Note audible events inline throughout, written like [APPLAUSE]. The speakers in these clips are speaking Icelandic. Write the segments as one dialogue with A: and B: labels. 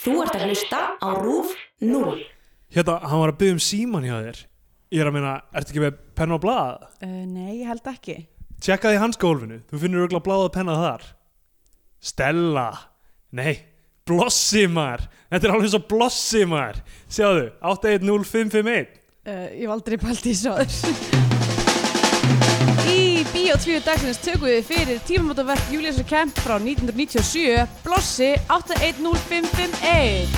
A: Þú ert að hlusta á RÚF 0.
B: Hérna, hann var að byggja um síman hjá þér Ég er að meina, ertu ekki með penna og blað?
C: Uh, nei, ég held ekki.
B: Tjekka því hans gólfinu, þú finnur örugglega bláða penna þar Stella Nei, Blossimar Þetta er alveg svo Blossimar Sjáðu, 810551
C: Uh, ég hef aldrei pælt í svo aður. Í Bíó 2 dagsins tökum við fyrir tímamótaverk Júliusar Kemp frá 1997, Blossi 810551.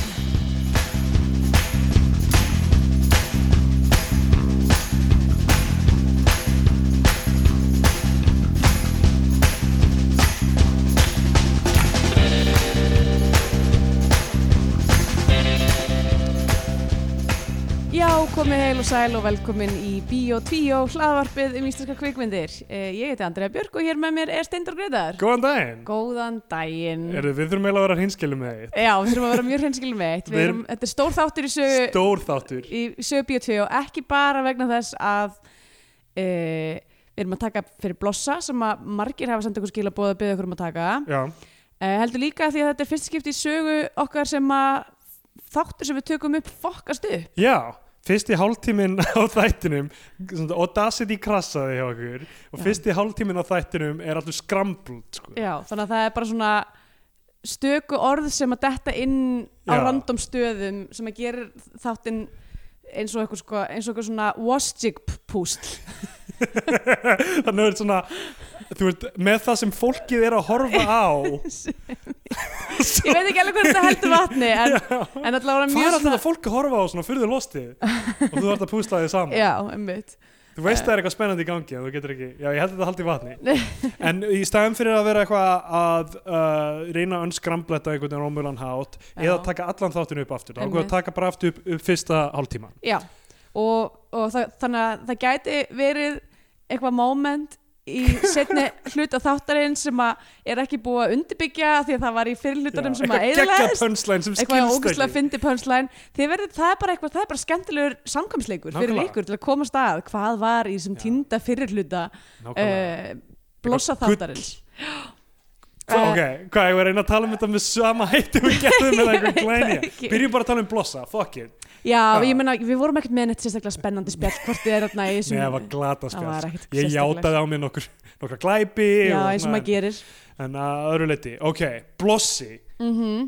C: Já, komið heil og sæl og velkomin í Bíó 2 hlaðvarpið um íslenska kvikmyndir. Uh, ég heiti Andrea Björk og hér með mér er Steindor Gretar.
B: Góðan daginn
C: Góðan daginn.
B: Heyrðu, Við þurfum eiginlega að vera hinskilum með þitt
C: Já, við þurfum að vera mjög hreinskilum með eitt. Við
B: Við
C: erum,
B: erum-
C: þetta er stór þáttur í sögu,
B: Stór þáttur
C: í sögu Bíó 2 og ekki bara vegna þess að uh, við erum að taka fyrir blossa sem að margir hafa samt okkur skil að bóða að byggja okkur um að taka.
B: Já,
C: Uh, heldur líka því að þetta er fyrst skipti í sögu okkar sem að þáttur sem við tökum upp fokkast upp.
B: Já. fyrsti hálftíminn á þættinum svona, Audacity krassaði hjá okkur og
C: Já.
B: fyrsti hálftíminn á þættinum er allur skrambult sko.
C: Já, þannig að það er bara svona stöku orð sem að detta inn á
B: Já.
C: random stöðum sem að gerir þáttinn eins og eitthvað, sko, eins og eitthvað svona wasjig púsl
B: þannig er svona þú veist, með það sem fólkið er að
C: [LAUGHS]
B: horfa á
C: Ég veit ekki alveg hvað þetta heldur vatni en, en allavega
B: hvað
C: mjög
B: er alltaf það fólk að horfa á svona fyrðu lostið og þú ert að púsla þig saman
C: Já, einmitt
B: þú veist það er eitthvað spennandi í gangi en þú getur ekki, já ég held að þetta haldi í
C: [LAUGHS]
B: vatni en í staðum fyrir að vera eitthvað að uh, reyna að önskramblætta einhvern veginn ómjölan hátt
C: Já.
B: eða taka allan þáttinu upp aftur þá ákveður
C: Einmitt.
B: að taka bara aftur upp, upp fyrsta hálftíman
C: Já, og, og það, þannig að það gæti verið eitthvað moment í
B: [LAUGHS]
C: setni hluta þáttarinn sem að er ekki búið að undirbyggja því að það var í fyrirlutanum sem að
B: geggja
C: eðlaðist
B: pönslæn sem
C: eitthvað
B: skilst
C: ógustlega fyndi pönslæn þið verður, það er bara eitthvað, það er bara skemmtilegur samkvæmsleikur fyrir
B: Nákvæmlega.
C: ykkur til að komast að hvað var í þessum
B: Já.
C: týnda fyrirluta
B: Nákvæmlega.
C: uh, blossa
B: Eitthvað
C: þáttarins
B: Hva,
C: Eh,
B: ok, hvað, ég var að reyna að tala um þetta með sama hætti og gerðum með
C: [LAUGHS] Ég
B: einhver
C: veit það
B: glænja
C: ekki.
B: byrjum bara að tala um blossa, fuck it
C: já,
B: Já.
C: ég meina, við vorum ekkert með neitt sérstaklega spennandi spjall hvort þið er þarna í
B: Nei,
C: þessum
B: það var glata
C: það var
B: spjall
C: ekkert
B: Ég
C: sérstaklega.
B: játaði á mig nokkur, nokkra glæpi
C: já,
B: og
C: eins og
B: svona,
C: maður gerir
B: En að öðru leiti, ok, blossi
C: mm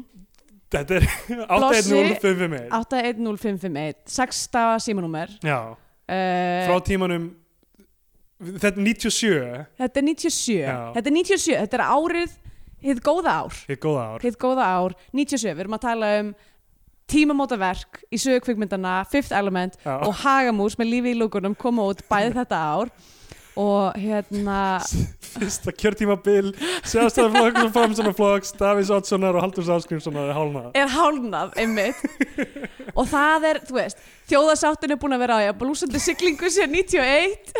B: Þetta er [LAUGHS]
C: Blossi.
B: 810551
C: 81051, 6 stafa símanúmer
B: Já,
C: uh,
B: frá tímanum Þetta er 97
C: þetta er 97
B: Já.
C: þetta er 97, þetta er árið hið góða ár
B: Hér góða ár
C: Hið góða ár, 97, við erum að tala um tímamótaverk í sögu kvikmyndana, Fifth Element
B: Já.
C: og Hagamús með lífi í lúkunum koma út bæði þetta ár og hérna,
B: [LAUGHS] Fyrsta kjörtímabil Sjástaði flokk og famsonaflokks Davís Oddssonar og Halldurs Áskrimssonar er hálnað
C: er hálnað einmitt og það er, þú veist, þjóðasáttin er búin að vera á ég blúsandi siglingu sér 91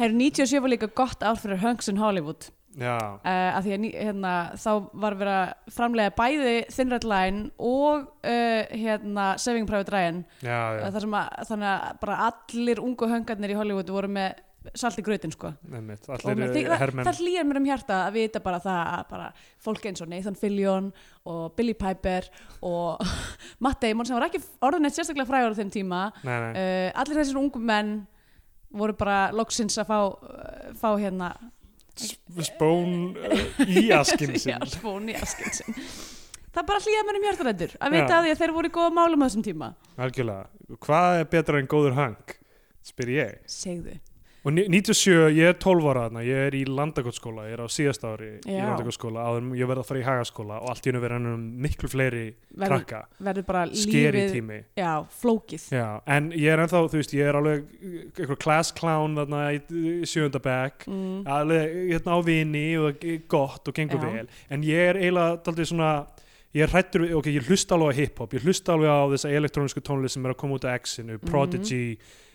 C: Herru, 97 var líka gott ár fyrir Hunks in Hollywood
B: Já,
C: uh, að því að ný- hérna, þá var verið að framlega bæði Thin Red Line og uh, hérna, Saving Private Ryan
B: já, já,
C: þar sem að, þannig að bara allir ungu höngarnir í Hollywood voru með salt í grötin sko
B: nefnitt
C: Og
B: Allir
C: mér- því-
B: eru
C: það,
B: hermenn
C: það hlýjar mér um hjarta að vita bara það að bara fólk eins og Nathan Fillion og Billy Piper og [LAUGHS] Matt Damon sem var ekki orðin eitt sérstaklega frægur á þeim tíma
B: Nei, nei
C: uh, allir þessir ungu menn voru bara loksins að fá, uh, fá hérna
B: Sp- spón uh,
C: [LAUGHS]
B: í askinn
C: Já,
B: sinn
C: spón í askinn sinn Það bara hlýjaði mér um hjartarættur að vita
B: Já.
C: að því að þeir voru í góða málum á þessum tíma
B: algjörlega, hvað er betra en góður hang spyr ég
C: Segðu
B: og ni- 97, ég er 12 ára þarna ég er í landakotsskóla, ég er á síðast ári í
C: Já.
B: landakotsskóla, áður en ég verð að fara í hagaskóla og allt í hennu verða ennum um miklu fleiri
C: Verður,
B: krakka,
C: verður bara
B: skeri
C: lífið
B: tími
C: Já, flókið
B: Já, en ég er ennþá, þú veist, ég er alveg eitthvað class clown þarna í í sjöunda bekk
C: mm.
B: alveg hérna á vini og gott og gengur
C: Já.
B: vel en ég er eiginlega daldið svona ég er hrættur, ok, ég hlusta alveg á hip-hop ég hlusta alveg á þessa elektrónisku tónlist sem er að koma út á X-inu,
C: Mhm.
B: Prodigy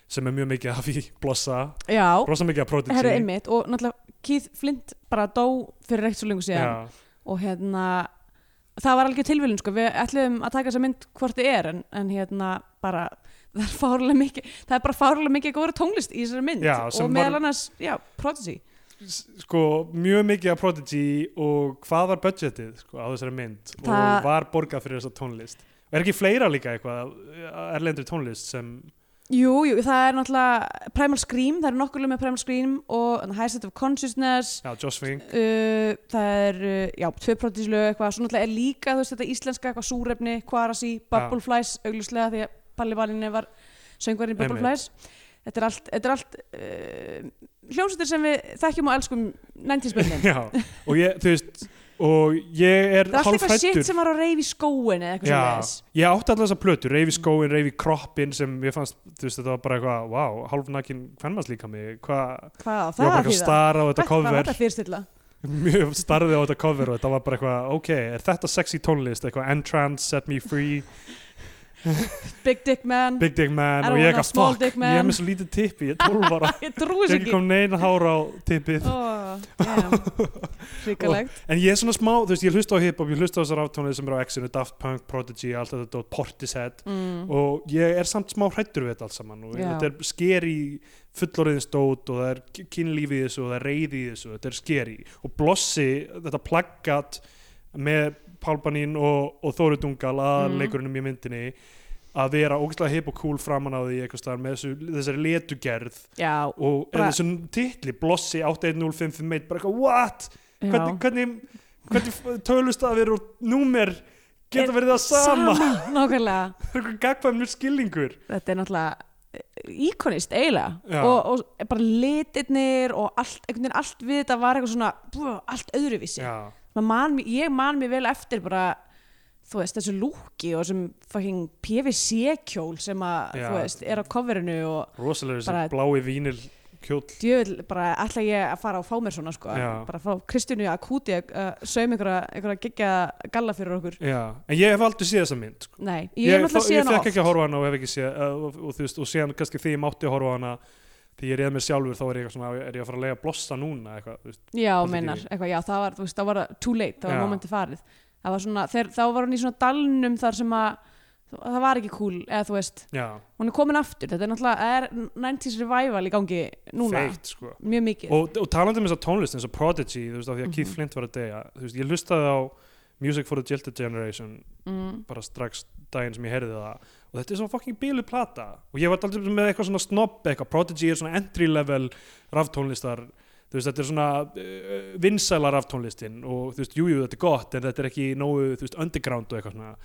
B: sem er mjög mikið af í blossa
C: Já,
B: rosa mikið af Prodigy
C: herra einmitt og náttúrulega Keith Flint bara dó fyrir ekkert svo lengur síðan
B: Já,
C: og hérna það var alveg tilvílun sko, við ætluðum að taka þessa mynd hvort þið er en, en hérna bara það er fárlega mikið það er bara fárlega mikið góður tónlist í þessari mynd
B: Já, sem
C: og meðal
B: var-
C: annars, já, Prodigy
B: s- sko, mjög mikið af Prodigy og hvað var budgetið sko, á þessari mynd
C: Það-
B: og var borgað fyrir þessa tónlist og er ekki fleira líka eitthvað af erlendri tónlist sem
C: Jú, jú, það er náttúrulega Primal Scream, það eru nokkur lög með Primal Scream og High Set of Consciousness
B: já, Joss Fink
C: uh, það er, uh, já, tvö protislög eitthvað, svo náttúrulega er líka, þú veist, þetta íslenska eitthvað súrefni, kvarasi, bubbleflies augljuslega því að Palli Valinni var söngvarinn í
B: Einmitt.
C: bubbleflies þetta er allt, þetta er allt uh, hljómsveitir sem við þekkjum og elskum 90s bönnum,
B: [LAUGHS] já, og ég, þú veist og ég er
C: það er allt eitthvað
B: hálfrættur
C: shit sem var á reyfi skóin eða eitthvað sem
B: Já, ég átti allar þessar plötur, reyfi skóin, reyfi kroppin sem ég fannst, þú veist, þetta var bara eitthvað wow, hálfnakin hvernmars líka mig hvað,
C: hvað á
B: ég var bara
C: það að
B: eitthvað að
C: þýða?
B: stara á þetta
C: Hvað var
B: cover
C: þetta fyrirstilla?
B: [LAUGHS] mjög starði á þetta cover og þetta var bara eitthvað, ok, er þetta sexy tónlist eitthvað, Entrance, Set Me Free
C: Big Dick Man,
B: Big Dick Man
C: I
B: og ég
C: don't wanna
B: eitthvað,
C: small
B: fuck,
C: dick
B: ég
C: man."
B: er með svo lítið tippi ég er
C: [LAUGHS]
B: 12 ára,
C: ég trúi
B: ég
C: þess
B: er ekki
C: ekki
B: kom neina hára á tippið
C: oh,
B: [LAUGHS]
C: yeah. Ríkalegt
B: en ég er svona smá, þú veist, ég hlusta á hip-hop ég hlusta á þessar aftónlið sem eru á X-inu, Daft Punk, Prodigy allt þetta, dót, Portishead
C: mm.
B: og ég er samt smá hrættur við þetta allt saman og
C: Já.
B: þetta er skeri fullorðinsdót og það er k- kynlíf í þessu og það er reyði í þessu, þetta er skeri og blossi, þetta plaggat með Pálbanín og, og Þóru Dungal að
C: Mm.
B: leikurunum í myndinni að vera ógæslega hip og cool framan á því eitthvað staðar með þessu, þessari letugerð
C: Já,
B: og
C: Bara-
B: bara, þessum titli blossi 810551 bara eitthvað, what?
C: já.
B: Hvernig, hvernig, hvernig tölustafir og númer geta verið það sama?
C: Nákvæmlega
B: Það er [LAUGHS] eitthvað gagfæmur skilningur
C: þetta er náttúrulega íkonist eiginlega
B: Já.
C: og, og bara litirnir og allt, einhvern veginn allt við þetta var eitthvað svona bú, allt öðruvísi
B: Já,
C: Maður man, mig- ég man mér vel eftir bara þú veist þessu lúki og þessum fucking PVC kjól sem að
B: Já.
C: þú veist er á coverinu og
B: rosalega
C: Bara-
B: þessi blái vínil kjóll
C: djöfull bara ætla ég að fara og fá mér svona sko
B: Já.
C: bara fá Kristjánu að kúti að uh, saum einhverja, einhverja geggja galla fyrir okkur
B: Já, en ég hef aldrei séð þessa mynd sko.
C: nei, ég er náttúrulega
B: þó- ég
C: síðan
B: fekk ekki að horfa á hana og hef ekki séð uh, og, og, og, og síðan kannski því ég mátti að horfa á hana því ég reið mér sjálfur þá er ég, eitthvað svona, er ég að fara að lega blossa núna eitthvað, þú veist.
C: Já,
B: Paldið
C: meinar,
B: í.
C: eitthvað, já, það var, þú veist, það var það too late, það var
B: Já.
C: momenti farið það var svona, þeir, þá var hún í svona dalnum þar sem að, það var ekki cool eða þú veist,
B: Já,
C: hún er komin aftur þetta er náttúrulega, er 90s revival í gangi núna,
B: feitt sko
C: mjög mikið
B: og, og talandi um þessa tónlist eins og Prodigy þú veist, af því að Keith
C: Mhm.
B: Flint var að deyja þú veist, ég hlustaði á Music for the Jilted Generation
C: mm,
B: bara strax daginn sem ég heyrði það og þetta er svona fucking bílu plata og ég var alltaf með eitthvað svona snobb eitthvað Prodigy er svona entry level raftónlistar þú veist þetta er svona uh, vinsæla raftónlistin og þú veist jújú jú, þetta er gott en þetta er ekki nógu þú veist underground og eitthvað svona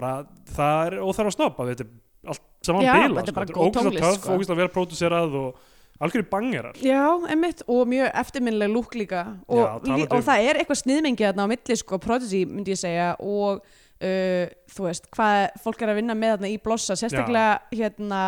B: bara það er óþarf að snobba þetta er allt saman
C: Já,
B: bíla
C: þetta er bara
B: þetta er
C: góð
B: ógæslega
C: tónlist,
B: töff,
C: sko.
B: ógæslega vel próduserað og algjörðu bangerar
C: já, emmitt, og mjög eftirminnileg lúk líka og,
B: Já, talandi um-
C: og það er eitthvað sniðmengi þarna á milli, sko, Prodigy, myndi ég segja og Uh, þú veist, hvað fólk er að vinna með þarna í blossa, sérstaklega hérna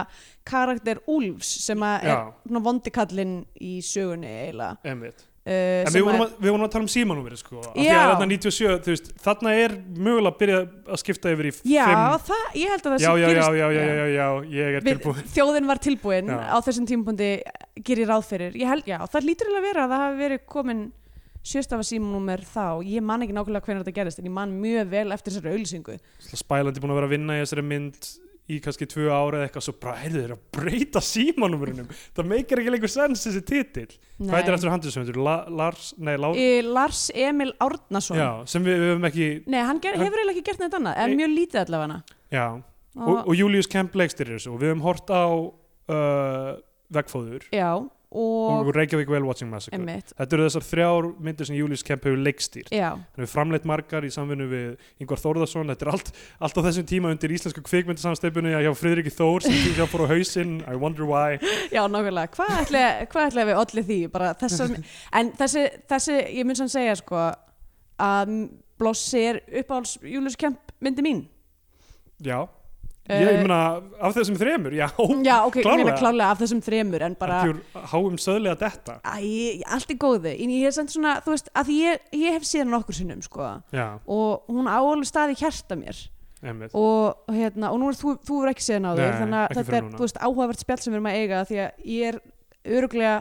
C: karakter Úlfs sem að er
B: já,
C: svona vondi kallinn í sögunni eiginlega
B: einmitt
C: uh,
B: En við vorum, að, við vorum að tala um símanúmerið sko af því
C: Já.
B: að þarna 97, þú veist, þarna er mögulega að byrja að skipta yfir í
C: já,
B: fimm
C: það, ég held að það
B: já,
C: sem
B: já,
C: gerist
B: já, já, já, já, já, ég er
C: Við,
B: tilbúin
C: þjóðin var tilbúin
B: Já.
C: á þessum tímapunkti gerir ráð fyrir ég held, já, það lítur eiginlega að vera að það hafi verið komin sjöstafa símnúmer þá ég man ekki nákvæmlega hvernig þetta gerist en ég man mjög vel eftir þessari auðlýsingu
B: Spælandi búin að vera að vinna í þessari mynd í kannski tvö ára eða eitthvað svo bara, heyrðu þeir að breyta símanúmerunum það meikir ekki lengur sens þessi titill Hvað heitir eftir handlisöfundur? La, Lars, nei, Lá
C: Í, Eh, Lars Emil Árnason
B: Já, sem við, við höfum ekki
C: nei, hann ger,
B: Hann-
C: hefur eiginlega ekki gert neitt annað en
B: Nei.
C: mjög lítið allavega
B: Já, og,
C: og,
B: og Julius Kemp leikstyrir þessu og við höfum hort á uh, Vegfóður
C: já, og,
B: og Reykjavík Whale Watching Massacre
C: emmitt,
B: Þetta eru þessar þrjár myndir sem Julius Kemp hefur leikstýrt
C: já,
B: hann hefur framleitt margar í samvinnu við Ingvar Þórðarsson, þetta er allt, allt á þessum tíma undir íslensku kvikmyndasamsteipunni að hjá Friðriki Þór sem tíma fór á hausinn, I wonder why
C: Já, nákvæmlega, hvað ætla, hvað ætla við allir því, bara þessar en þessi, þessi, ég mun sann segja sko að Blossi er uppáhalds Július Kemp myndi mín
B: já, ég,
C: Eh,
B: ég meina af þessum þremur, já,
C: Já, ok, ég meina
B: klárlega.
C: klálega af þessum þremur en bara,
B: bara... háum söðlega detta
C: æ, allt í góðu en ég er samt svona, þú veist, að ég, ég hef síðan nokkur sinnum sko
B: já,
C: og hún á alveg staði hjarta mér
B: emmitt
C: og, og hérna, og nú er þú, þú er ekki síðan á þér
B: Nei,
C: þannig að
B: ekki
C: þetta
B: fyrir
C: er,
B: núna.
C: þú veist, áhugavert spjall sem við erum að eiga því að ég er öruglega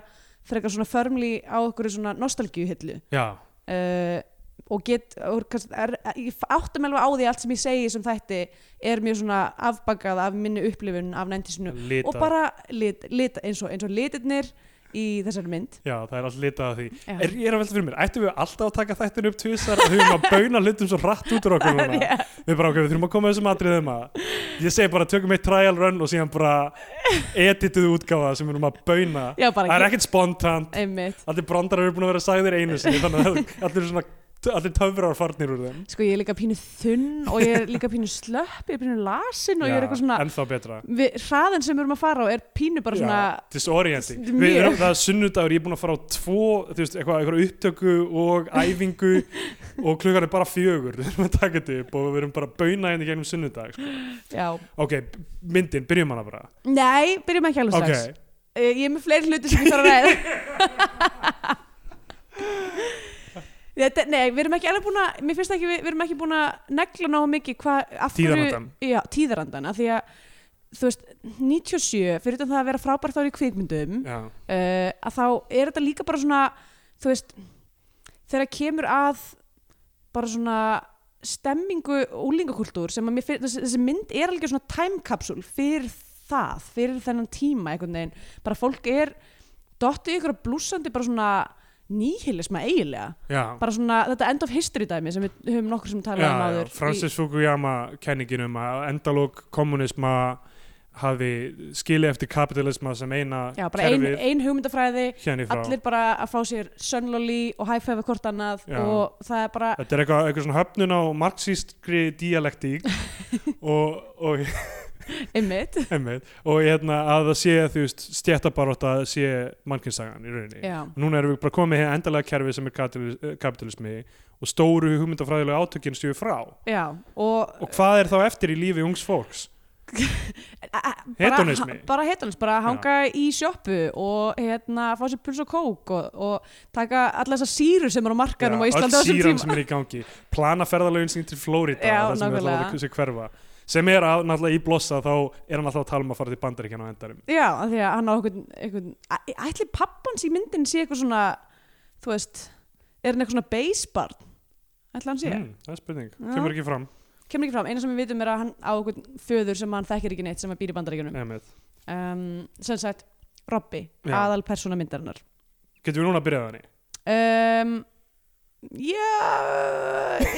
C: frekar svona förmli á okkur svona nostalgíuhyllu
B: já,
C: uh, og get og kannski, er, ég átta mig alveg á því að allt sem ég segi sem þætti er mjög svona afbakað af minni upplifun af næntisinu
B: lita
C: og bara lit, lit, eins, og, eins og litirnir í þessari mynd
B: Já, það er allt litað af því
C: Já.
B: er, Ég er að velta fyrir mér, ættum við alltaf að taka þættin upp tvisar að við höfum að bauna hlutum svo rætt út úr okkur
C: [LAUGHS]
B: núna
C: Rétt.
B: Við bara, ok, við þurfum að koma þessum atriðum að Ég segi bara, tökum eitt trial run og síðan bara edituðu útgáfa sem við erum að bauna
C: Já, bara
B: Það er
C: ekki-
B: ekkert spontant
C: Einmitt.
B: Allir brandarar eru búin að vera sagðir einu
C: [LAUGHS]
B: sinni Þannig að allir, eru svona, allir töfrar farnir úr þeim
C: Sko ég er líka pínu þunn og ég er líka pínu slöpp, ég er pínu lasin og ég er eitthvað svona,
B: Ennþá betra
C: við, hraðin sem við erum að fara á er pínu bara svona,
B: Já, disorienting
C: Mjög.
B: Við erum það er sunnudagur, ég er búin að fara á tvo þú veist, eitthvað, eitthvað upptöku og æfingu og klukkan er bara fjögur við erum að taka þetta upp og við erum bara að bauna hérna í gegnum sunnudag sko.
C: já.
B: Ok, b- myndin, byrjum hana bara
C: Nei, byrjum ekki alveg
B: Ok,
C: strax. Uh, Ég er með fleiri hluti sem ég þarf að ræða. Þetta, nei, við erum ekki alveg búin að, mér finnst ekki, við, við erum ekki búin að negla náðu mikið hvað, af hverju...
B: Tíðarandann.
C: Já, tíðarandan, af því að, þú veist, 97, fyrir utan það að vera frábært ári í kvikmyndum,
B: já,
C: uh, að þá er þetta líka bara svona þú veist þegar kemur að bara svona stemmingu úlingakultúr sem að mér fyrir, þessi, þessi mynd er alveg svona time capsule fyrir það, fyrir þennan tíma einhvern veginn, bara fólk er dottið ykkur að blúsandi bara svona nýhilisma eiginlega
B: já,
C: bara svona þetta end of history dæmi sem við höfum nokkur sem
B: já,
C: talað um
B: já
C: áður
B: Francis Fukuyama kenningin um að endalók kommunisma hafi skilið eftir kapitalisma sem eina
C: í, já, bara ein,
B: kerfið
C: ein hugmyndafræði
B: hérna í frá
C: allir bara að fá sér sönnlóli og hæfæfa hvort annað
B: Já.
C: og það er bara
B: Þetta er eitthvað, eitthvað svona höfnun á marxískri
C: [LAUGHS]
B: dialektík og, og
C: einmitt
B: [LAUGHS] Einmitt. og hérna að það sé þú veist stjættabaróta sé mannkynsagan í rauninni
C: Já.
B: núna erum við bara komið með hér endalega kerfi sem er kapitalis- eh, kapitalismi og stóru hugmyndafræðilega átökinn séu frá
C: Já, og
B: og hvað er þá eftir í lífi ungs fólks
C: eh, bara-
B: Hedonismi.
C: bara hedonismi, bara að hanga í sjoppu og hérna, fá sér puls og kók og, og taka alla þessar sýrur sem eru á markanum á Íslandi á
B: öll
C: þessum
B: síran
C: tíma
B: sem er í gangi plana ferðalögin sín til Flórida það
C: Já,
B: sem er
C: nákvæmlega.
B: alltaf að hverfa sem er að, náttúrulega í blossa þá er hann alltaf að tala um að fara til bandaríkjan á endarum
C: Já, af því að hann á einhvern, einhvern Æ- ætli pappans í myndin sé eitthvað svona þú veist, er hann eitthvað svona beisbarn ætli hann sé,
B: mm, það er spurning,
C: Já.
B: kemur ekki fram
C: kemur ekki fram eina sem við vitum er að hann á einhvern föður sem hann þekkir ekki neitt sem að býr í bandaríkjunum
B: Einmitt.
C: um, sem sagt, Robby,
B: Já.
C: aðal persóna myndarinnar
B: getum við núna að byrja þannig
C: um, Já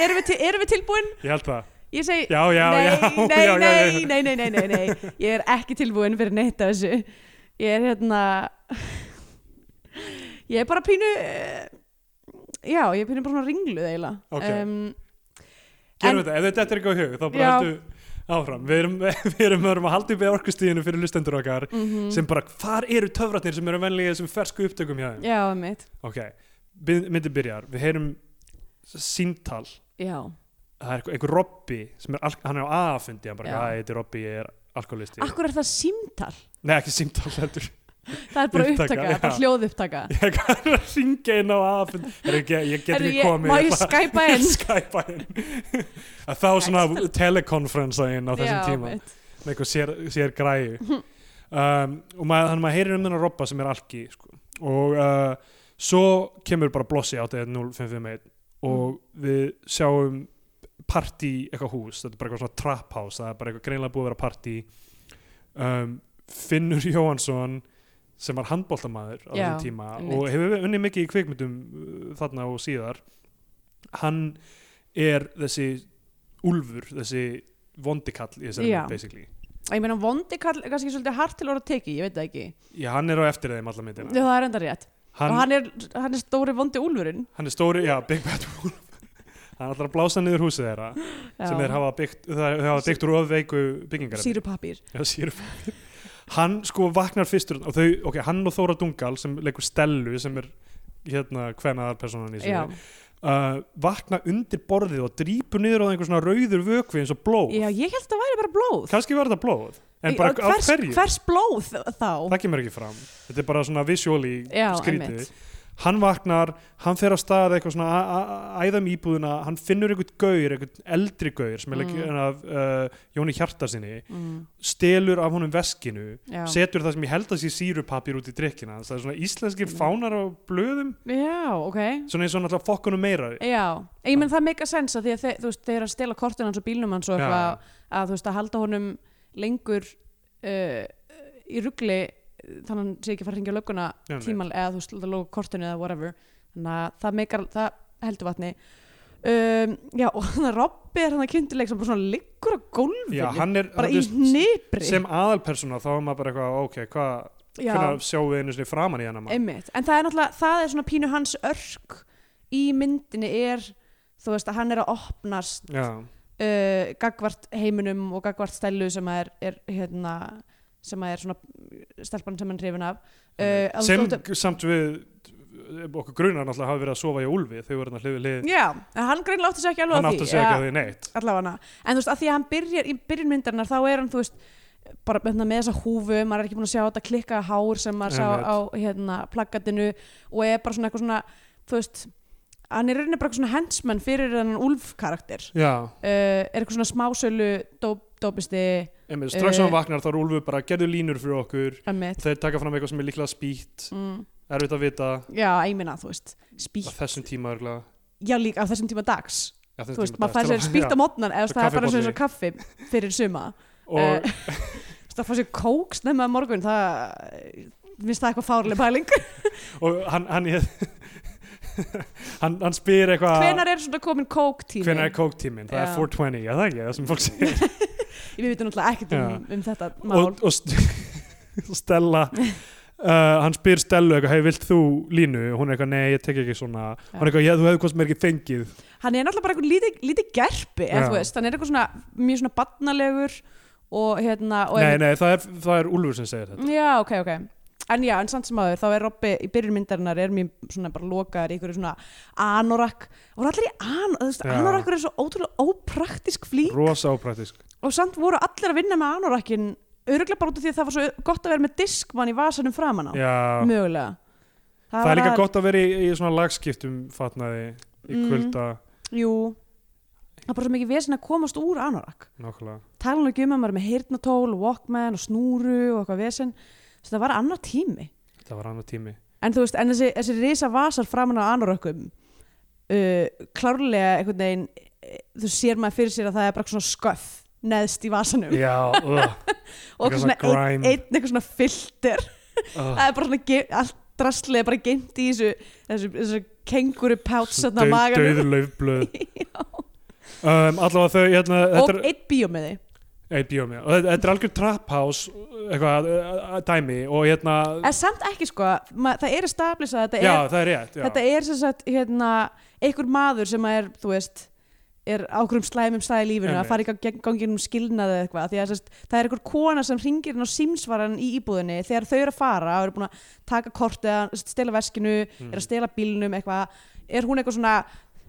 C: erum við, til, erum við tilbúin?
B: ég held það,
C: Ég segi
B: já, já,
C: nei,
B: já, já,
C: nei,
B: já, já.
C: nei, nei, nei, nei, nei, nei Ég er ekki tilbúin fyrir neitt af þessu Ég er hérna Ég er bara pínu eh, Já, ég er pínu bara svona ringluð eiginlega
B: Ok.
C: um,
B: Gerum
C: En-
B: þetta, ef þetta er ekki á hug þá bara
C: Já.
B: heldur áfram við erum, [LAUGHS] við erum, við erum að halda upp í orkustíðinu fyrir lustendur okkar
C: Mhm. Mm.
B: sem bara, hvar eru töfratnir sem eru venlega í þessum fersku upptökum hjá þeim
C: Já, mitt
B: ok, by- myndin byrjar, við heyrum síntal,
C: Já,
B: það er einhver- einhver Robby sem er, al- hann er á aðfundi hann bara,
C: Já.
B: hæ, þetta er Robby, ég er alkoholisti
C: akkur er það símtal
B: nei, ekki síntal heldur [LAUGHS]
C: Það er bara
B: Upptaka,
C: upptaka,
B: já.
C: bara hljóð upptaka
B: ég er að ringa inn á aðfund Heyrðu, ég, get- ég get
C: Heyrðu,
B: ekki
C: ég-
B: komið
C: má ég
B: ætla-
C: skæpa
B: [LAUGHS]
C: inn?
B: ég skæpa inn að þá svona telekonferensa inn á þessum tíma
C: mitt.
B: með eitthvað sér, sér græju
C: [LAUGHS]
B: um, og maður, þannig maður heyrir um þennan robba sem er alki sko. og uh, svo kemur bara blossi á þetta 0551 og
C: Mm.
B: við sjáum partí í eitthvað hús, þetta er bara eitthvað svona trap house það er bara eitthvað greinlega búið að vera partí um, Finnur Jóhansson sem var handbóltamaður á
C: Já,
B: þessum tíma
C: einmitt.
B: og hefur unnið mikið í kvikmyndum uh, þarna og síðar hann er þessi úlfur, þessi vondikall í þessari
C: Já.
B: mynd basically
C: Ég meina vondi kall, er kannski svolítið hart til orða teki, ég veit það ekki
B: Já, hann er á eftir þeim alla myndina
C: Já, það er enda rétt
B: hann,
C: Og
B: hann,
C: hann er, hann er stóri vondi úlfurinn
B: er stóri, já, Big Bad Wolf [LAUGHS] Hann ætlar að blása niður húsið þeirra
C: Já.
B: sem þeir hafa byggt, þeir þeir hafa byggt úr ofveiku byggingar
C: Sýrupapír
B: Já, sírupapír Hann sko vaknar fyrstur og þau, ok, hann og Þóra Dungal sem leikur Stellu sem er hérna hvenaðar personan í sig
C: Já.
B: uh, vakna undir borðið og drýpur niður á einhver svona rauður vökvi eins og blóð
C: Já, ég held að það væri bara blóð
B: kannski var þetta blóð en
C: Í-
B: bara
C: og
B: á
C: hvers,
B: hverju,
C: hvers blóð þá?
B: það kemur ekki fram þetta er bara svona visuáli
C: Já,
B: skrítið
C: einmitt.
B: hann vaknar, hann fer að stað eitthvað svona að- að- að æða um íbúðuna hann finnur einhvern gaur, einhvern eldri gaur sem er
C: Mm.
B: ekki af uh, Jóni Hjartarsinni
C: mm,
B: stelur af honum veskinu
C: já.
B: setur það sem ég held að sé sírupapir út í drikkina það er svona íslenski
C: Mm.
B: fánar á blöðum
C: já, ok
B: svona eins og náttúrulega fokkunum meira
C: Já, ég menn það meika sens að því að þe þú veist, þeir eru að stela kortun hans og bílnum hans og
B: Já.
C: eitthvað að þú veist að halda honum lengur uh, í ruggli þannig að hann sé ekki að fara að ringja lögguna
B: Nei, nei.
C: tímal eða þú veist, lóka kortinu eða whatever þannig að það meikar, það heldur vatni um, já, og þannig að Robby er hann að kynntileg sem bara svona liggur á gólfinu
B: Já, hann er hann,
C: bara í
B: þú veist,
C: hnipri
B: sem aðalpersona þá er maður bara eitthvað ok, hvað,
C: já,
B: hvernig sjáum við einu sinni framan í hennar mann
C: einmitt, en það er náttúrulega það er svona pínu hans örk í myndinni er, þú veist, að hann er að opnast
B: Já,
C: uh, gagvart heiminum og gagvart stælu sem að er, er hérna sem að er svona stelpan sem hann hrifin af uh, að þú
B: sem
C: þótt að-
B: samt við okkur grunar náttúrulega hafi verið að sofa í úlfi þau voru hann hlið við hlið,
C: já, en hann greinlega átti sig ekki alveg
B: hann átti að segja ekki að því neitt
C: allavega en þú veist, að því að hann byrjar í byrjunmyndarinnar þá er hann, þú veist, bara hérna, með þessa húfu maður er ekki búin að sjá þetta klikka hár sem maður sá
B: Einmitt.
C: á hérna, plakatinu og er bara svona eitthvað svona þú veist, hann er í rauninni bara eitthvað svona hensmann fyrir þennan úlf karakter uh,
B: Já,
C: er eitthvað svona smásölu dóp, dópisti
B: einmitt, strax
C: Eh.
B: sem hann vaknar þá er úlfu bara gerðu línur fyrir okkur
C: ömmit
B: þeir taka fram eitthvað sem er líklega spýtt
C: mm,
B: erfitt að vita á
C: já, ég minna, þú veist, spýtt
B: þessum tíma örgulega
C: já, líka á þessum tíma dags
B: Já,
C: þú veist, maður fær sér spýtt á mótnan eða þú veist, það er bara svona kaffi fyrir suma Eh,
B: og
C: [LAUGHS] Þú veist, að fá sér kók snemma um morgun það, minnst það eitthvað fárlega pæling
B: og hann hann, [LAUGHS] hann, hann spyr eitthvað
C: hvenar er svona komin kók tími
B: Ah. hvenær er kóktíminn, það
C: Já.
B: er 420 já það er ekki, það sem fólk segir
C: við vitum náttúrulega ekkert um, um þetta mál
B: og, og st [LAUGHS]
C: [LAUGHS]
B: Stella uh, hann spyr Stellu eitthvað, hei vilt þú línu og hún er eitthvað, nei ég tek ekki svona
C: Já.
B: hann er eitthvað, já þú hefði hvort sem er ekki fengið
C: hann er náttúrulega bara eitthvað lítið, lítið gerpi eða
B: Já.
C: þú veist, hann er eitthvað svona mjög svona barnalegur og hérna og
B: nei, nei, það er, það er Úlfur sem segir þetta
C: já, ok, ok en já, en samt sem aður, þá er Robby í byrjunmyndarinnar er mjög svona bara lokaður í einhverju svona anorak og allir í an, þú veist,
B: Já.
C: anorakkur er svo ótrúlega ópraktisk flýk
B: rosa ópraktisk
C: og samt voru allir að vinna með anorakkin öruglega bara út af því að það var svo gott að vera með diskmann í vasanum framan á
B: já,
C: mögulega
B: það er
C: var
B: líka
C: að-
B: gott að vera í, í svona lagskiptum fatnaði í
C: Mm.
B: kvölda
C: jú, það er bara svo mikið vesen að komast úr anorak
B: nákvæmlega
C: tala nú ekki um að maður er með heyrnatól, walkman og snúru og eitthvað vesen þess að það var annar tími
B: þetta var annar tími
C: en þú veist, en þessi, þessi risa vasar framan á anorökkum uh, klárlega einhvern veginn eh, þú sér maður fyrir sér að það er bara svona sköff neðst í vasanum
B: já, uh,
C: og
B: eitthvað
C: eitthvað svona e-
B: svona
C: einn
B: grime.
C: ein, eitthvað svona filter
B: uh,
C: það er bara svona ge- allt drastlið er bara geimt í þessu þessu, þessu kenguru pát
B: döð,
C: sérna maganum
B: döður laufblöð
C: [LAUGHS]
B: um, allavega þau hérna,
C: og
B: þetta er
C: einn bíómiði
B: Eitt bíómið, og þetta- þetta er algjör trap house eitthvað, eh, dæmi og hérna,
C: en samt ekki sko, ma- það er established að þetta
B: já
C: er,
B: það er rétt já.
C: þetta er sem sagt hérna, einhver maður sem er þú veist, er ákveðum slæmum stað í lífinu
B: Einmitt.
C: að fara ekki að gangi um skilnaði eða eitthvað, því að sem sagt, það er einhver kona sem ringir inn á símsvaran í íbúðinni þegar þau eru að fara og eru búin að taka kort eða sem sagt, stela veskinu,
B: Mhm.
C: er að stela bílnum eitthvað, er hún eitthvað svona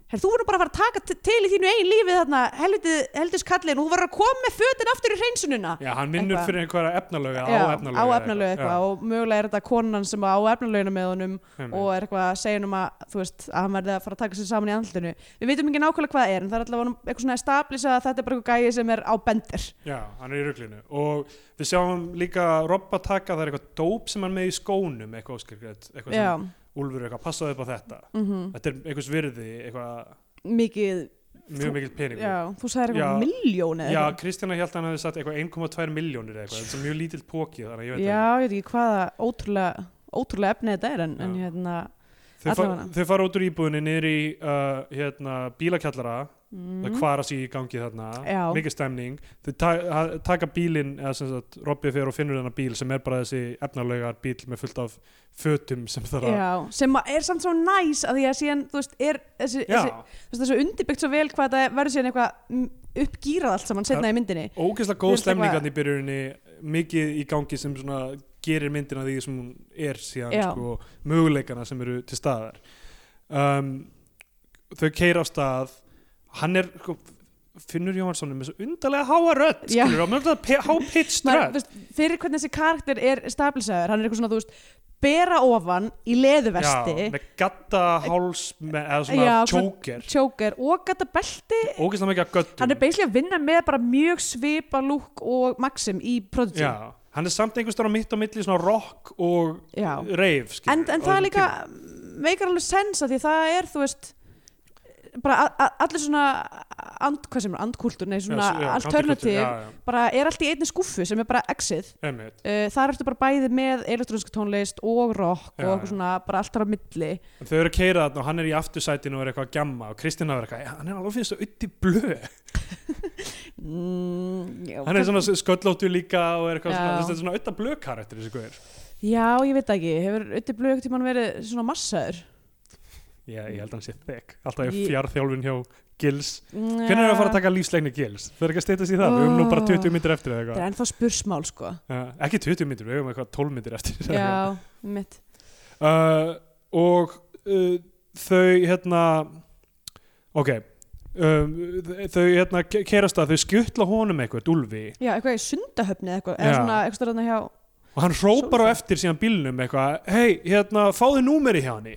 C: Her, þú voru bara að fara að taka t- til í þínu eigin lífi þarna, helviti, heldis kallin og þú voru að koma með fötin aftur í hreinsununa
B: já, hann vinnur
C: eitthvað.
B: fyrir einhverja efnalöga
C: Já,
B: á efnalöga
C: á efnalög eitthvað og mögulega er þetta konan sem á efnalöginu með honum og er eitthvað að segja um að þú veist að hann verði að fara að taka sér saman í andlutinu við veitum ekki nákvæmlega hvað það er en það er allavega eitthvað svona establis að þetta er bara eitthvað gæi sem er á bendir
B: já, hann er í ruglinu og við sjáum líka Robba taka það er eitthvað dóp sem hann með í skónum eitthvað óskilgrið, eitthvað
C: já,
B: sem Úlfur er eitthvað passaði upp á þetta
C: mm
B: þetta er einhvers virði, eitthvað
C: mikið
B: mjög mikill peningur
C: já, þú sagðir
B: Já.
C: eitthvað miljón eða
B: Já,
C: eitthvað.
B: Kristjana held að hann hefði sagt eitthvað 1,2 miljónir eitthvað, þetta er mjög lítill póki þannig að ég veit
C: já,
B: ekki.
C: ég veit ekki hvaða ótrúlega ótrúlega efni þetta er en, en
B: Já.
C: hérna
B: Þau, fa
C: allavega.
B: þau fara út úr íbúðinni niður í uh, hérna, bílakjallara það
C: mm,
B: kvara sig í gangi þarna
C: Já.
B: mikið stemning, þau ta ha- taka bílinn eða sem sagt, Robby fyrir og finnur þennan bíl sem er bara þessi efnalögar bíl með fullt af fötum sem þarf að
C: já, sem að er samt svo næs að því að síðan þú veist er þessi,
B: Já,
C: þessi þú veist, það er svo undirbyggt svo vel hvað það verður síðan eitthvað mm, uppgírað allt saman setna í myndinni
B: ógeðslega
C: Þú
B: góð
C: veist, eitthvað-
B: stemningarn í byrjuninni mikið í gangi sem svona gerir myndina því sem hún er síðan
C: Já.
B: sko, möguleikana sem eru til staðar um, þau keira á stað hann er sko, Finnur Jóhansson er með svo undarlega háa rödd
C: Já.
B: skilur, hann er alltaf há-pitched
C: Maður,
B: rödd
C: þú veist, fyrir hvernig þessi karakter er stabilsaður, hann er eitthvað svona, þú veist bera ofan í leðuvesti
B: Já, með gatta háls með, eða svona
C: Já, svona-
B: tjóker
C: tjóker og gata belti
B: ógeðslega mikið af göttum
C: hann er beislega að vinna með bara mjög svipa lúk og maxim í prodigy
B: Já, hann er samt einhvers þar á mitt og milli svona rock og
C: Já.
B: rave skilur, á
C: en, en það
B: þessum
C: líka meikar alveg sensa því það er þú veist bara a- a- allir svona and, hvað sem er, andkúltur, nei svona
B: Já, já,
C: alternativ,
B: counterculture, já, já,
C: bara er allt í einni skúffu sem er bara exið
B: einmitt.
C: uh, þar ertu bara bæði með elektrónsk tónlist og
B: Já,
C: rock og
B: já.
C: eitthvað svona bara allt þar á milli
B: En Þau eru að keira þarna og hann er í aftursætinu og er eitthvað að gjamma og Kristina er eitthvað, "Já, hann er alveg finnst að utti blöð
C: mm, já,
B: hann er svona sköllóttu líka og er eitthvað
C: Já.
B: svona, þetta er svona auðvitað blökarættir þessi guður
C: já, ég veit það ekki, hefur Ötti Blöð ekkert tímann verið svona massaður
B: ég, ég held að hann sé þekk, alltaf ég
C: Ég-
B: fjárþjálfin hjá Gils,
C: hvernig
B: hvernig er að fara að taka lífslegni Gils þau eru ekki að steytast í það, við höfum nú bara 20 myndir eftir eða
C: það er
B: eitthvað,
C: ennþá spursmál sko
B: [LAUGHS] uh, ekki 20 myndir við höfum eitthvað 12 myndir eftir eða [LAUGHS] eitthvað.
C: já, mitt
B: uh, og uh, þau hérna ok um, þau hérna kerast að þau skjuttla honum eitthvað, Dúlfi
C: já, eitthvað í sundahöfni eða eitthvað,
B: Já.
C: eða svona eitthvað stöðna hjá
B: og hann hrópar á
C: Sólfar.
B: eftir síðan bílnum eitthvað, hei, hérna, fáðu númeri hjá henni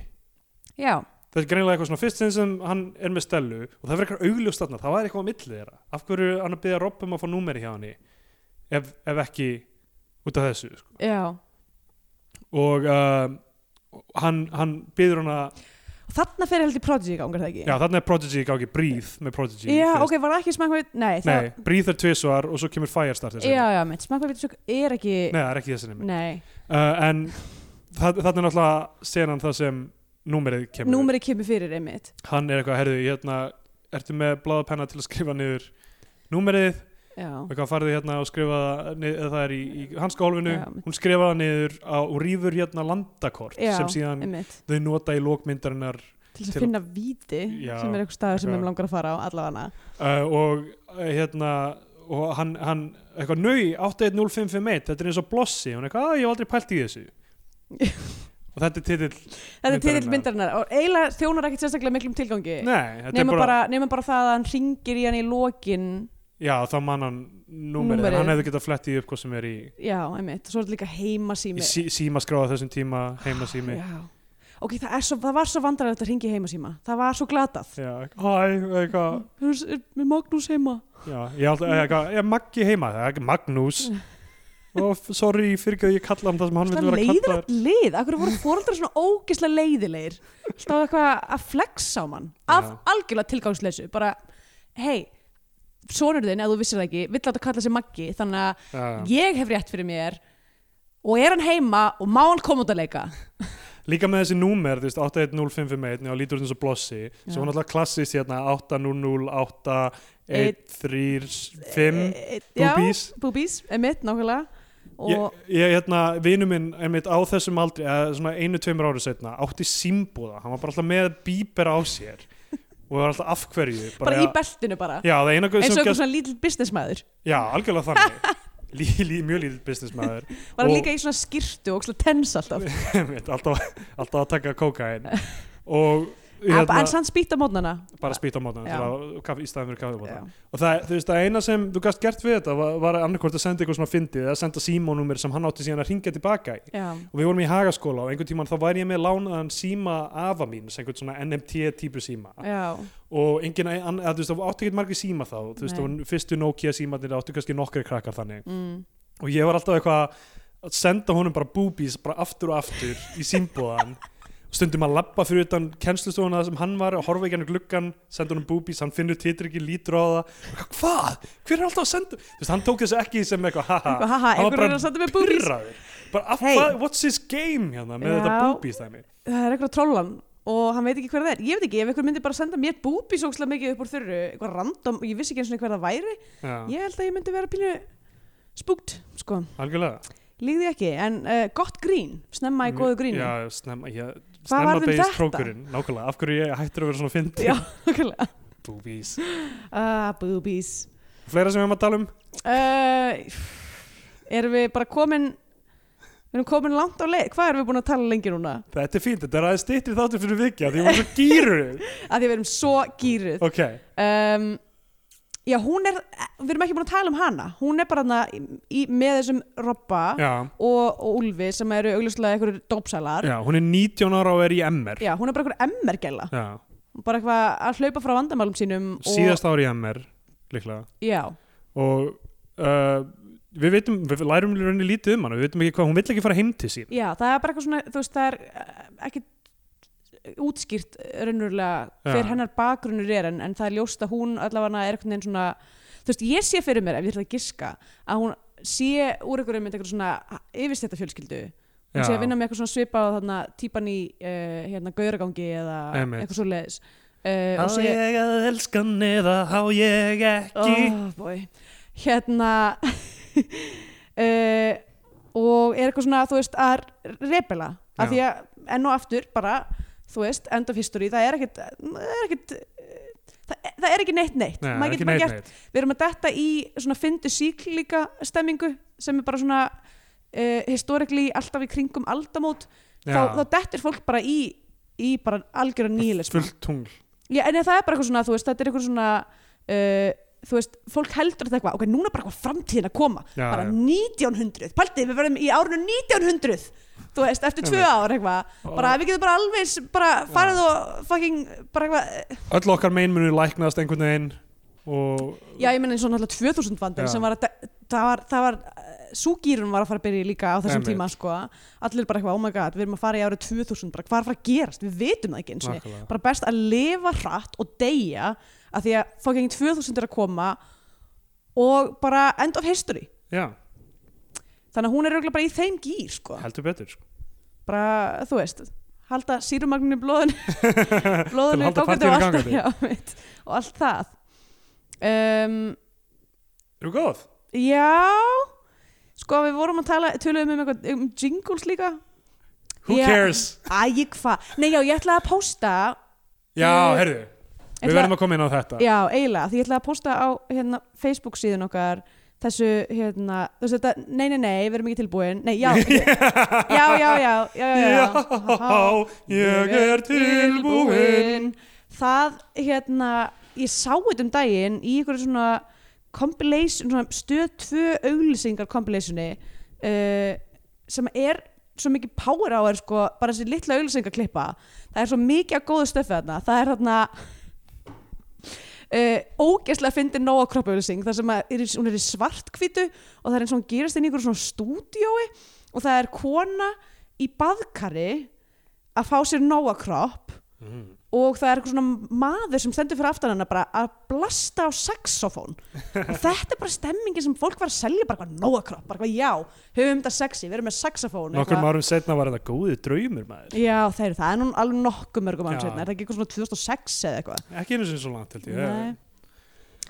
C: já,
B: það er greinilega eitthvað svona fyrst sinn sem hann er með Stellu og það verður eitthvað augljóst þarna, það væri eitthvað á milli þeirra af hverju er hann að byggja Rob um að fá númeri hjá henni ef, ef ekki út af þessu sko.
C: já
B: og uh, hann, hann byður hann að
C: og þarna fer heldur Prodigy í gangar það ekki
B: já, þarna er Prodigy í gangi, Breathe með Prodigy
C: já
B: fyrst.
C: ok, var það ekki smakvað nei, það,
B: Nei, Breathe er tvisvar og svo kemur Firestarter
C: já,
B: seinna.
C: já, mitt smakvað við þessu er ekki
B: Nei, það er ekki þessi nemi uh,
C: nei.
B: en það, þarna er náttúrulega senan það sem númerið kemur
C: númerið kemur fyrir einmitt
B: hann er eitthvað, herðu, hérna ertu með bláðapenna til að skrifa niður númerið
C: já,
B: eitthvað farði hérna og skrifa það nið- eða það er í, í hanskahólfinu,
C: Já.
B: hún skrifa það niður á, og rýfur hérna landakort
C: Já,
B: sem síðan
C: einmitt
B: þau nota í lókmyndarinnar
C: til þess
B: til
C: að
B: að-
C: finna víti
B: Já,
C: sem er eitthvað staður sem
B: eitthvað.
C: þeim langar að fara á allavega
B: uh, og uh, hérna og hann, hann eitthvað nöy 810551, þetta er eins og blossi hún er eitthvað, "Ah, ég hef aldrei pælt í [LAUGHS] þessu og þetta er titill
C: þetta er titill
B: Myndarinnar.
C: myndarinnar og eiginlega þjónar ekkert sérstaklega miklum tilgangi
B: nei, þetta er
C: nema
B: bara,
C: bara, nema bara það að hann ringir í hann í lokin
B: já þá mann hann númerið,
C: Númerið.
B: númerið. hann hefði getað flett í upp hvað sem er í,
C: já, einmitt, svo er þetta líka
B: í
C: heimasími
B: sí, símaskráða þessum tíma heimasími
C: já, ok, það, er svo, það var svo vandrarlegt að ringi heimasíma það var svo glatað
B: já, hæ, eitthvað
C: með Magnús heima
B: Já, ég held að, eitthvað, ég Maggi heima, það er ekki Magnús [LAUGHS] og f- sorry, fyrir ekki að ég kalla hann það sem hann vil
C: það
B: vera
C: leiðir
B: kallar
C: allt lið, akkur voru fóröldar svona ógislega leiðilegir þá eitthvað að flexa á mann af
B: Já.
C: algjörlega tilgangsleysu bara, hei sonur þinn, ef þú vissir það ekki, vill láta kalla sig Maggi þannig að
B: Já.
C: ég hef rétt fyrir mér og er hann heima og má hann koma út að leika
B: Líka með þessi númer, þú veist, 810551 og lítur út eins og blossi,
C: Já.
B: sem var náttúrulega klassist hérna 800813
C: E- e- já,
B: búbís
C: Boobies, emitt, nákvæmlega
B: Ég,
C: og
B: ég, hérna, vinu minn, einmitt á þessum aldri, eða svona einu, tveimur ári setna, átti símbúða, hann var bara alltaf með bíber á sér og var alltaf af hverju.
C: bara í beltinu bara
B: Já, það eina
C: eins og
B: sem
C: eitthvað
B: gæst,
C: svona lítill businessmæður
B: já, algjörlega þannig, [LAUGHS] lí, lí, mjög lítill businessmaður. [LAUGHS]
C: var hann
B: Og-
C: líka í svona skýrtu og svona tens alltaf
B: Einmitt, alltaf, alltaf að taka kókain og
C: hérna, en sann spýta mótnana
B: bara spýta á mótana til
C: Já.
B: að kaffi, í staðin fyrir kaffi mótana
C: Já.
B: og það, þú veist, það eina sem þú gæst gert við þetta var, var annarkvort að senda eitthvað svona fyndið eða senda símónumir sem hann átti síðan að ringa tilbaka í
C: Já.
B: og við vorum í hagaskóla og einhvern tímann þá væri ég með lánaðan síma afa mín, sem einhvern svona NMT típu síma
C: Já.
B: og engin, að, þú veist, það átti ekkert margir síma þá þú veist,
C: Nei.
B: það var fyrstu Nokia símanir áttu kannski nokkri krakkar þannig
C: Mm.
B: og ég var alltaf eitthvað að senda honum bara boobies bara aftur og aftur í símbúðan
C: [LAUGHS]
B: stundum að labba fyrir utan kennslustofuna þar sem hann var og horfa ekki hann í gluggan senda honum boobies, hann finnur titryggi, lítur á það hvað, hver er alltaf að senda þú veist, hann tók þessu ekki sem eitthvað haha
C: Eitthvað, haha,
B: hann
C: einhver er að senda mér boobies.
B: pirraður. bara, af,
C: Hey.
B: hvað, what's his game hérna með þetta
C: Já.
B: boobies dæmi
C: það er eitthvað trollan og hann veit ekki hver það er ég veit ekki, ef einhver myndi bara senda mér búbís ógslag mikið upp úr þurru, eitthvað random ég vissi ekki eins og hver það væri,
B: já,
C: ég held að ég myndi vera pínu spúkt, sko,
B: algjörlega
C: líði ekki en uh, gott grín, snemma í góðu grínu [LAUGHS]
B: já, snemma, já,
C: Hvað
B: snemma
C: varð um
B: beigist
C: þetta?
B: trókurinn nákvæmlega, af hverju ég hættur að vera svona fyndi
C: já okkurlega
B: boobies
C: ah, búbís
B: fleira sem við erum að tala um
C: uh, erum við bara komin við erum komin langt á leið hvað erum við búin að tala lengi núna?
B: Þetta er fínt, þetta er aðeins styttir þáttur fyrir vikja því hún
C: [LAUGHS]
B: er svo gýru
C: að því að við erum svo gýruð
B: Ok,
C: um, já, hún er við erum ekki búin að tala um hana hún er bara hana í, með þessum robba
B: já,
C: og, og Úlfi sem eru augljóslega einhverjur dópsælar
B: já, hún er 19 ára og er í MR
C: já, hún er bara einhver emmergæla
B: já.
C: bara eitthvað að hlaupa frá vandamálum sínum og,
B: Síðast ára í MR, líklega
C: já,
B: Og uh, við veitum, við lærum henni lítið um hana Við veitum ekki hvað, hún vill ekki fara heim til sín
C: já, það er bara eitthvað svona þú veist, það er eh, ekki útskýrt raunverulega
B: Já.
C: hver hennar bakgrunnur er en, en það er ljóst að hún allavega er einhvern veginn svona þú veist, ég sé fyrir mér ef ég ætla að giska að hún sé úr einhverjum mynd einhverjum svona yfirstætta fjölskyldu hún sé
B: Já.
C: að vinna með eitthvað svona svipað á þarna típan í uh, hérna gauragangi eða
B: Einmitt.
C: eitthvað svo leiðis uh,
B: Á
C: og sé
B: ég að elskan eða á ég ekki
C: oh, boy. hérna [LAUGHS] uh, og er eitthvað svona þú veist að repela
B: Já.
C: af því að enn og aftur bara þú veist, end of history, það er ekkit það er ekkit eh, það, það er ekki neitt neitt,
B: Nei,
C: Maður
B: ekki
C: getur bara
B: neitt,
C: gert-
B: neitt.
C: við erum að detta í svona fyndu síklíka stemmingu sem er bara svona uh, historically alltaf í kringum aldamót þá,
B: Já.
C: þá dettur fólk bara í í bara algjöra nýlism
B: fullt tungl
C: Já, en það er bara eitthvað svona, þú veist, þetta er eitthvað svona uh, þú veist, fólk heldur þetta eitthvað ok, núna er bara eitthvað framtíðin að koma
B: Já,
C: bara
B: já.
C: 1900, paldið, við verðum í árinu 1900 þú veist, eftir tvö
B: Einmitt.
C: ár eitthvað, bara við getum bara alveg s- bara farið og fucking bara eitthvað,
B: öll okkar meinmunir læknast einhvern veginn og
C: já ég meina eins og náttúrulega 2000 vandinn
B: Já.
C: sem var að de- það var, það var súgýrun var að fara að byrja líka á þessum
B: Einmitt.
C: tíma sko, allir bara eitthvað, oh my god, við erum að fara í árið 2000 bara hvað er að fara að gerast, við vitum það ekki eins og
B: Nákvæmlega.
C: bara best að lifa hratt og deyja af því að fucking 2000 er að koma og bara end of history
B: já,
C: þannig að hún er auðvitað bara í þeim gýr sko.
B: heldur betur sko.
C: bara þú veist halda sírumagninu í blóðinu
B: [LAUGHS] Til að
C: blóðinu
B: halda
C: gangandi og
B: partíinu
C: allt,
B: gangandi.
C: [LAUGHS] já, mitt, og allt það um,
B: Eru góð?
C: já sko við vorum að tala tölum um, eitthvað, um jingles líka
B: Who
C: Já.
B: cares?
C: æg hvað, nei já ég ætlaði að posta
B: Já,
C: Ég-
B: herðu,
C: ætla-
B: við verðum að koma inn á þetta
C: Já, eiginlega, því ég ætlaði að posta á hérna, Facebook síðan okkar þessu, hérna, þú veist þetta, nei, nei, nei, við erum ekki tilbúin, nei, já, [LAUGHS] já, já, já, já, já,
B: Já, ég er tilbúin
C: Það, hérna, ég sá þetta um daginn í einhverju svona compilation, svona stöð tvö auglýsingar compilationi uh, sem er svo mikið power á er sko, bara þessi litla auglýsingarklippa, það er svo mikið að góðu stöfið þarna, það er þarna uh, ógeðslega fyndi nóa kroppauðlýsing þar sem að er, í- hún er í svartkvítu og það er eins og hún gerist inn í einhverjum svona stúdíói og það er kona í baðkari að fá sér nóa kropp
B: Mm.
C: og það er eitthvað svona maður sem stendur fyrir aftan hana bara að blasta á saxofón og
B: [LAUGHS]
C: þetta er bara stemmingi sem fólk var að selja bara hvað nóa kropp, bara hvað já höfum þetta sexy, við erum með saxofón
B: Nokkur árum setna var þetta góði draumur maður
C: Já, það er það, er nú alveg nokkuð mörgum árum
B: Já.
C: setna, er það ekki eitthvað svona 2006 eða eitthvað?
B: Ekki einu sinni svo langt held ég
C: Nei.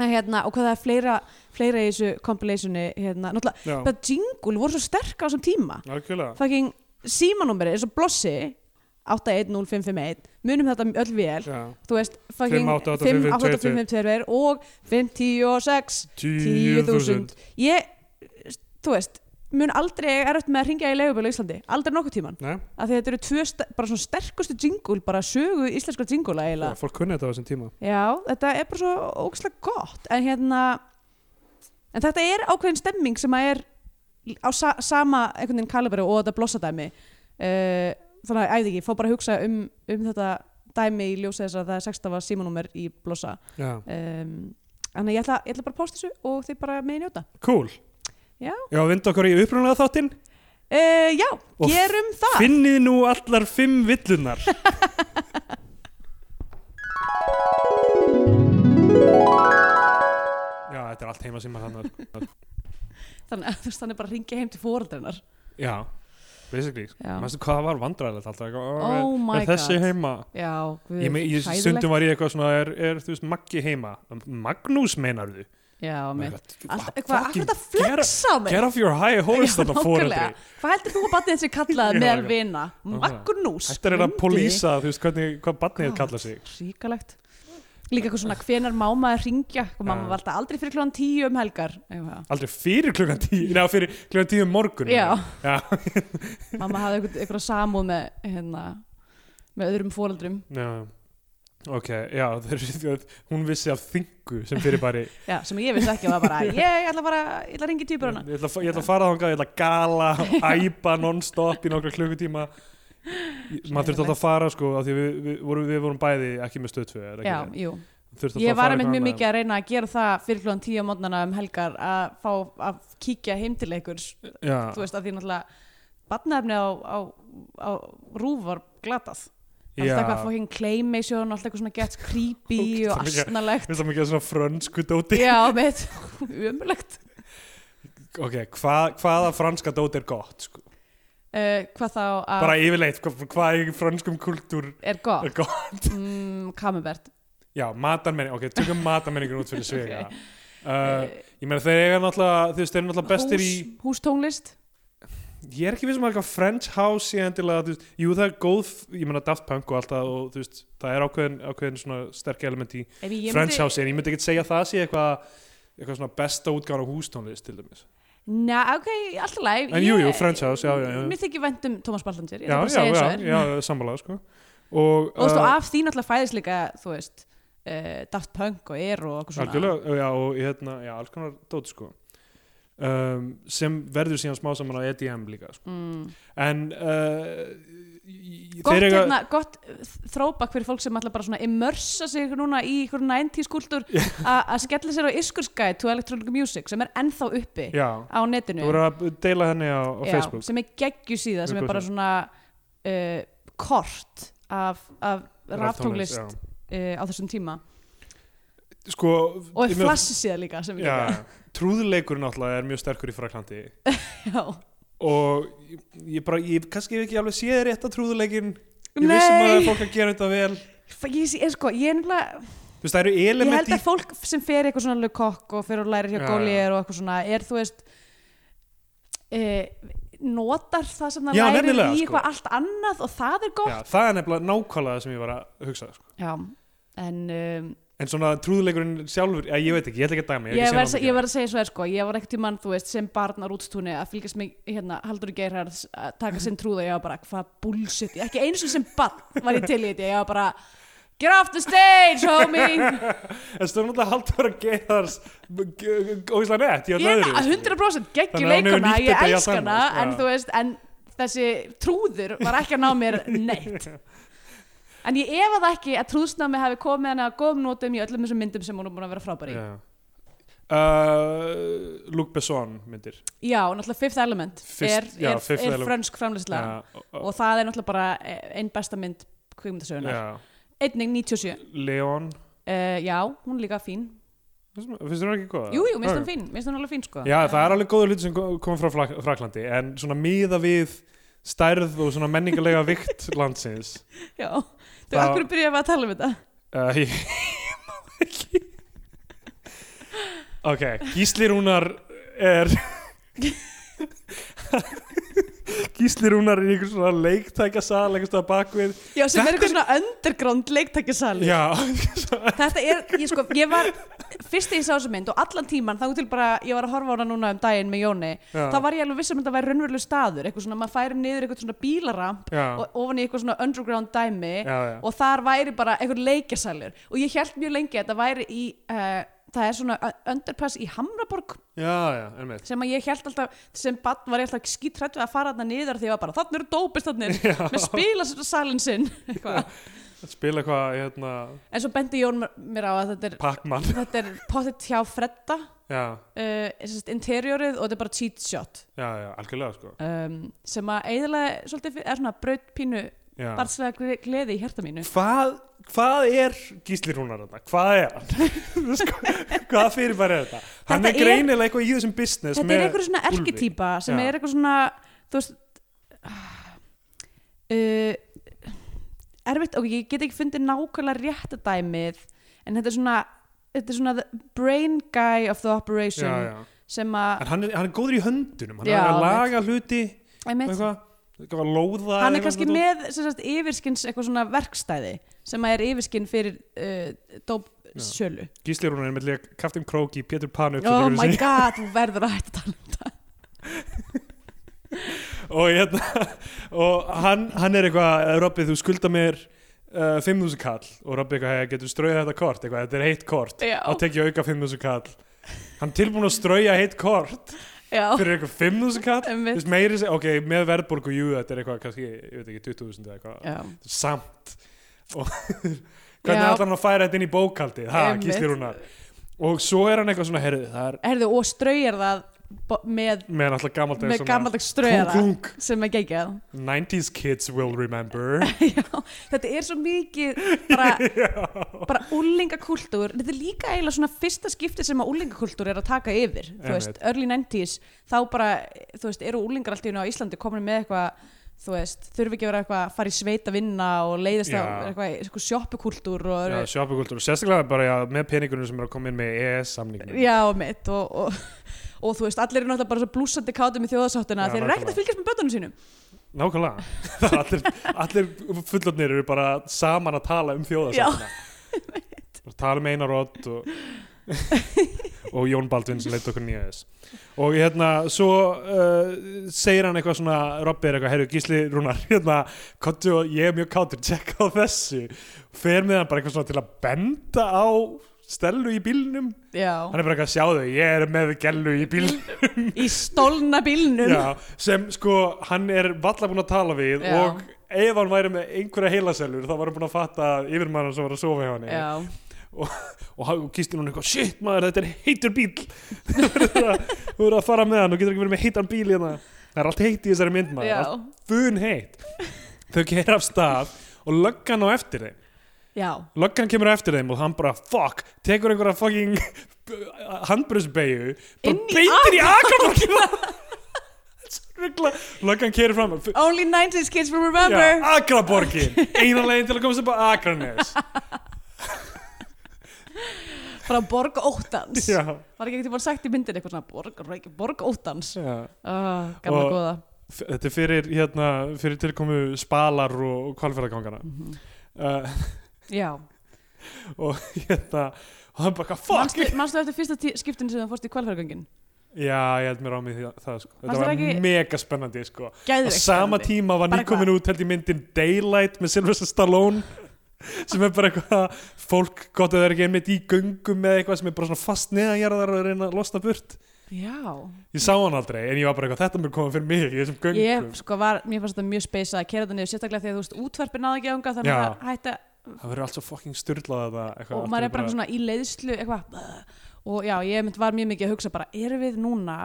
C: En hérna, og hvað það er fleira, fleira í þessu compilationi, hérna, náttúrulega,
B: Já,
C: bara jingle voru svo sterk á þessum tíma.
B: algjörlega
C: Fucking símanúmeri, eins og blossi, 810551, munum þetta öll vel,
B: Já.
C: þú veist, fucking
B: 588522
C: 588522 og 56, 10.000. Ég, þú veist, mun aldrei eiga erfitt með að ringja í leigubölu í Íslandi, aldrei nokkuð tíman.
B: Nei,
C: Af því að þetta eru tvö, sta- bara svona sterkustu jingle, bara sögu íslenska jingle eiginlega.
B: já, fólk kunni þetta á þessum tíma
C: Já, þetta er bara svo ógæslega gott en hérna en þetta er ákveðin stemming sem að er á sa sama einhvern veginn kalibri og þetta blossadæmi uh, þannig að æði ekki, fór bara að hugsa um, um þetta dæmi í ljósi þess að það er 16 símanúmer í blossa
B: Já,
C: um, Þannig að ég ætla, ég ætla bara að posta þessu og þið bara megin njóta
B: cool
C: Já.
B: Já, vindu okkur í upprunalega þáttinn
C: uh, Já,
B: Og
C: gerum það
B: Finnið nú allar fimm villunar Já, þetta er allt heima síma þannig
C: Þannig að þú veist, þannig bara að ringja heim til fóreldreinar
B: Já, basically
C: Já.
B: Manstu hvað það var vandræðilegt alltaf eitthvað, ó,
C: Oh
B: er-
C: my
B: Er þessi
C: God.
B: heima?
C: Já, guð,
B: Ég, me- ég
C: hræðilegt.
B: stundum var ég eitthvað svona er, er þú veist Maggi heima? Magnús meinar þú?
C: Já,
B: Oh
C: mitt Alltaf, hvað, akkur
B: Get
C: þetta flexa á mig
B: off your high horse
C: Já,
B: þarna fóreldri
C: nákvæmlega. Hvað heldur þú að batnið þessi kallaði
B: Já,
C: meðal
B: já.
C: vina? Magnús
B: Þetta er að pólísa þú veist hvernig, hvað barnið
C: God.
B: kalla sig
C: Ríkalegt Líka eitthvað svona hvenar máma að ringja og mamma
B: Já.
C: var alltaf aldrei fyrir klóðan tíu um helgar Eitthvað.
B: Aldrei fyrir klukkan tíu, neða fyrir klukkan tíu um morgun
C: Já,
B: Já,
C: mamma hafði eitthvað, eitthvað samúð með hérna, með öðrum fóreldrum
B: já. Ok, já, þeir, þeir, hún vissi af þingu sem fyrir bara
C: Já, sem ég vissi ekki og var bara ég ætla bara, ég ætla að ringja í
B: Ég
C: týpurana
B: ætla, að fa- ég ætla að fara þangað, ég ætla að gala og æpa non-stop í nokkra klukkutíma Ég- maður þurfti alltaf að fara sko af því við, við, vorum, við vorum bæði ekki með stöðtvö
C: Já, jú Ég var einmitt mjög mikið að reyna að gera það fyrir klóðan tíu á mótnana um helgar að fá að kíkja heim til einhvers þú
B: já,
C: veist að því náttúrulega batnaefni á, á, á rúf var glatað alltaf
B: Já.
C: eitthvað fucking claymation alltaf eitthvað svona gett creepy
B: [LAUGHS]
C: og
B: Ógeðslega mikið. [LAUGHS]
C: asnalegt
B: Við það mikið svona frönsku dóti
C: já, [LAUGHS] með umulegt
B: Ok, hva, hvaða franska dóti er gott? Sko?
C: uh, hvað þá að
B: Bara yfirleitt, hva, hvað í frönskum kultúr
C: er
B: [LAUGHS]
C: gott
B: er gott?
C: mm, kamubert
B: Já, matarmenning, ok,
C: [LAUGHS]
B: tökum matarmenningur út fyrir svega
C: Eh,
B: uh, Ég meina þeir eiga náttúrulega, þú veist, þeir eru náttúrulega bestir í
C: hústónlist
B: Ég er ekki viss um að eitthvað French house sé endilega, þú veist, jú það er góð Ég meina Daft Punk og allt það og þú veist, það er ákveðin, ákveðin svona sterk element í
C: Ef ég
B: French house En ég myndi ekki segja að það sé eitthvað eitthvað svona besta útgáðan á hústónlist til dæmis
C: Næ, ok, alltaf læg
B: En jú, jú, French house, já, já, já
C: Mér þykir vænt um Thomas Ballandir Ég
B: Já,
C: ætla bara
B: já,
C: að segja eins
B: já,
C: og er
B: já, sammála, sko Og,
C: Og þú veist, og
B: uh,
C: af því náttúrulega fæðist líka, þú veist uh, Daft Punk og Air og okkur svona
B: Algjörlega, já, og hérna, já, alls konar dót, sko um, sem verður síðan smá saman á EDM líka, sko
C: mm.
B: en uh, í- í-
C: Gott,
B: þeir eiga
C: hérna, gott þróbak fyrir fólk sem ætla bara svona immersa sig núna í ykkur 90s kultúr a- að skella sér á iskurskæð to electronic music sem er ennþá uppi
B: já,
C: á netinu
B: þú voru að deila henni á, á Facebook
C: sem er geggju síða sem er bara svona uh, kort af, af raftónglist uh,
B: já.
C: á þessum tíma
B: sko,
C: og
B: ég
C: er
B: meina-
C: flassi síða líka sem er
B: já, trúðleikur náttúrulega er mjög sterkur í Fraklandi
C: líka já.
B: og ég, ég bara, ég kannski hef ekki alveg séð rétt að trúðleikin ég
C: Nei.
B: vissum að það er fólk að gera þetta vel
C: F- Ég, sé- ég, sko, ég, er nefnilega-
B: þú veist, það eru
C: ég
B: element
C: held að fólk sem fer í eitthvað svona lukokk og fer og lærir hjá
B: Já, já.
C: góliðir og eitthvað svona er þú veist uh, notar það sem það
B: Já,
C: lærir
B: nefnilega,
C: í
B: sko.
C: eitthvað allt annað og það er
B: í,
C: gott
B: já, það er nefnilega nákvæmlega það sem ég var að hugsa sko.
C: já. en um,
B: en eh, svona trúðleikurinn sjálfur, já, ég veit ekki, ég ætla ekki að dæma
C: ég,
B: hef
C: var,
B: ekki séð
C: ég
B: hann
C: var að segja svo er sko, ég var ekkert í mann, þú veist, sem barn á rútstúni að fylgjast mig, hérna, Haldur Geirharðs að taka sinn trúða, ég var bara, hvað bullshit ég- ekki eins og sem barn var ég til í þetta ég var bara, get off the stage homie,
B: en stöðum náttúrulega haldur að gera þar óvíslega nett, ég
C: ég
B: ætla
C: er
B: öðru, sko. Þannig
C: 100% geggju
B: að hann hefur
C: leikona,
B: nýtt þetta
C: ég
B: í allt
C: elska hana
B: annað,
C: en
B: já.
C: þú veist, en þessi trúður var ekki að ná mér
B: [LAUGHS]
C: neitt en ég efa það ekki að trúðsnámi hafi komið henni að góðum notum í öllum þessum myndum sem hún er búin að vera frábæri yeah.
B: Já. Uh, Luc Besson myndir
C: já, og náttúrulega Fifth Element
B: Fyrst-
C: er,
B: já,
C: er,
B: Fifth
C: er
B: Element.
C: frönsk framlýsla
B: Já, og-
C: og það er náttúrulega bara einn besta mynd kvikmyndasögunar,
B: já.
C: einning 97 uh,
B: Leon
C: Eh, já, hún er líka fín
B: finnst þér hún ekki góða?
C: jú, jú, minnst hún
B: Ok.
C: fín, minnst hún alveg fín sko
B: Já, það er alveg góður hlut sem kom kom frá Flak- Fraklandi en svona miða við stærð og svona menningalega
C: [LAUGHS]
B: vikt landsins
C: já. þú,
B: Það-
C: af hverju byrjaði að tala um þetta
B: uh, ég, ég má ekki Ok, Gísli Rúnar er Gísli Rúnar er í einhver svona leiktækasal einhver stað bakvið
C: já,
B: Þetta
C: sem er eitthvað svona underground leiktækisali
B: Já,
C: þetta er, ég sko, ég var fyrst þegar ég sá þessu mynd og allan tíman þá til bara, ég var að horfa á hana núna um daginn með Jóni
B: Já.
C: þá var ég alveg viss um að þetta væri raunveruleg staður eitthvað svona, maður færi niður eitthvað svona bílaramp
B: já,
C: og ofan í eitthvað svona underground dæmi
B: já, já.
C: og þar væri bara einhver leikjasalur og ég held mjög lengi að það væri í uh, það er svona ö- underpass í Hamraborg
B: já, já, einmitt
C: sem að ég held alltaf, sem bann var ég alltaf skítrætt við að fara þarna niður því ég var bara þannig eru
B: [LAUGHS]
C: dópist þannig, með spilasalinn sinn eitthvað.
B: spila eitthvað hérna,
C: en svo bendi Jón mér- mér á að þetta er,
B: [LAUGHS] Pac-Man
C: þetta er pottet hjá Fredda
B: já,
C: uh, interiorið og þetta er bara cheat shot
B: já, já, algjörlega sko
C: um, sem að eiginlega svolítið fyrir- er svona braut pínu
B: já.
C: barnslega gle- gleði í hjarta mínu
B: hvað, hvað er Gísli Rúnar þetta? hvað er hann? [LAUGHS] Þú veist, hvað- hvað fyrirbæri er þetta? hann
C: Þetta
B: er
C: er-
B: greinilega eitthvað í þessum business
C: þetta er
B: með
C: einhver svona
B: Úlfi.
C: erketýpa sem
B: Já.
C: er eitthvað svona þú veist ah, uh, erfitt og ég get ekki fundið nákvæmlega rétta dæmið en þetta er svona þetta er svona the brain guy of the operation
B: já, já.
C: sem
B: en
C: að
B: hann er, hann er góður í höndunum hann
C: Já,
B: er að
C: einmitt.
B: laga hluti og
C: einmitt,
B: eitthvað, eitthvað að lóða
C: hann
B: eitthvað
C: er kannski
B: svona.
C: með sem sagt, yfirskins eitthvað svona verkstæði sem að er yfirskinn fyrir uh, dópsölu
B: Gísli Rúnar er með líka Captain Króki, Pétur Panu
C: oh my god, þú verður að hætta að tala um þetta
B: og, hérna, [LAUGHS] og hann, hann er eitthvað Robby þú skulda mér uh, 5.000 kall og Robby eitthvað "Hey, getur strauðið þetta kort eitthvað, þetta er heitt kort
C: Já.
B: þá tek ég auka 5.000 kall hann er tilbúin að strauja heitt kort
C: já,
B: fyrir eitthvað 5.000 kall Þú
C: einmitt
B: veist, meiri, seg- ok, með verðbólgu jú, þetta er eitthvað kannski, ég veit ekki, 20.000 eða eitthvað
C: já.
B: samt og [LAUGHS] hvernig
C: Já.
B: ætlar hann að færa þetta inn í bókaldið ha,
C: Einmitt.
B: Gísli Rúnar og svo er hann eitthvað svona, heyrðu, það er
C: Herðu, og straujar það bo- með,
B: með náttúrulega gamaldags
C: með
B: svona-
C: gamaldags
B: Klung,
C: ströða
B: klung.
C: sem er geggjað
B: 90s kids will remember
C: [LAUGHS] Já, þetta er svo mikið
B: [LAUGHS]
C: bara, bara úlingakultúr þetta er líka eiginlega svona fyrsta skipti sem að úlingakultúr er að taka yfir þú veist,
B: Einmitt.
C: early 90s, þá bara þú veist, eru úlingar allt í unna á Íslandi komin með eitthvað, þú veist, þurfi ekki að vera eitthvað að fara í sveit að vinna og leiðist
B: Já.
C: á eitthvað, eitthvað sjoppukultúr og
B: Já,
C: eru-
B: shoppukultúr, sérstaklega bara já, með peningunum sem eru að koma inn með E EES-samningum
C: já, mitt og, og, og þú veist, allir eru náttúrulega bara svo blúsandi kátum í þjóðasáttina,
B: Já,
C: þeir eru ekkert
B: nákvæmlega.
C: að fylgjast með börnunum sínum
B: Nákvæmlega, [LAUGHS] Það er allir, allir fullotnir eru bara saman að tala um þjóðarsafna Tala um Einar Odd og, og Jón Baldvin sem leitt okkur nýja þess Og hérna, svo uh, segir hann eitthvað svona, Robbi er eitthvað, heyrðu Gísli Rúnar, [LAUGHS] hérna, kottu og ég er mjög kátur, [LAUGHS] tjekka á þessu Fer með hann bara eitthvað svona til að benda á Stellu í bílnum
C: já,
B: Hann er bara eitthvað, sjáðu, ég er með Gellu í bílnum
C: í stólna bílnum
B: Já, sem sko hann er valla búinn að tala við
C: Já.
B: og ef hann væri með einhverja heilaselur þá var hann búinn að fatta yfirmann sem var að sofa hjá hann
C: Já.
B: og hann kýstin hún eitthvað shit maður þetta er heitur bíl [LAUGHS] þú verður að- þú verður að fara með hann og getur ekki verið með heitan bíl hérna það er allt heitt í þessari mynd maður
C: Já.
B: allt fun heitt þau kera af stað og löggan á eftir þeim
C: já,
B: löggan kemur á eftir þeim og hann bara fuck tekur einhverja fucking [LAUGHS] handbrusbeigju bara
C: Inn í
B: beitir í akraborkina löggan kemur fram og-
C: Only 90s kids will remember
B: Já,
C: [LAUGHS]
B: akraborkin eina leiðin til að komast upp á akranes
C: frá Borg Óttans
B: já,
C: var ekki eitthvað sagt í myndin eitthvað svona Borg, Reykj- borg Óttans uh,
B: já.
C: gamla
B: Og-
C: góða
B: F- þetta er fyrir, hérna, fyrir tilkomu spalar og kvalfjörðagangana
C: Mhm.
B: uh, [LAUGHS]
C: já,
B: og hérna og hann bara fuck
C: manstu, manstu eftir fyrsta tí- skiptin sem það fórst í kvalfæragöngin
B: já, ég held mér á mig því, það sko. þetta
C: Fannst
B: var
C: þér ekki-
B: mega spennandi sko. á
C: gæðveikt
B: sama
C: spennandi.
B: tíma var
C: Bara
B: nýkomin út held í myndin Daylight með Sylvester Stallone [LAUGHS] sem er bara eitthvað fólk gott að það er ekki einmitt í göngum með eitthvað sem er bara svona fast neðanjarðar og er að reyna að losna burt
C: já,
B: ég sá hann aldrei en ég var bara eitthvað þetta mér koma fyrir mig í þessum göngum
C: ég sko var mér fannst þetta mjög speysað að kera þetta niður sérstaklega því að þú veist útvarpi náði ekki ánga þannig
B: Já.
C: að hætta
B: það verður allt svo fucking styrlað að það
C: og maður er bara svona í leiðslu eitthvað "Bæ." og já, ég mynd var mjög mikið að hugsa bara erum við núna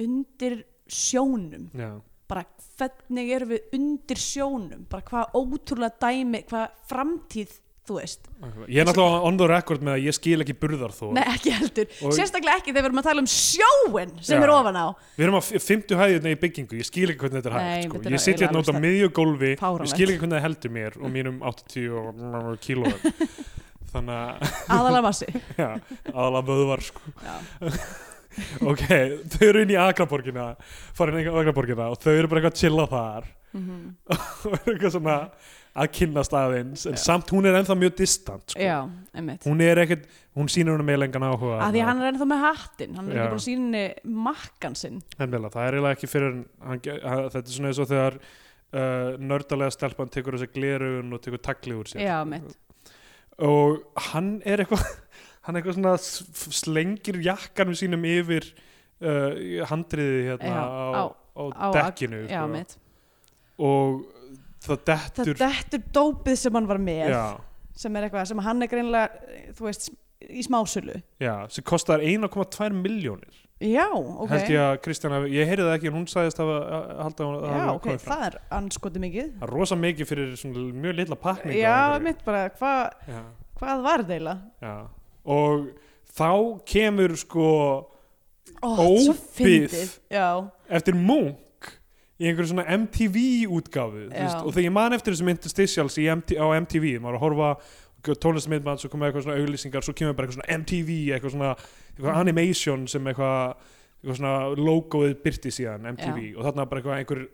C: undir sjónum
B: já,
C: bara hvernig erum við undir sjónum bara hvað ótrúlega dæmi hvað framtíð þú veist
B: ég er náttúrulega on the record með að ég skil ekki burðar þó
C: nei ekki heldur,
B: Og-
C: sérstaklega ekki þegar við erum að tala um sjóin sem
B: Já.
C: er ofan á
B: Við erum á f- 50 hæðina í byggingu, ég skil ekki hvernig þetta er
C: Nei,
B: hægt sko.
C: þetta er
B: Ég sitt
C: eiginlega
B: hérna út á
C: alveg
B: miðjugólfi
C: Fáránlegt.
B: Ég skil ekki hvernig það heldur mér og mínum 80 og
C: [LAUGHS]
B: kílóðum Þannig að,
C: aðalega
B: [LAUGHS]
C: massi
B: já, aðalega vöðvar sko.
C: já.
B: Ok, þau eru inn í Akraborgina farin í Akraborgina og þau eru bara eitthvað að chilla þar
C: Mhm.
B: [LAUGHS] og eru eitthvað svona að kynnast aðeins en samt hún er ennþá mjög distant sko.
C: já, einmitt
B: Hún er ekkert, hún sýnir hún með lengan áhuga
C: að því að hann er ennþá með hattin hann er
B: Já.
C: ekki búin að sína makkan sinn
B: Nefnilega, það er eiginlega ekki fyrir en hann, ge- hann, þetta er svona eins og þegar uh, nördalega stelpan tekur þessi glerugun og tekur tagli úr sér
C: já, einmitt
B: og hann er eitthvað [LAUGHS] hann eitthvað svona s- slengir jakkanum sínum yfir uh, handriði hérna
C: Já,
B: á, á,
C: á- á-
B: dekkinu
C: já,
B: sko.
C: einmitt
B: og það
C: það
B: dettur
C: dettur dópið sem hann var með
B: já,
C: sem er eitthvað sem hann er greinlega þú veist, í smásölu
B: já, sem kostar 1,2 miljónir
C: já, ok
B: held ég að Kristján hafi, ég heyrði það ekki en hún sagðist hafa, að halda að
C: já,
B: hafa
C: ok,
B: komið fram
C: það er anskoti mikið
B: það er rosa mikið fyrir svona mjög litla pakning
C: Já, mitt bara, hva,
B: já
C: hvað var þetta eiginlega?
B: Já. og þá kemur sko
C: Ó, þetta er svo
B: Óbið.
C: fyndið. Já,
B: eftir Munk í einhverju svona MTV útgáfu þú
C: Já.
B: veist, og þegar ég man eftir þessum interstitials í MT, á MTV, maður var að horfa tónlistmyndmann, svo koma eitthvað svona auglýsingar svo kemur bara eitthvað svona MTV, eitthvað svona eitthvað animation sem eitthvað, eitthvað svona logoið byrti síðan MTV og þarna bara eitthvað einhver,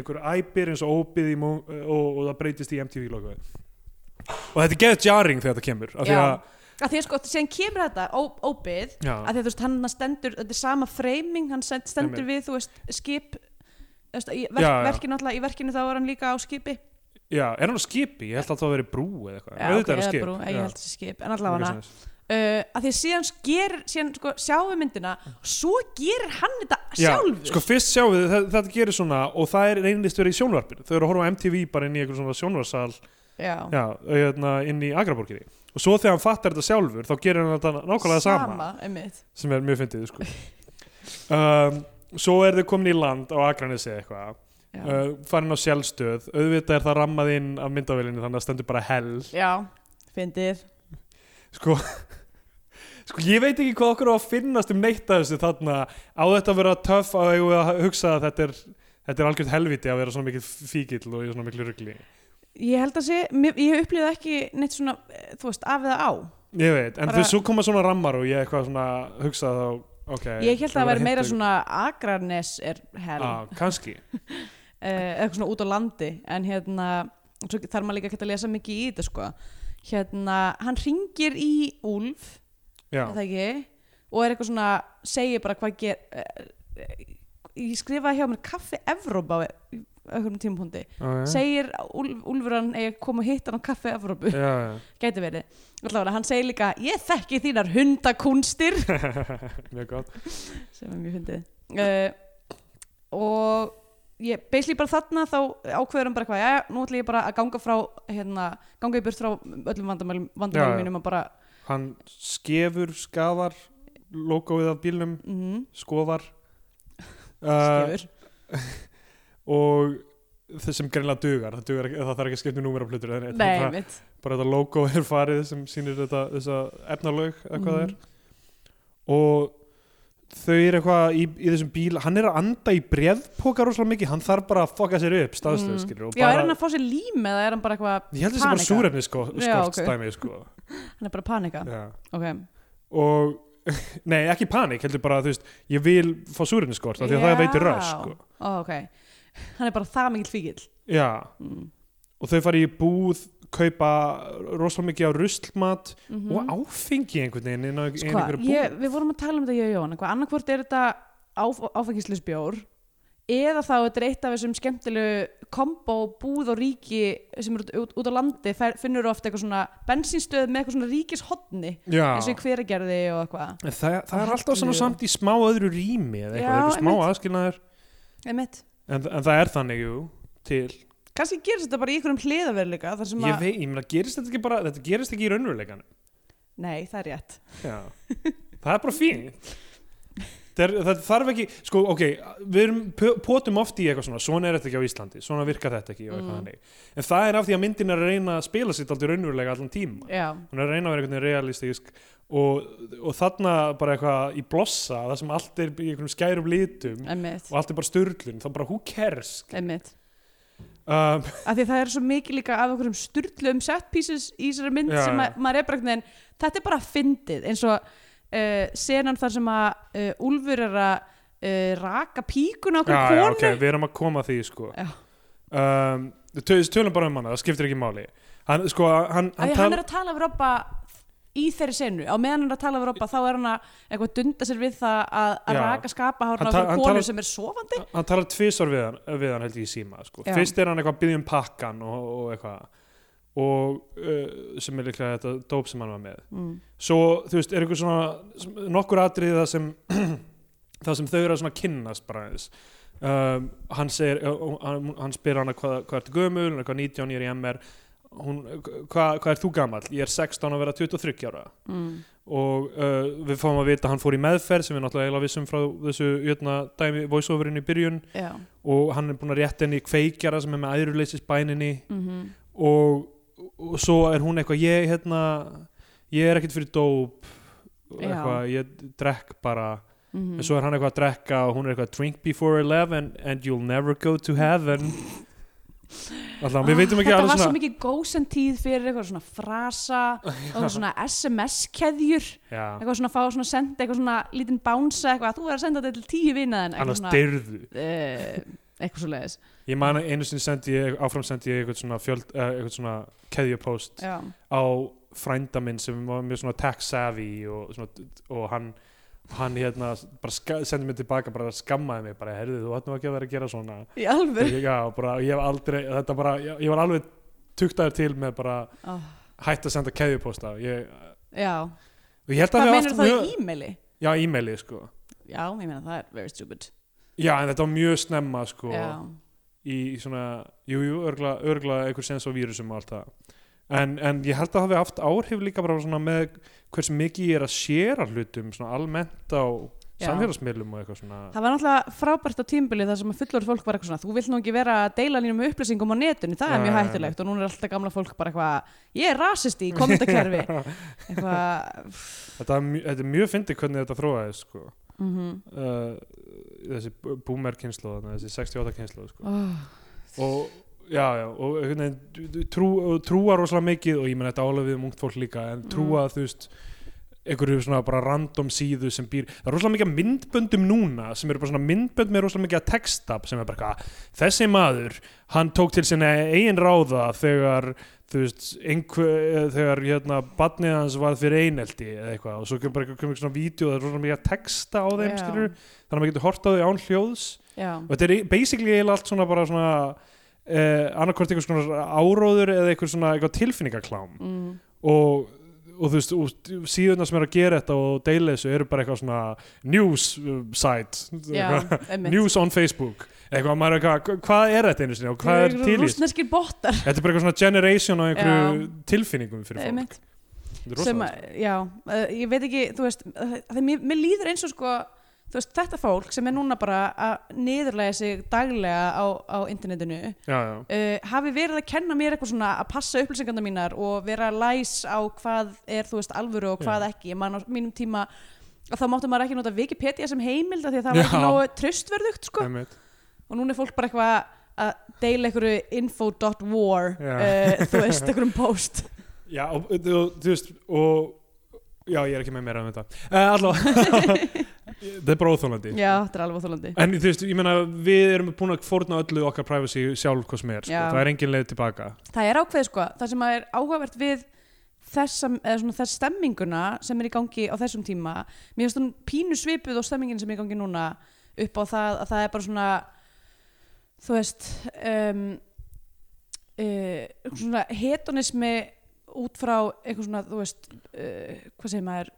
B: einhver æpir eins og óbið í, Munk- og, og það breytist í MTV logoið og þetta er geðt jarring þegar þetta kemur af því
C: já.
B: að
C: Að því að sko, síðan kemur þetta ó, óbið,
B: Já.
C: að því að þú veist, hann stendur, þetta er sama framing, hann send- stendur við, þú veist, skip, þú veist, í verk,
B: Já, já.
C: verkinu alltaf, í verkinu þá var hann líka á skipi.
B: Já, er hann á skipi? Ég held alltaf að það veri brú eða eitthvað. Auðvitað er
C: eða
B: hann skip.
C: brú, eh, ég held þessi skip, en alltaf hana.
B: hana.
C: Uh, að því að síðan sker, síðan sko, sjáum við myndina, svo gerir hann þetta sjálfur.
B: Sko fyrst sjáum við þetta, þetta gerir svona og það er reynlist verið í sjónvarpinu. Þau eru að horfa á MTV bara inn í einhver svona sjónvarsal
C: já,
B: já, hérna, inn í Agraborginni. Og svo þegar hann fattar þetta sjálfur þá gerir hann þetta nákvæmlega sama,
C: einmitt.
B: sem er mjög fyndið sko. um, svo er þau komin í land á Akranesi eitthvað
C: Já.
B: uh, farin á sjálfstöð auðvitað er það rammað inn af myndavélinni þannig að það stendur bara hell
C: Já, fyndið
B: sko, [LAUGHS] sko ég veit ekki hvað okkur á að finnast um neitt af þessu þarna á þetta að vera töff á eigum við að hugsa að þetta er þetta er algjört helviti að vera svona mikill fíkil og í svona miklu rugli
C: Ég held að sé, mér, ég upplýði ekki neitt svona, eh, þú veist, af eða á
B: ég veit, en
C: Bara-
B: þau svo koma svona rammar og ég eitthvað svona hugsa þá ok,
C: Ég held að það
B: vera
C: væri meira
B: hinta-
C: svona Akranes er hell
B: á, Ah, kannski,
C: eh, eitthvað svona út á landi en hérna, svo þarf maður líka að geta að lesa mikið í þetta sko hérna, hann ringir í Úlf
B: já
C: er það ekki, og er eitthvað svona segir bara hvað ger eh, eh, ég skrifaði hjá mér kaffi Evrópa á einhverjum tímapunkti
B: ok.
C: segir Úlf, Úlfur hann eigi að koma og hitta hann á kaffi Evrópu, [LAUGHS]
B: já, já. [LAUGHS]
C: gæti verið allavega, hann segir líka, ég þekki þínar hundakunstir
B: mjög gott
C: sem er mjög fyndið uh, og ég, basically bara þarna þá ákveður hann bara hvað, já, nú ætla ég bara að ganga frá hérna, ganga í burt frá öllum vandamælum,
B: Já, já.
C: vandamælum mínum og bara
B: hann skefur, skafar logoið af bílnum,
C: mm
B: skofar uh,
C: skefur
B: og það sem greinlega dugar, það, dugar ekki, það þarf ekki að skipta númera plötur en
C: nei,
B: bara,
C: mitt
B: bara þetta logo [LAUGHS] er farið sem sýnir þetta þessa efnalög eða hvað það
C: Mhm.
B: er og þau eru eitthvað í, í þessum bíl hann er að anda í brefpoka rosalega mikið hann þarf bara að fokka sér upp staðstöð
C: Mm.
B: skilur, og
C: já, er
B: bara,
C: hann að fá sér lím eða er hann bara eitthvað
B: ég held þessi bara
C: panika?
B: súrefni sko,
C: Já,
B: skort
C: ok.
B: stæmi sko.
C: hann er bara að panika,
B: Já.
C: ok
B: og [LAUGHS] nei, ekki panik, heldur bara þú veist ég vil fá súrefni skort því að það
C: Já.
B: veitir röss sko.
C: Ó, ok, hann er bara það mikill fíkil
B: já,
C: mm.
B: og þau fara í búð kaupa rosalega mikið á ruslmat
C: mm
B: og áfengi einhvern veginn inn á inn í
C: sko,
B: einhverju búð
C: ég, við vorum að tala um þetta ég og Jón, eitthvað annarkvort er þetta áf áfengislisbjór eða þá þetta er eitt af þessum skemmtilegu kombo, búð og ríki sem eru út, út á landi, fer, finnur ofta eitthvað svona bensínstöð með eitthvað svona ríkishotni eins og í
B: já,
C: hveragerði og eitthvað
B: En það, það er alltaf svona
C: Hellu.
B: samt í smá öðru rými eða
C: Já,
B: eitthvað, eitthvað smá
C: einmitt.
B: aðskilnaður
C: Einmitt.
B: en, en það er þannig, jú, til
C: kannski gerist þetta bara í einhverjum hliðaveruleika þar sem
B: ég
C: að,
B: veit, ég meina, gerist þetta ekki bara þetta gerist ekki í raunveruleikan
C: nei það er rétt
B: það er bara fínt það, er, það þarf ekki, sko, ok við erum, p- potum oft í eitthvað svona svona er þetta ekki á Íslandi, svona virkar þetta ekki og
C: Mm.
B: eitthvað þannig, en það er af því að myndin er að reyna að spila sitt aldrei raunveruleika allan tíma
C: já,
B: hún er að reyna að vera einhvern veginn realistísk og, og þarna bara eitthvað í blossa það sem allt er í einhvern skærum litum
C: emmitt
B: og allt er bara sturlun, þá bara who cares
C: emmitt,
B: um,
C: af því að það er svo mikið líka af einhverjum sturlum set pieces í þessari mynd
B: Já,
C: sem
B: já.
C: að, maður er bara einhvern veginn þetta er bara fyndið eins og uh, senan þar sem að uh, Úlfur er að uh, raka píkun á okkur
B: já, já,
C: konu
B: ok, við erum að koma að því sko
C: Já.
B: um, tö- tölum bara um hana, það skiptir ekki máli hann, sko, hann,
C: af
B: hann,
C: því að hann er að tala við Robba í þeirri senu, á meðan hann er að tala við Robba þá er hann að eitthvað dunda sér við það að, að
B: Já.
C: raka skapa hárna á
B: Hann ta-
C: okkur
B: hann
C: konu
B: talar-
C: sem er sofandi
B: hann, hann talar tvisar við hann, við hann held ég í síma sko.
C: Já.
B: fyrst er hann eitthvað að byggja um pakkan og, og eitthvað og uh, sem er líklega þetta dóp sem hann var með
C: mm.
B: svo þú veist, er einhver svona sm- nokkur atriði það sem [CLEARS THROAT] það sem þau eru að svona kynnast bara aðeins um, hann segir uh, hann, hann spyr hana hvað, hvað ertu gömul hann er hvað 19, ég er í MR hún, hvað, hvað er þú gamall, ég er 16 að vera 23 ára
C: Mm.
B: og uh, við fáum að vita að hann fór í meðferð sem við náttúrulega eiginlega vissum frá þessu jötna dæmi voiceoverinn í byrjun
C: já,
B: og hann er búin að rétta henni í kveikjara sem er með æðruleysis bæninni
C: mm
B: og, og svo er hún eitthvað ég, hérna, ég er ekkert fyrir dóp og
C: Já.
B: eitthvað, ég drekk bara
C: Mm
B: en svo er hann eitthvað að drekka og hún er eitthvað drink before 11 and you'll never go to heaven alltaf, við veitum ekki
C: þetta var
B: alveg
C: svo
B: svona
C: mikið gósentíð fyrir eitthvað svona frasa og svona SMS-keðjur
B: já,
C: eitthvað svona fá svona senda eitthvað svona lítinn bánsa eitthvað þú er að senda þetta til tíu vinnaðin
B: annars dyrðu
C: eh, eitthvað svo leiðis
B: ég man að einu sinni sendi ég, áfram sendi ég eitthvað svona, fjöld, uh, eitthvað svona keðjupost
C: já,
B: á frænda minn sem var mjög svona tech savvy og, svona, og hann hann hérna bara ska- sendi mér tilbaka bara skammaði mig bara heyrðu þú ættum ekki að vera að gera svona
C: í alveg
B: já bara ég hef aldrei þetta bara ég, ég var alveg tuktaður til með bara
C: oh,
B: hætt að senda keðjuposta ég,
C: já,
B: og ég held að
C: hvað
B: hafi
C: meinar
B: haft
C: það
B: mjög-
C: í e-maili?
B: já e-maili sko
C: já, ég meina það er very stupid
B: já en þetta var mjög snemma sko
C: já,
B: í svona jú jú örgla, örgla einhver sens á vírusum og allt það en, en ég held að hafi haft áhrif líka bara svona með hversu mikið ég er að séra hlutum svona almennt á
C: Já.
B: samfélagsmiðlum og eitthvað svona
C: Það var náttúrulega frábært á tímbili þar sem að fullorð fólk var eitthvað svona, þú vilt nú ekki vera að deila nýjum upplýsingum á netinu, það er
B: Nei.
C: mjög hættulegt og núna er alltaf gamla fólk bara eitthvað, ég er rasist í
B: [LAUGHS]
C: kommentakerfi, eitthvað,
B: þetta, er mjö- þetta er mjög fyndið hvernig þetta þróaði sko.
C: mm
B: uh, þessi boomer kynslu þessi 68 kynslu sko.
C: oh,
B: og já, já, og einhvern veginn, trú, trú- trúa rosalega mikið og ég menn þetta álega við um ungt fólk líka en trúa þú veist einhverju svona bara random síðu sem býr það er rosalega mikið af myndböndum núna sem eru bara svona myndbönd með rosalega mikið að texta sem er bara eitthvað, "Ah, þessi maður hann tók til sinna eigin ráða þegar þú veist, einhver, eh, þegar hérna badnið hans var fyrir einelti eða eitthvað og svo kemur bara eitthvað- kemur eitthvað svona vídeo og það er rosalega mikið að texta á þeim
C: Já.
B: skilur þannig að maður getur hort á þau án hljóðs
C: já,
B: og þetta er í- basically eiginlega allt svona bara svona uh, annarkvort einhvers konar áróður eða einhver svona eitthvað tilfinningaklám
C: mm,
B: og, og þú veist og síðuna sem er að gera þetta og deila þessu eru bara eitthvað svona news uh, site
C: já,
B: eitthvað,
C: einmitt.
B: news on Facebook eitthvað, maður er eitthvað, hvað er þetta einu sinni og hvað er
C: Eru
B: til í þessu?
C: Rússneskir bottar,
B: Þetta er bara eitthvað svona generation á einhverju
C: Já.
B: tilfinningum fyrir fólk
C: einmitt.
B: Þetta er sko.
C: sem,
B: rosalegt.
C: að- já, uh, ég veit ekki þú veist, uh, það, mér, mér líður eins og sko þú veist, þetta fólk sem er núna bara að niðurlega sig daglega á, á internetinu
B: Já, já
C: uh, hafi verið að kenna mér eitthvað svona að passa upplýsingarna mínar og vera læs á hvað er þú veist alvöru og hvað
B: Já.
C: ekki, ég man á mínum tíma að þá máttu maður ekki nota Wikipedia sem heimild af því að það var ekki
B: Já.
C: nógu tröstverðugt sko.
B: einmitt.
C: og núna er fólk bara eitthvað að deila einhverju info.war
B: Já.
C: uh, þú veist, einhverjum post
B: [LAUGHS] Já, og og- og- þú veist og já, ég er ekki með meira um þetta uh, Allá
C: [LAUGHS]
B: Þetta er bara óþólandi
C: já, þetta er alveg þólandi
B: En þú veist, ég meina, við erum búin að fórna öllu okkar privacy sjálf hvað sem er, sko.
C: Já.
B: það er engin leið tilbaka.
C: það er ákveð sko, það sem er áhugavert við þessa, eða svona þess stemminguna sem er í gangi á þessum tíma mér finnst hún pínu svipuð á stemmingin sem er í gangi núna upp á það að það er bara svona þú veist um, uh, svona hedonismi út frá eitthvað svona, þú veist uh, hvað segir maður,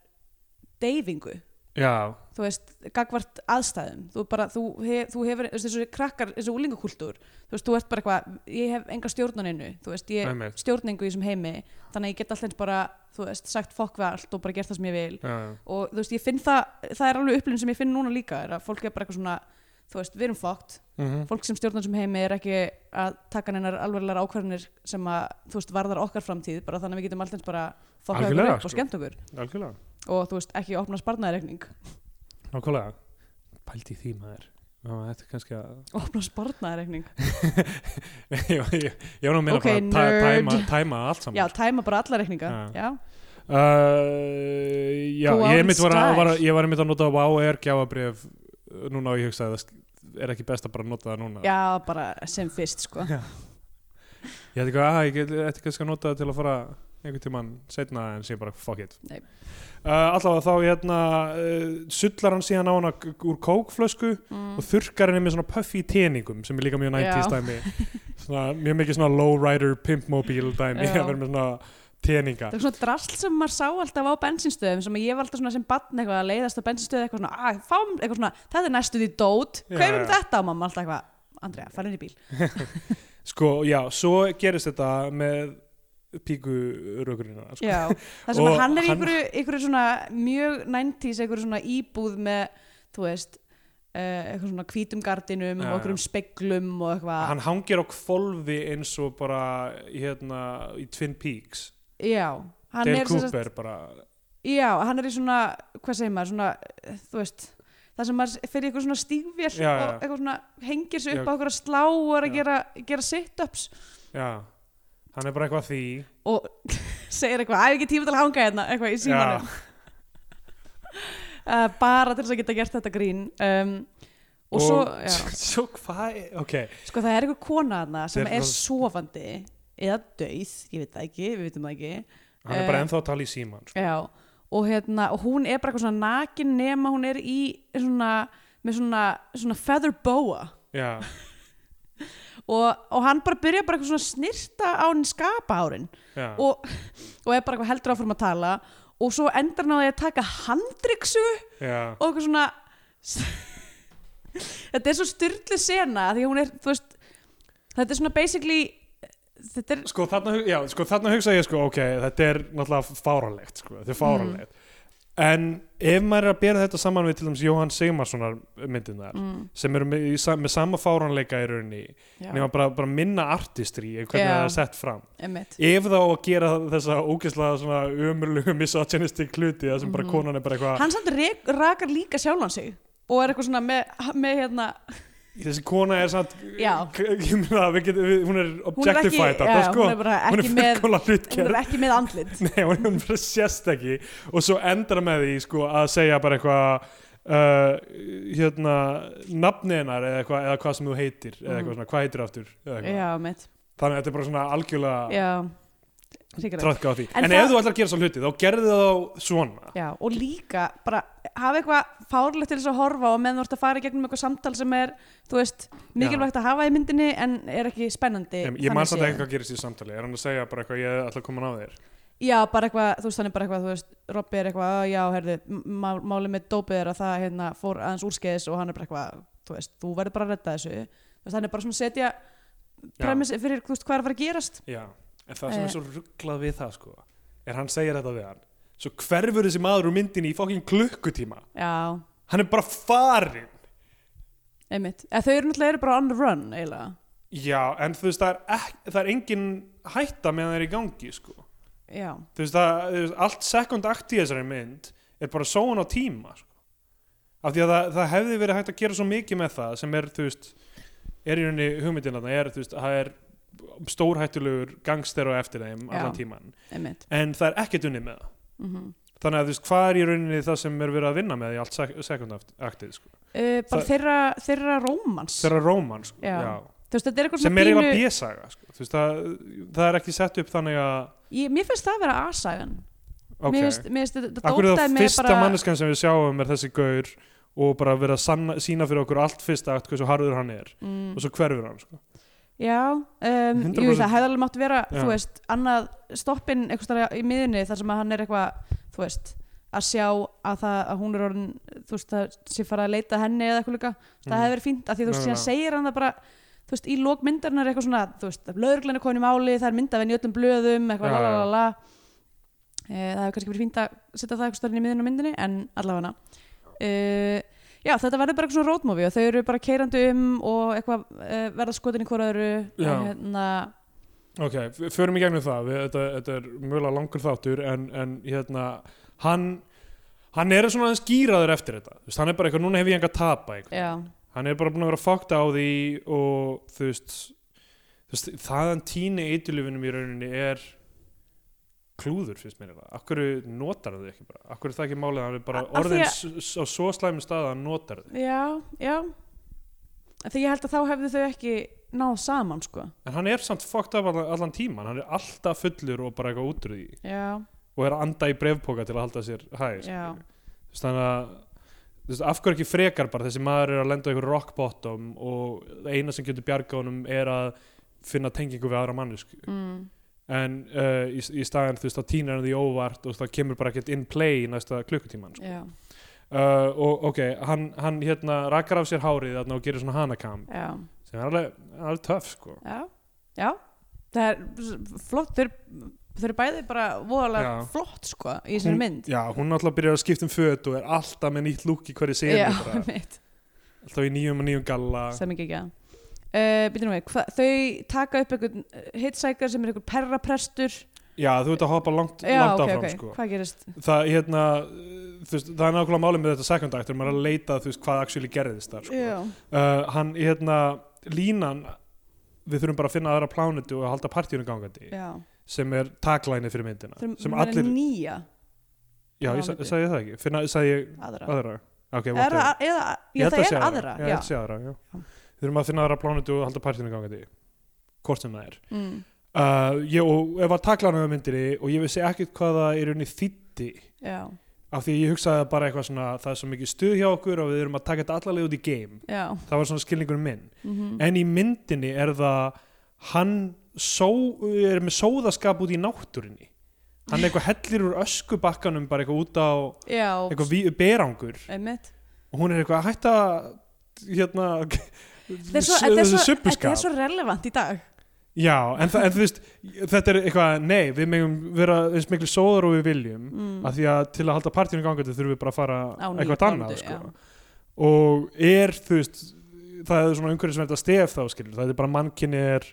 C: deyfingu
B: Já,
C: þú veist, gagvart aðstæðum þú bara, þú, hef, þú hefur þú veist, þessu krakkar, þessu úlingakultúr þú veist, þú ert bara eitthvað, ég hef enga stjórnaninu þú veist, ég
B: Einmitt.
C: stjórningu í þessum heimi þannig að ég get alltaf eins bara, þú veist, sagt fokk við allt og bara gert það sem ég vil
B: já, já.
C: og þú veist, ég finn það, það er alveg upplýn sem ég finn núna líka, er að fólk er bara eitthvað svona þú veist, við erum fokkt,
B: Mhm.
C: fólk sem stjórnar sem heimi er ekki að taka neinar alveglega ákvarðanir sem að, þú veist, varðar okkar framtíð bara þannig að við getum alltaf eins bara fokkað okkur
B: Algjörlega,
C: upp og
B: sko.
C: skemmt okkur
B: algjörlega,
C: og þú veist, ekki opna sparnaðarekning
B: nákvæmlega. Pældi í því maður. Já, þetta er kannski að... [LAUGHS]
C: [LAUGHS] opna sparnaðarekning
B: ég, ég, ég var nú að meina
C: Ok,
B: bara að tæ-
C: nerd.
B: tæma, tæma allt saman.
C: Já, tæma bara alla reikninga
B: Já.
C: Já,
B: Uh, já,
C: Go out
B: ég, einmitt var að,
C: style.
B: var, að- ég var einmitt að nota á er gjáabrif núna og ég hugsaði það sk- er ekki best að bara nota það núna.
C: já bara sem fyrst sko
B: Ég ætti ekki að, ég get- ég ætti kannski að nota það til að fara einhvern tímann setna en sé bara fuck it.
C: Nei.
B: Uh, allavega þá hérna uh, sullar hann síðan á hana g- úr kókflösku og þurrkar henni með svona puffy teningum sem er líka mjög 90s
C: Mm. Já.
B: dæmi svona, mjög mikið svona lowrider pimpmobile dæmi
C: Já.
B: að vera með svona teninga
C: Það er svona drasl sem maður sá alltaf á bensinstöðum sem að ég var alltaf svona sem barn eitthvað að leiðast á bensinstöðu eitthvað svona, að fáum eitthvað svona þetta er næstu því dót,
B: Já,
C: kaupum
B: já.
C: þetta og mamma alltaf eitthvað, Andrea, fara inn í bíl
B: sko já, svo gerist þetta með píku rökurina sko.
C: Já, það sem
B: Og
C: að hann er í
B: hann-
C: einhverju, einhverju svona mjög 90s, einhverju svona íbúð með, þú veist Uh, eitthvað svona hvítum gardinum
B: Já,
C: og einhverjum speglum og eitthvað
B: hann hangir á kvolfi eins og bara hérna í Twin Peaks
C: já, hann
B: Dale
C: er sem sagt-
B: Cooper bara
C: Já, hann er í svona, hvað segir maður, svona, eh, þú veist, það sem maður fyrir eitthvað svona stígvél
B: Já,
C: og
B: já.
C: eitthvað svona hengir sig upp
B: Já.
C: á eitthvað slá og er að
B: Já.
C: gera, gera sit-ups
B: já, hann er bara eitthvað að því
C: og [LAUGHS] segir eitthvað, æf ekki tíma til að hanga hérna, eitthvað í símanum, uh, bara til þess að geta gert þetta grín. Um, og, svo, já,
B: [LAUGHS] svo hvað er- ok,
C: sko það er eitthvað kona þarna sem
B: Þetta er
C: er
B: svo-
C: sofandi eða dauð, ég veit það ekki, við veitum það ekki.
B: hann er
C: Eh,
B: bara ennþá að tala í síman sko.
C: Já, og hérna, og hún er bara eitthvað svona nakin nema hún er í svona, með svona, svona feather boa
B: já,
C: og, og hann bara byrja bara eitthvað svona að snirta á henni skapahárin
B: já,
C: og, og er bara eitthvað heldur áfram að tala og svo endar hann á því að taka handryksu
B: já.
C: og eitthvað svona [LAUGHS] þetta er svo styrlu sena því að hún er, þú veist þetta er svona basically þetta er, Mhm.
B: sko þarna, hug- já, sko þarna hugsa ég sko ok, þetta er náttúrulega fáralegt sko, þetta er fáralegt en ef maður er að bera þetta saman við til dæmis Jóhann Sigmarssonar myndinar
C: mm,
B: sem eru með, í sa- með sama fáranleika í rauninni
C: já,
B: nema bara, bara minna artistry ef hvernig
C: Já.
B: það er sett fram
C: einmitt
B: ef þá að gera þessa ógeðslega svona umurlugu misogynistik hluti það sem bara
C: Mhm.
B: konan er bara eitthvað
C: hann samt rek, rakar líka sjálfan sig og er eitthvað svona með, með hérna
B: þessi kona er samt
C: Já.
B: k- [LAUGHS] ég meina, við getum- við- hún er
C: hún er ekki,
B: objectified
C: já,
B: þarna, sko.
C: hún er bara
B: hún er
C: ekki með
B: fullkomlega
C: hún
B: hlutgerð
C: er ekki með andlit
B: [LAUGHS] Nei, hún hún bara sést ekki og svo endar með því sko, að segja bara eitthvað uh, hérna nafninar eða, eitthvað, eða hvað sem þú heitir eða eitthvað
C: Mhm.
B: svona, hvað heitir aftur eða eitthvað.
C: já, mitt,
B: þannig að þetta er bara svona algjörlega
C: já Hrikalegt.
B: tröðka á því
C: En
B: en,
C: það-
B: ef þú ætlar að gera svona hluti þá gerði þá svona
C: Já, og líka bara hafa eitthvað fárlegt til þess að horfa og meðan þú ert að fara í gegnum eitthvað samtal sem er, þú veist, mikilvægt að hafa í myndinni en er ekki spennandi.
B: ég, ég
C: þannig
B: man samt
C: séð.
B: ekki hvað gerist í samtali er hann að segja bara eitthvað ég ætla að koma á þér
C: Já, bara eitthvað, þú veist, þannig bara eitthvað, þú veist, Robby er eitthvað, "Ó, já, herðu, má, málið með dópið er að það hérna, fór aðeins úrskeiðis og hann er bara eitthvað, þú veist, þú verður bara að redda þessu. Þú veist, hann er bara svona að setja premissi fyrir, þú veist, hvað er að fara að gerast.
B: Já, en það sem
C: Eh.
B: er svo rugglað við það sko, er hann segir þetta við hann svo hverfur þessi maður úr myndinni í fokkin klukkutíma
C: Já,
B: hann er bara farin
C: einmitt. Eða, þau eru náttúrulega eru bara on the run, eiginlega.
B: Já, en þú veist, það er, ek, það er engin hætta meðan það er í gangi sko.
C: Já,
B: þú veist, það, þú veist, allt second act í þessari mynd er bara sóun á tíma sko. af því að það, það hefði verið hægt að gera svo mikið með það sem er, þú veist er í rauninni hugmyndin að er, þú veist, það er stórhættulegur gangster á eftir þeim
C: Já.
B: allan tíman,
C: einmitt.
B: en það er ekkert unni með það
C: Mm
B: þannig að þú veist hvað er í rauninni það sem er verið að vinna með í allt sek- second act- actið sko.
C: uh, bara
B: Það-
C: þeirra, þeirra rómans
B: þeirra róman sko.
C: Já.
B: Já.
C: þú veist, þetta er eitthvað
B: sem er
C: svona
B: eiginlega bjösaga sko. Þú veist, það, það er ekki sett upp þannig að
C: ég, mér finnst það að vera aðsagan
B: ok,
C: mér finnst, mér finnst þetta- þetta
B: akkur er
C: dótaði
B: það
C: mig
B: fyrsta manneskan sem við sjáum er þessi gaur og bara verið að sanna, sína fyrir okkur allt fyrsta akt hversu harður hann er
C: mm,
B: og svo hverfur hann sko.
C: já, um,
B: 100%
C: jú, það hefði alveg mátt vera
B: Já.
C: þú veist, annað stoppin eitthvað starf í miðunni þar sem að hann er eitthvað þú veist, að sjá að, það, að hún er orðin, þú veist, að sé fara að leita að henni eða eitthvað líka, það
B: Mhm.
C: hefði verið fínt að því þú veist,
B: Nei, nei,
C: síðan segir hann það bara þú veist, í lók myndarinnar eitthvað svona þú veist, lögreglan er komin í máli, það er myndafinn í öllum blöðum eitthvað,
B: Já,
C: la, la,
B: já.
C: la, la. Eh, það hefur kannski verið fínt að setja það eitthvað starfinn í miðun á myndinni, en allavega uh, já, þetta verður bara eitthvað svona rótmófi og þau eru bara keirandi um og eitthvað uh, verða skotin í hvora öðru
B: Já.
C: og hérna,
B: ok, f- förum í gegnum það við, þetta, þetta er mjögulega langur þáttur en, en hérna, hann hann er svona aðeins gýraður eftir þetta Þú veist, hann er bara eitthvað, núna hef ég enga að tapa einhvern.
C: já,
B: hann er bara búin að vera fokta á því og þú veist, þú veist þaðan tíni eitulufinum í rauninni er klúður finnst mér það, akkur notar þau ekki bara akkur er það ekki málið að hann er bara
C: A- af því
B: orðin
C: að-
B: s- á svo slæmi stað að hann notar þau
C: já, já Af því ég held að þá hefðu þau ekki náð saman, sko
B: en hann er samt fokta af allan, allan tíman hann er alltaf fullur og bara eitthvað útrúði
C: já,
B: og er að anda í brefpoka til að halda sér hæg
C: já,
B: skilurðu. Þú veist, þannig að þú veist, af hverju ekki frekar bara þessi maður er að lenda á einhver rock bottom og það eina sem getur bjarga honum er að finna tengingu við aðra mannesku
C: mm,
B: en uh, í, í staðan þú veist þá týnir hann því óvart og það kemur bara ekkert in play í næsta klukkutíman sko.
C: já,
B: uh, og ok, hann, hann hérna rakar af sér hárið þarna og gerir svona hanakam
C: já,
B: sem er alveg, alveg töff sko
C: já já, það er s- flott, þau eru þau eru bæði bara voðalega
B: Já.
C: flott, sko, í þessari mynd
B: Já, hún náttúrulega byrjar að skipta um föt og er alltaf með nýtt lúk í hverju senu
C: [LAUGHS]
B: bara,
C: mitt
B: alltaf í nýjum og nýjum galla
C: sem ekki ekki að uh, við, hva, þau taka upp einhvern hitsækar sem er einhvern perraprestur
B: Já, þú ert að hoppa langt,
C: já,
B: langt
C: ok,
B: áfram
C: ok,
B: sko
C: hvað gerist
B: Það, hérna, uh, þú veist, það er nákvæmlega málið með þetta second act, þegar maður er að leita þú veist, hvað actually gerðist þar sko.
C: já,
B: uh, hann, hérna, línan við þurfum bara að finna aðra plánetu og halda partíunum gangandi
C: já.
B: sem er tagline fyrir myndina
C: Þeir,
B: sem
C: hún er
B: allir,
C: nýja
B: já, ég sa-
C: plánetu.
B: sagði ég það ekki finna, sagði ég
C: aðra
B: aðra ok,
C: Er
B: whatever.
C: það- eða,
B: Ég
C: já,
B: held
C: það
B: að sé
C: er aðra
B: já,
C: já.
B: ég held að sé aðra, já.
C: Já.
B: við þurfum að finna aðra plánetu og halda partíunum gangandi hvort sem það er
C: Mm.
B: uh, ég, og ef að tagline með myndinni og ég vissi ekkert hvað það er unni þýtti
C: já,
B: af því að ég hugsaði bara eitthvað svona það er svo mikið stuð hjá okkur og við erum að taka þetta allarlega út í game
C: já
B: það var svona skilningur minn
C: mm
B: en í myndinni er það hann só, er með sóðaskap út í náttúrinni hann eitthvað hellir úr öskubakkanum bara eitthvað út á
C: já,
B: eitthvað ví- berangur
C: einmitt
B: og hún er eitthvað að hætta hérna [LAUGHS]
C: þetta er svo,
B: s-
C: þetta er svo, þetta
B: subbuskap
C: er svo relevant í dag
B: Já, en, þa- en þú veist, þetta er eitthvað, nei, við megum vera eins miklu sóður og við viljum
C: Mm.
B: af því að til að halda partíinu gangandi þurfum við bara að fara
C: Á nýju
B: eitthvað annað
C: blöndu,
B: sko. og er, þú veist, það er svona umhverfisverð að stef þá skilur, það er bara mannkinni er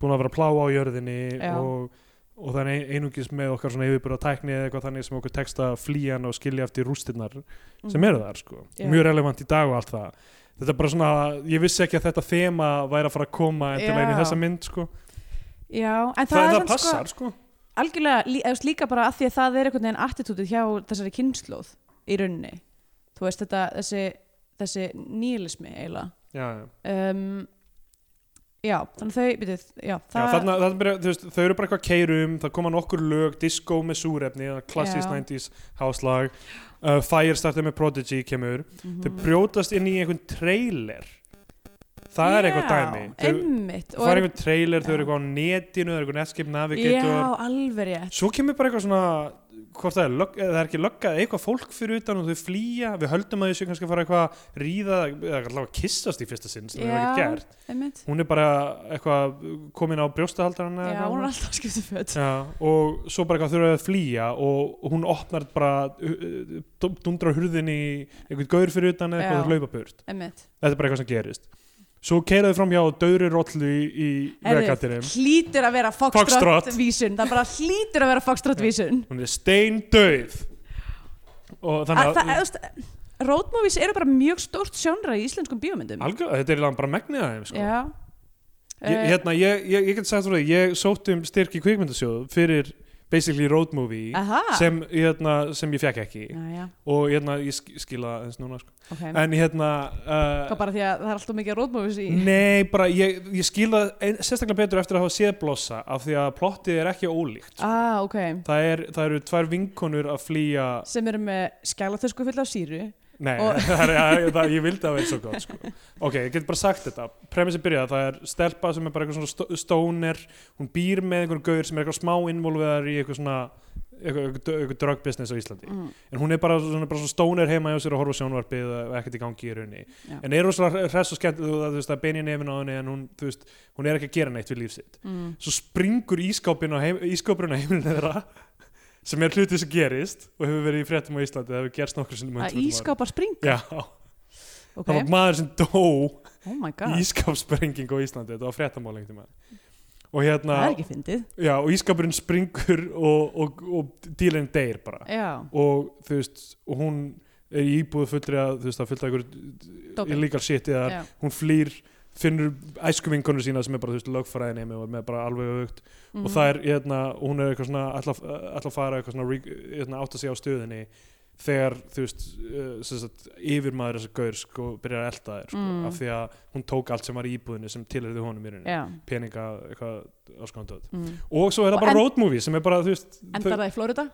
B: búin að vera að pláa á jörðinni
C: Já.
B: og, og það er ein- einungis með okkar svona yfirbyrða tækni eða eitthvað þannig sem okkur tekst að flýja hann og skilja eftir rústirnar sem eru þar sko.
C: Mm. Já.
B: mjög relevant í dag og allt það þetta er bara svona, ég vissi ekki að þetta þema væri að fara að koma endilega inn í
C: Já.
B: þessa mynd sko.
C: Já, en það,
B: það, það,
C: er samt
B: passar sko.
C: sko algjörlega, lí, eða þú veist, líka bara að því að það er einhvern veginn attitútið hjá þessari kynnslóð í rauninni, þú veist þetta þessi, þessi nýlismi eiginlega
B: já, já.
C: um, já, þannig þau byrjuð, já,
B: já, þarna, þarna byrja, þú veist, þau eru bara eitthvað keirum það koma nokkur lög, disco með súrefni klassís
C: Já.
B: 90s háslag uh, Firestarter með Prodigy kemur
C: Mhm.
B: þau brjótast inn í einhvern trailer það er eitthvað
C: Já,
B: dæmi þau,
C: einmitt,
B: það er einhvern trailer, þau
C: Já.
B: eru eitthvað á netinu þau eru eitthvað Netscape Navigator
C: já, alveg rétt
B: Svo kemur bara eitthvað svona hvort það er, lög, eða það er ekki löggað eitthvað fólk fyrir utan og þau flýja, við höldum að þessu kannski að fara eitthvað að ríða eða allavega kissast í fyrsta sinn sem það er ekki
C: Já,
B: gert
C: einmitt
B: hún er bara eitthvað komin á brjóstahaldarana
C: Já, hún er alltaf að skipta föt
B: Já, og svo bara eitthvað þurfa að flýja og hún opnar bara uh, uh, dundra hurðin í einhvern gaur fyrir utan eða
C: Já.
B: eitthvað þau laupa burt
C: Einmitt
B: þetta er bara eitthvað sem gerist svo keiraðu fram hjá og döðri rollu í, í
C: Herðu,
B: vegatinum
C: hlýtur að vera
B: Foxtrot.
C: Foxtrot vísun Það bara hlýtur að vera Foxtrot vísun
B: hún er steindauð og
C: Að
B: þannig
C: Það, eða þú veist, road movies eru bara mjög stórt sjónra í íslenskum bíómyndum
B: Algjörlega, þetta er eiginlega bara megnið af þeim sko.
C: Já
B: ég,
C: Eh,
B: hérna, ég, ég, ég get sagt frá því, ég sótti um styrk í kvikmyndasjóð fyrir basically road movie
C: Aha
B: sem, hérna, sem ég fekk ekki
C: Næja,
B: og hérna, ég sk- skila eins núna sko.
C: ok
B: en hérna
C: Hvað
B: uh,
C: bara því að það er alltaf mikið road movies í
B: nei, bara ég, ég skila ein, sérstaklega betur eftir að hafa séð blossa af því að plottið er ekki ólíkt
C: Ah, ok
B: það, er, það eru tvær vinkonur að flýja
C: Sem eru með skælatösku fulla af síru
B: Nei,
C: Og-
B: [LAUGHS] það er, það, er- það, ég vildi að vera svo góð sko. Ok, ég get bara sagt þetta Premissi byrjað, það er stelpa sem er bara eitthvað svona stó- stóner Hún býr með einhvern gaur sem er eitthvað smá involveðar í eitthvað svona eitthvað, eitthvað, eitthvað drug business á Íslandi
C: mm.
B: En hún er bara svona, bara svona stóner heima hjá sér að horfa á sjónvarpið og ekkert í gangi í raunni
C: Já.
B: En er hún svona hress og skemmt þú veist, það, þú veist, það er bein í nefn á henni en hún, þú veist, hún er ekki að gera neitt við líf sitt
C: Mm.
B: Svo springur ískápin á heim, ískápurinn á heimilinu þeirra sem er hlutið sem gerist og hefur verið í fréttum á Íslandi það hefur gerst nokkur sinnum á
C: Að
B: undanförnum árum.
C: ískápar Ah, spring
B: Já,
C: Ok,
B: það var maður sem dó
C: oh my
B: í
C: god
B: ískapsprenging á Íslandi þetta var fréttamál einhvern tímann og hérna,
C: Það er ekki fyndið
B: já, og ískapurinn springur og, og, og dílinn deyr bara
C: Já,
B: og þú veist, og hún er í íbúðu fullri að, þú veist, að fullta
C: Dópi.
B: ykkur illegal shit eða
C: já,
B: hún flýr finnur æskuvinkonu sína sem er bara, þú veist, lögfræðin heimi og er með bara alveg aukt
C: Mm.
B: og
C: Mhm.
B: það er, hérna, og hún er eitthvað svona alltaf að fara eitthvað svona, re- hérna, átt að segja á stöðinni þegar, þú veist, uh, sem sagt, yfirmaður þessa gaur, sko, byrjar að elda þér, sko,
C: Mm.
B: af því að hún tók allt sem var í íbúðinni sem tilherði honum í rauninni,
C: Já
B: peninga, eitthvað, áskondöð.
C: mm.
B: Og svo er
C: Og
B: það bara
C: en-
B: road movie sem er bara, þú veist,
C: Endar það í Florida?
B: þau-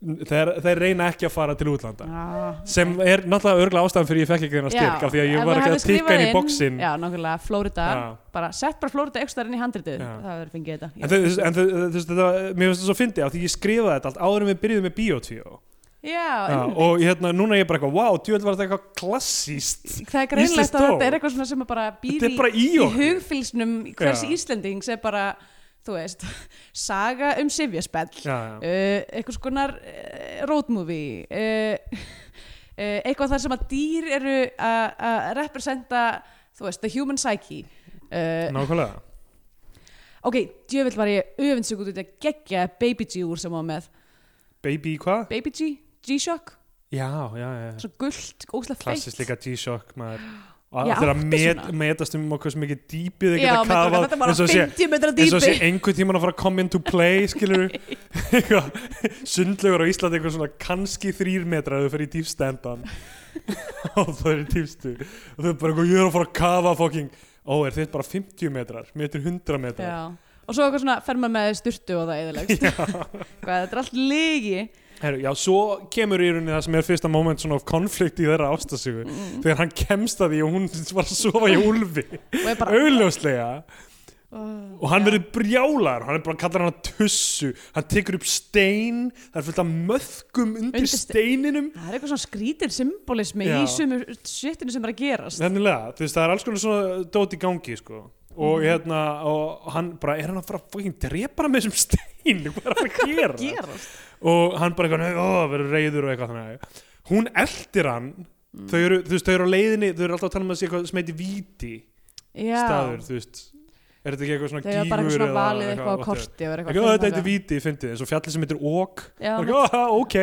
B: þeir, þeir reyna ekki að fara til útlanda.
C: Ah,
B: Sem er náttúrulega örgla ástæðan fyrir ég fekk ekki þennan styrk, af því að
C: ef
B: ég var ekki
C: þú hefðir
B: að tikka
C: skrifað
B: inn í bóksinn.
C: Já, nákvæmlega, Florida
B: Já.
C: bara, Sett bara Florida ekstra inn í handritið
B: Já.
C: Það verður fengið þetta
B: En þau- þú veist, en þau- þú veist, þetta, mér finnst það svo fyndið af því ég skrifaði þetta allt áður en við byrjuðum með Bíotvíó.
C: Já,
B: Já,
C: en
B: og hérna, núna er ég bara eitthvað, wow, djúvel var þetta eitthvað klassíst
C: það er greinlegt að
B: Íslenskt
C: þetta er
B: dó.
C: eitthvað svona sem að bara býr
B: Þetta er bara í okkur.
C: hugfylsnum hvers
B: Já.
C: Íslendings er bara, þú veist [LAUGHS] saga um sifjaspell uh,
B: já, já.
C: eitthvað skonar uh, road movie uh, [LAUGHS] uh, eitthvað þar sem að dýr eru að- að representa þú veist, the human psyche uh,
B: Nákvæmlega
C: Ok, djövill var ég öfinsug út í þetta geggja Baby G úr sem var með
B: Baby hvað?
C: Baby G, G-Shock,
B: Já, já, já
C: svona gullt, ógæslega feitt
B: Klassíst líka G-Shock maður Og
C: Já,
B: þeirra
C: áttu
B: met,
C: svona.
B: metast um okkur sem ekki dýpið þeir
C: Já,
B: geta
C: með
B: kafað
C: dróka, þetta var
B: eins og sé-
C: 50 metra
B: eins og sé
C: dýpi
B: einhvern tímann að fara að come into play skilur
C: [LAUGHS]
B: eitthvað sundlegur á Íslandi eitthvað svona kannski þrýr metra ef þau fer í
C: [LAUGHS]
B: dýfstendan og það er í dýfstu og þau bara eitthvað, ég er að fara að kafa fucking ó, er þitt bara 50 metrar, metri 100 metrar
C: Já, og svo eitthvað svona fer maður með styrtu og það eðalegst Hvað, þetta er allt lygi
B: Heru, já, svo kemur í rauninni það sem er fyrsta moment svona of konflikt í þeirra ástasögu þegar hann kemst að því og hún [LAUGHS] var að sofa í úlfi,
C: og er bara
B: augljóslega
C: oh,
B: og hann
C: Já.
B: verður brjálar, hann er bara að kalla hann að tussu, hann tekur upp stein það er fullt af möðkum undir
C: Undir ste-
B: steininum
C: Það er eitthvað svona skrítir symbolismi
B: Já.
C: í sumu shitinu sem er að gerast
B: Nennilega, þú veist, það er alls konar svona dót í gangi, sko og hérna og hann bara, er hann að fara að fucking drepa hann með þessum stein, [LAUGHS] hvað er hann að gera
C: gerast
B: og hann bara eitthvað, ó, verður reyður og eitthvað þannig hún eldir hann
C: Mm.
B: þau eru, þú veist, þau eru á leiðinni þau eru alltaf að tala um að sé eitthvað sem heiti víti
C: Já,
B: staður, þú veist er þetta ekki eitthvað svona
C: þau hafa bara eitthvað
B: gígur
C: svona valið eitthvað á
B: whatever.
C: korti og
B: Ekki, "Ó,
C: eitthvað fínt
B: þetta heitir
C: eitthvað."
B: víti, fyndið, eins og fjallið sem heitir ók
C: Já,
B: og ok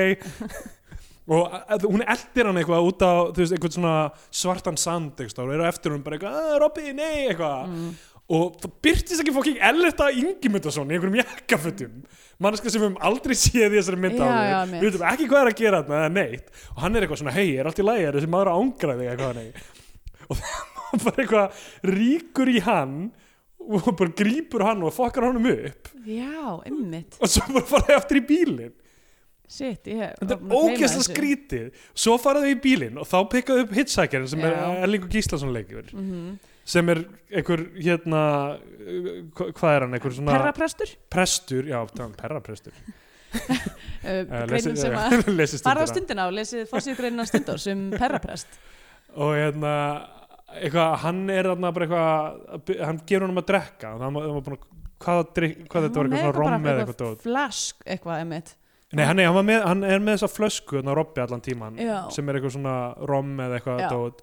B: og að- hún eldir hann eitthvað út á þú veist, einhvern svona svartan sand eitthvað, og er á eftir hún bara eitthvað, "Ah, Robby, nei, eitthvað
C: Mm.
B: og það byrtist ekki fokking Elletta Ingimundason í einhverjum jakkafötum manneska sem við höfum aldrei [LAUGHS] séð í þessari mynd
C: Já,
B: áður.
C: já, mitt.
B: við veitum ekki hvað er að gera þarna eða neitt og hann er eitthvað svona, hei, er allt í lagi er þessi maður að ángra þig eitthvað nei [LAUGHS] og það bara eitthvað ríkur í hann og bara grípur hann og fokkar honum upp
C: Já, einmitt
B: og svo bara fara þau aftur í bílinn
C: Shit, ég hef
B: þetta
C: var
B: er
C: búin að gleyma
B: ógæsla
C: þessu.
B: skrítið svo fara þau í bílinn og þá pikkaðu upp Hitchhikerinn sem er
C: Já. Mhm.
B: Erlingur Gíslason leikur sem er einhver hérna uh, hva- hvað er hann, einhver svona
C: Perraprestur
B: prestur, já, það er perraprestur Eh,
C: uh,
B: [LAUGHS]
C: Greinin sem að
B: lesist
C: farða á stundina og lesið fórsýð greinin á stundar sem perraprest
B: og hérna eitthvað, hann er þarna bara eitthvað að by- hann gerur honum að drekka og hann var- hann var búinn að- hvað, drykk, hvað þetta var
C: Hann
B: eitthvað svona
C: var með
B: rom
C: bara
B: eða eitthvað dót
C: Flask eitthvað, einmitt
B: nei, hann, er, hann, var með, hann er með þessa flösku þarna robbi allan tíman
C: Já.
B: sem er eitthvað svona rom eða eitthvað
C: Já.
B: dót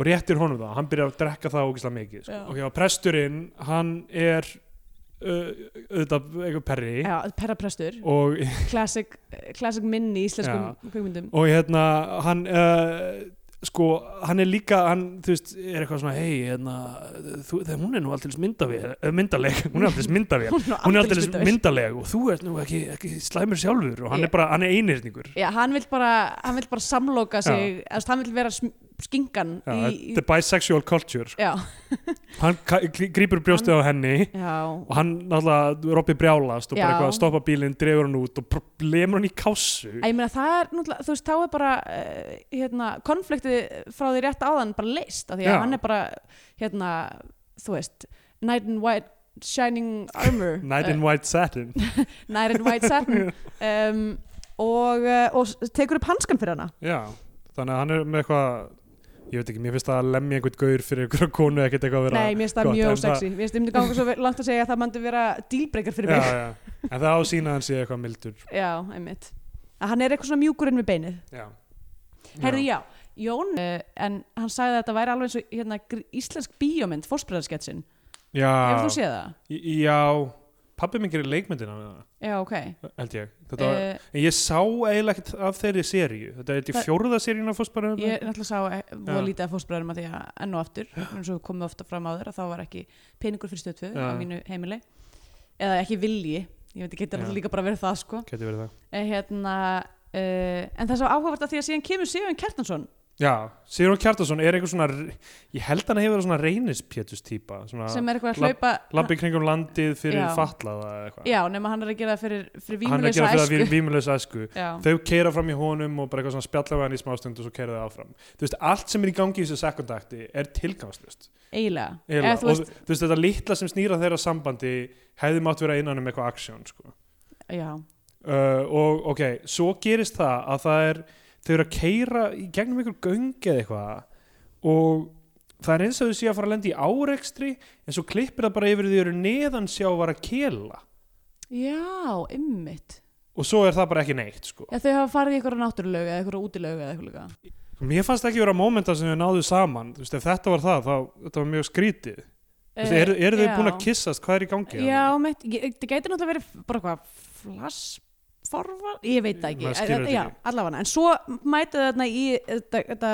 B: og réttir honum það, hann byrjar að drekka það ógislega mikið sko.
C: Já.
B: ok, og presturinn, hann er uh, auðvitað eitthvað perri
C: Já, perraprestur
B: og
C: Classic, eh, classic minn í íslenskum kvikmyndum
B: og hérna hann uh, sko, hann er líka hann, þú veist, er eitthvað svona hei, hérna, þú, þegar hún er nú alltaf myndavél, eh, myndaleg, hún er alltaf
C: [LAUGHS]
B: myndavél hún er alltaf
C: aldeilis
B: myndaleg og þú ert nú ekki, ekki slæmur sjálfur og hann
C: Ég-
B: er bara, hann er einirningur
C: Já, hann vill bara, hann vill bara samloka sig, eða, þú veist, hann vill vera sm- skingan
B: Já,
C: í, í,
B: the bisexual culture sko.
C: já,
B: hann ka- grí- grípur brjóstið á henni
C: já,
B: og hann náttúrulega, Robby brjálast og bara
C: Já.
B: eitthvað stoppa bílinn, drefur hann út og pr- lemur hann í kásu
C: Að ég meina það er náttúrulega, þú veist, þá er bara, uh, hérna, konfliktið frá því rétt áðan bara leist, af því að
B: Já.
C: hann er bara, hérna, þú veist, knight in white shining
B: [LAUGHS]
C: armor,
B: night in white satin
C: uh, knight in white
B: [LAUGHS]
C: satin, um, og, uh, og s- tekur upp hanskan fyrir hana.
B: Já, þannig að hann er með eitthvað ég veit ekki, mér finnst það að lemja einhvern gaur fyrir einhverja konu ekkert eitthvað að vera
C: Nei, mér finnst það
B: gott, en
C: mjög
B: það-
C: sexy, mér finnst það myndi ganga svo langt að segja að það mandi vera dealbreaker fyrir
B: já,
C: mig.
B: já. en það á sína að hann sé eitthvað mildur
C: Já, einmitt. Að hann er eitthvað svona mjúkurinn við beinið.
B: já.
C: Herði, já, Jón, eh, en hann sagði að þetta væri alveg eins og hérna, gr- íslensk bíómynd, fórspræðarsketsin.
B: já.
C: Hefur þú séð það?
B: Í- já, pabbi minn gerir leikmyndina með
C: Já, ok.
B: það held ég Þetta var,
C: Uh,
B: en ég sá eiginlega ekkert af þeirri seríu þetta er þetta
C: Það-
B: í fjórða seríun af fósbara
C: ég er náttúrulega sá eh, voða
B: Já.
C: lítið af fórspræðarum að því að enn og aftur, eins og komið ofta fram á þér, að þá var ekki peningur fyrir stöðtöð
B: Já.
C: á mínu heimili. Eða ekki vilji, ég veit ekki, getur
B: Já.
C: alltaf líka bara verið það, sko.
B: geti verið það
C: Eh, Hérna, uh, en það er svo áhugavert að því að síðan kemur Sigurinn Kjartansson.
B: já, Sigurður Kjartason er einhver svona ég held hann hefur verið svona reynispjötus típa
C: sem
B: svona
C: er eitthvað að
B: lab-
C: hlaupa
B: labbi kringum landið fyrir
C: Já.
B: fatlaða eða eitthvað
C: já, nema hann er að gera það fyrir, fyrir
B: hann er að gera fyrir
C: vímulösa
B: að við-
C: æsku
B: vímulausa æsku
C: Já.
B: þau keira fram í honum og bara eitthvað svona spjalla við hann í smástund og svo keira þau áfram þú veist, allt sem er í gangi í þessu sekundakti er tilgangslust
C: eiginlega,
B: eiginlega.
C: Eða, þú
B: og
C: veist,
B: þú veist, þetta litla sem snýra þeirra sambandi hefði mátt vera innan um eitthvað aksjón sko.
C: já,
B: uh, og ok, svo gerist það að það er, þau eru að keira í gegnum einhver göngi eða eitthvað og það er eins og þau séu að fara að lenda í árekstri en svo klippir það bara yfir því þau eru neðan sjá var að kela
C: Já, ymmit.
B: og svo er það bara ekki neitt sko.
C: Já, þau hafa farið í einhverja náttúrulög eða einhverja útilög eða eitthvað líka.
B: Mér fannst ekki vera mómenta sem við náðu saman Þú veist, ef þetta var það, þá þetta var mjög skrítið Þú veist, eru er þau
C: Eh, já.
B: búin að kissast, hvað er í gangi? hérna?
C: Já, mitt, ég- það gæti náttúrulega verið bara eitthvað flassforfa, ég veit það ekki.
B: Maður skilur
C: En-
B: þetta
C: Já,
B: ekki.
C: allavega. En svo mætu þau þarna í þetta, þetta,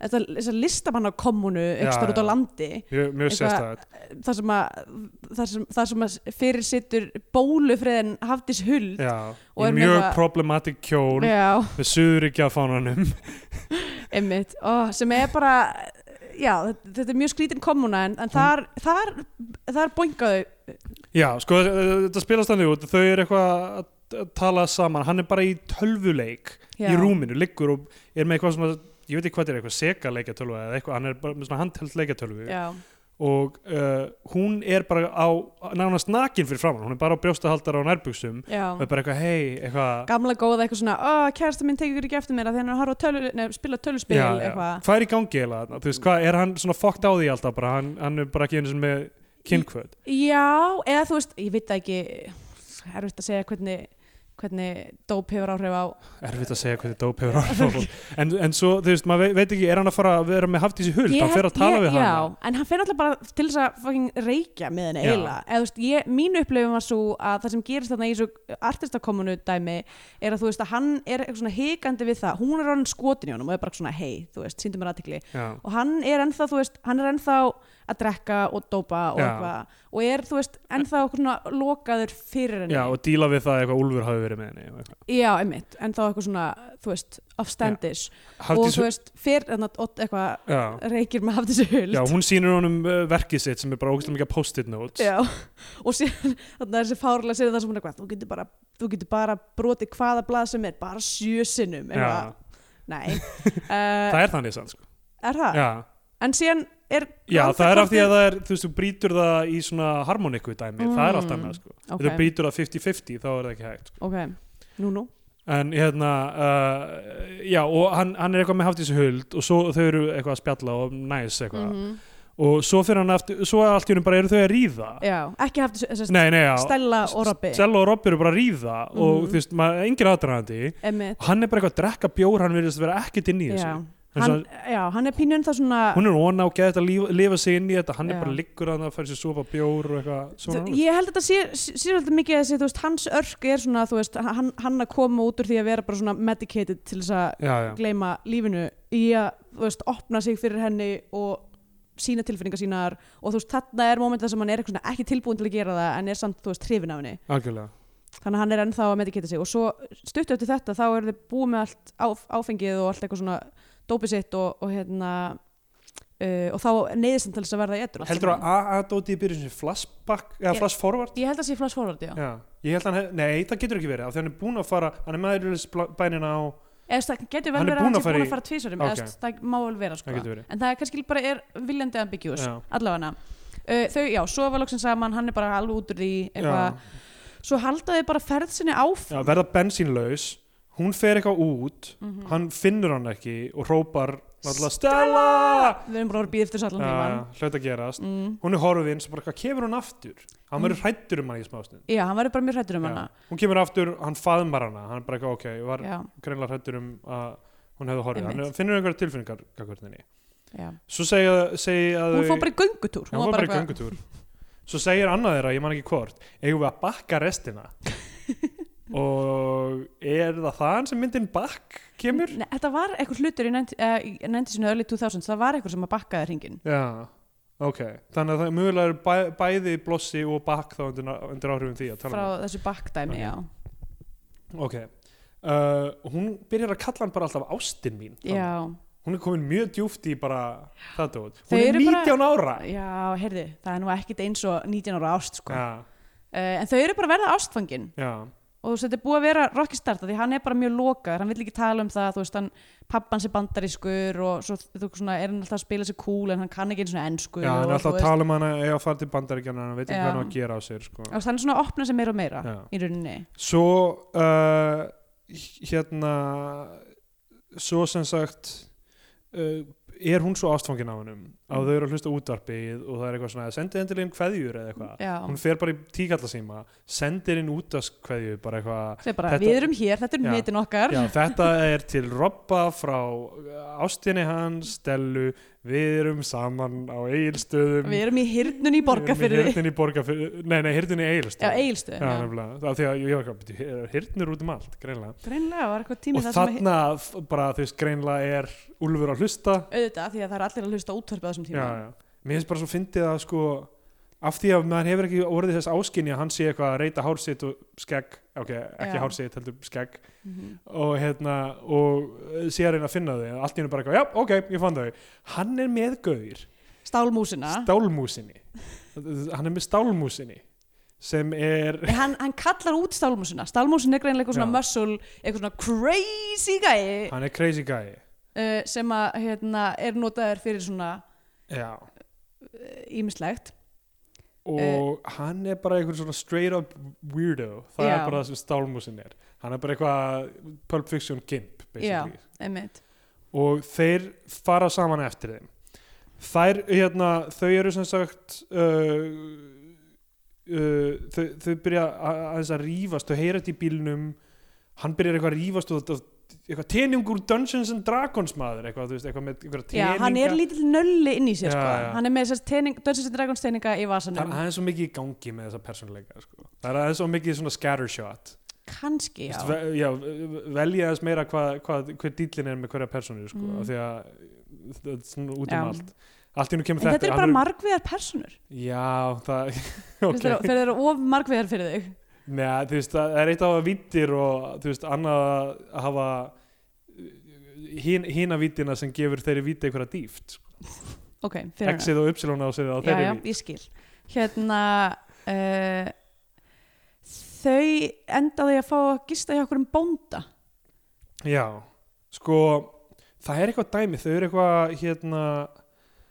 C: þetta þessa listamanna kommunu ekstra
B: Já,
C: út á
B: já.
C: landi,
B: Mjög, mjög
C: Eitthvað-
B: sérstæðið
C: þar sem að, þar sem, þar sem að fyrir sittur bólufriðin Hafdís Huld.
B: Já,
C: Og
B: í
C: er með
B: mjög
C: eitthvað-
B: problematic kjól
C: Já,
B: með suðuríkja fánanum
C: Einmitt, og sem er bara já, þetta- þetta er mjög skrítin kommuna en, en þar, þar, þar boingaðu
B: Já, sko, þetta spilast þannig út Þau eru eitthvað að að tala saman Hann er bara í tölvuleik
C: já,
B: í rúminu, liggur og er með eitthvað svona ég veit ekki hvað þetta er, eitthvað seka leikjatölvu eða eitthvað, hann er bara með svona handheld leikjatölvu
C: já,
B: og uh, hún er bara á nánast nakin fyrir framann, hún er bara á brjóstahaldara og nærbuxum og
C: já.
B: er bara eitthvað, hei, eitthvað
C: gamla góða eitthvað svona oh, kærasta minn tekur ekki eftir mér að því hann er að horfa á tölu, nef, spila töluspil eitthvað
B: hvað er í gangi eiginlega, þarna? þú veist, hvað er hann svona fokkt á því alltaf bara, hann, hann er bara ekki einu sem með kynkvöld
C: Já, eða þú veist, ég veit það ekki erfitt að segja hvernig hvernig dóp hefur áhrif á
B: erfitt að segja hvernig dóp hefur áhrif á fólk. en, en svo, þú veist, maður vei- veit ekki er hann að fara að vera með Hafdísi Huld hann fer að tala
C: ég,
B: við hana
C: Já, en hann fer alltaf bara til þess að fucking reykja með henni
B: Já.
C: eiginlega eða þú veist, ég, mín upplöfum var svo að það sem gerist þarna í þessu artistakomunu dæmi er að þú veist að hann er eitthvað svona hikandi við það, hún er orðin skotin í honum og er bara svona hei, þú veist, síndum mér aðtikli
B: já.
C: og hann er ennþá, þú veist, hann er ennþá að drekka og dópa og
B: Já.
C: eitthvað og er, þú veist, ennþá okkur svona lokaður fyrir henni
B: já, og díla við það eitthvað Úlfur hafi verið með henni og eitthvað.
C: Já, einmitt, ennþá eitthvað svona, þú veist, offstandish og
B: Hafdís
C: þú veist, fyrir þarna Odd eitthvað
B: já.
C: reykir með Hafdísi Huld
B: já, hún sýnir honum uh, verkið sitt sem er bara ógæslega mikið post-it notes
C: Já, [LAUGHS] og síðan þarna þessi fárlega sér það sem hún er hvað, þú getur bara, þú getur bara brotið hvaða blað sem er, bara sjö sinnum,
B: Já.
C: eitthvað,
B: [LAUGHS]
C: nei. Uh,
B: það er þannig sann sko.
C: er það?
B: já.
C: En síðan er...
B: já, það er af því að það er, þú veist, þú brýtur það í svona harmoniku dæmi, það er allt
C: Mm.
B: annað sko.
C: Ok.
B: okay. þú brýtur það 50-50 þá er það ekki hægt sko.
C: Ok, nú nú.
B: En hérna, uh, já, og hann, hann er eitthvað með Hafdísi Huld og svo þau eru eitthvað að spjalla og næs eitthvað. Og svo fyrir hann aftur, svo allt í hennum bara eru þau að ríða.
C: Já, ekki haft þess að
B: Nei, nei, já.
C: stella og robbi,
B: Stella og Robby eru bara að ríða og
C: Mhm.
B: þú veist, maður, engir aðdragandi.
C: emmitt.
B: Og hann er bara eitthvað að drekka bjór, hann virðist að vera ekkert inn í þessu.
C: Já.
B: Hann,
C: Hann,
B: svo,
C: já, hann er pínun það svona...
B: hún er óna og geða þetta að lífa, lifa sig inn í þetta, hann
C: Já.
B: er bara liggur að það fær sér sopa bjór og eitthvað svona.
C: Þú- Ég held að þetta sé- sé sé svolítið mikið að þessi, þú veist, hans örk er svona, þú veist, hann, hann að koma út úr því að vera bara svona medicated til þess að
B: já, já.
C: gleyma lífinu í að þú veist, opna sig fyrir henni og sína tilfinningar sínar og þú veist, þarna er mómentið sem hann er eitthvað svona ekki tilbúin til að gera það en er samt, þú veist, hrifin af henni
B: Algjörlega.
C: þannig að hann er ennþá að medikita sig og svo stuttu eftir þetta þá eru þið búið með allt áf áfengið og allt eitthvað svona dópið sitt og, og hérna uh, og þá neyðist hann til þess að verða edru
B: Heldur að AA-dóti í byrjun sem flashback, eða
C: Ég-
B: flash forward?
C: Ég held að sé flash forward, já.
B: Já, ég held að hann hef, nei það getur ekki verið af því hann er búinn að fara, hann er maður bænina á,
C: Eða þú veist, það getur vel
B: Hann er
C: verið að hann
B: búinn
C: sé
B: að fara
C: búin að
B: í-
C: fara tvísvarum,
B: Ok.
C: okay. eða það má vel vera, sko.
B: Það getur verið.
C: En það er kannski bara er viljandi ambiguous,
B: Já.
C: allavega hana. þau, já, svo var loksin saman, hann er bara alveg út úr því,
B: já,
C: eitthvað. Svo haldaði bara ferð sinni áfram.
B: já, verða bensínlaus hún fer eitthvað út
C: Mhm.
B: hann finnur hann ekki og hrópar náttúrulega Stella
C: Við erum bara að býða eftir svo allan
B: Já,
C: tíman.
B: hlaut að gerast
C: Mm.
B: hún er horfin, svo bara hvað kemur hún aftur hann verður hrættur um hann í smástund
C: Já, hann var bara mjög hrættur Mm. um hana.
B: hún kemur aftur, hann faðmar hana hann er bara eitthvað ok, var
C: Já,
B: greinlega hrættur um að hún hefði horfið, hann
C: Einmitt.
B: er- finnur einhverja tilfinningar gagnvart henni.
C: já.
B: svo segja, segja að
C: Hún
B: þau-
C: fór bara í göngutúr.
B: Já, hún var bara í
C: eitthvað-
B: göngutúr Svo segir annað þeirra, ég man ekki hvort eigum við að bakka
C: [LAUGHS]
B: restina og er það þaðan sem myndin bakk kemur?
C: Nei, þetta var eitthvað hlutur í nefndi sinni early 2000, það var eitthvað sem að bakkaði hringin.
B: Já, ok Þannig að það mjögulega eru bæ, bæði blossi og bakk þá undir, undir áhrifum því að tala
C: Frá þessu bakkdæmi,
B: Ok.
C: já.
B: um Ok Uh, hún byrjar að kalla hann bara alltaf ástin mín
C: Já,
B: hún er komin mjög djúft í bara það dót,
C: Þau
B: hún er
C: eru bara-
B: 19 ára
C: já, heyrði, það er nú ekkit eins og 19 ára ást, sko.
B: já,
C: Uh, en þau eru bara að verða ástfangin
B: já,
C: og þú veist, þetta er búið að vera rockistarta því hann er bara mjög lokaður, hann vill ekki tala um það þú veist, hann, pappan sé bandarískur og svo þú veist, svona, er hann alltaf að spila sér cool en hann kann ekki eins og ennsku
B: já, hann er
C: og,
B: alltaf
C: þú
B: að tala um hana eða að fara til bandaríkjana, hann veit ekki
C: Já.
B: hvað hann á að gera á sér sko.
C: Þú veist, hann er svona að opna sér meira og meira
B: Já.
C: í rauninni
B: svo uh, hérna svo sem sagt uh, er hún svo ástfangin á hennum
C: Mm.
B: að þau eru að hlusta á útvarpið og það er eitthvað svona sendið endilinn kveðjur eða eitthvað
C: já,
B: hún fer bara í tíkallasíma sendir inn útvarpkveðju bara eitthvað
C: það er bara,
B: þetta-
C: við erum hér, þetta
B: Já.
C: er neitin okkar
B: Já, þetta er til Robba frá uh, ástinni hans, Stellu, við erum saman á Egilstöðum.
C: við erum í hirnun í borgarfyrði
B: Hirdin í borgarfyrði, nei, nei, hirdin í
C: já,
B: Egilstöðum.
C: eigilstu
B: Já, nefnilega, það því að ég var ekki að hirdnir út um allt, greinlega.
C: greinlega var eitthvað tími
B: og
C: það sem að
B: þarna f- bara þú veist greinlega er Úlfur að hlusta
C: auðvitað, því að það er allir að hlusta útvarpið á þessum
B: já,
C: tíma
B: já. mér finnst bara svo fyndið að sko af því að maður hefur ekki orðið þess áskinni að hann sé eitthvað að reyta hár sitt og skegg ok, ekki
C: Já.
B: hár sitt, heldur skegg
C: Mhm.
B: og hérna, og uh, sé að reyna að finna þau en allt í hennu bara eitthvað, já, ok, ég fann þau hann er með gaur,
C: stálmúsina
B: stálmúsinni hann er með stálmúsinni sem er
C: Nei, hann, hann kallar út stálmúsina stálmúsin er greinlega eitthvað svona
B: Já.
C: muscle eitthvað svona crazy gæi
B: hann er crazy guy
C: uh, sem að hérna, er notaður fyrir svona
B: já,
C: ímislegt Eh,
B: og hann er bara einhver svona straight up weirdo það
C: Já.
B: er bara það sem stálmúsin er hann er bara eitthvað Pulp Fiction gimp basically.
C: einmitt
B: og þeir fara saman eftir þeim þær, hérna, þau eru sem sagt uh, uh, þau, þau byrja að, aðeins að rífast, þau heyra þetta í bílnum hann byrjar eitthvað að rífast og þetta eitthvað teningur Dungeons and Dragons maður, eitthvað, þú veist, eitthvað með eitthvað
C: Já, hann er lítill nölli inn í
B: Já,
C: sér sko.
B: já.
C: Hann er með þessar teining, Dungeons and Dragons teininga í
B: Það
C: vasanum
B: er aðeins svo mikið í gangi með þessa persónuleika sko. Það er aðeins svo mikið svona scattershot
C: Kanski, já
B: Vist, ve já, ve- velja aðeins meira hvað, hvað, hver dýllin er með hverja persónu sko,
C: Mm.
B: af því að það er svona út um
C: Já.
B: allt Allt í nú kemur
C: En þetta
B: þetta
C: eru
B: hann
C: bara margveðar personur
B: Já, það, [LAUGHS]
C: okay.
B: ok
C: Þeir eru of margveðar fyrir þau
B: Nei, þú veist, það er eitt að hafa vittir og þú veist, annað að hafa hin, hina vittina sem gefur þeirri vitti einhverja dýft sko.
C: Ok, fyrir hana
B: Exið og Upsilon á sér á
C: já,
B: þeirri
C: já,
B: vitt
C: ég skil hérna uh, þau endaði að fá að gista hjá okkur um bónda
B: Já, sko það er eitthvað dæmi, þau eru eitthvað hérna,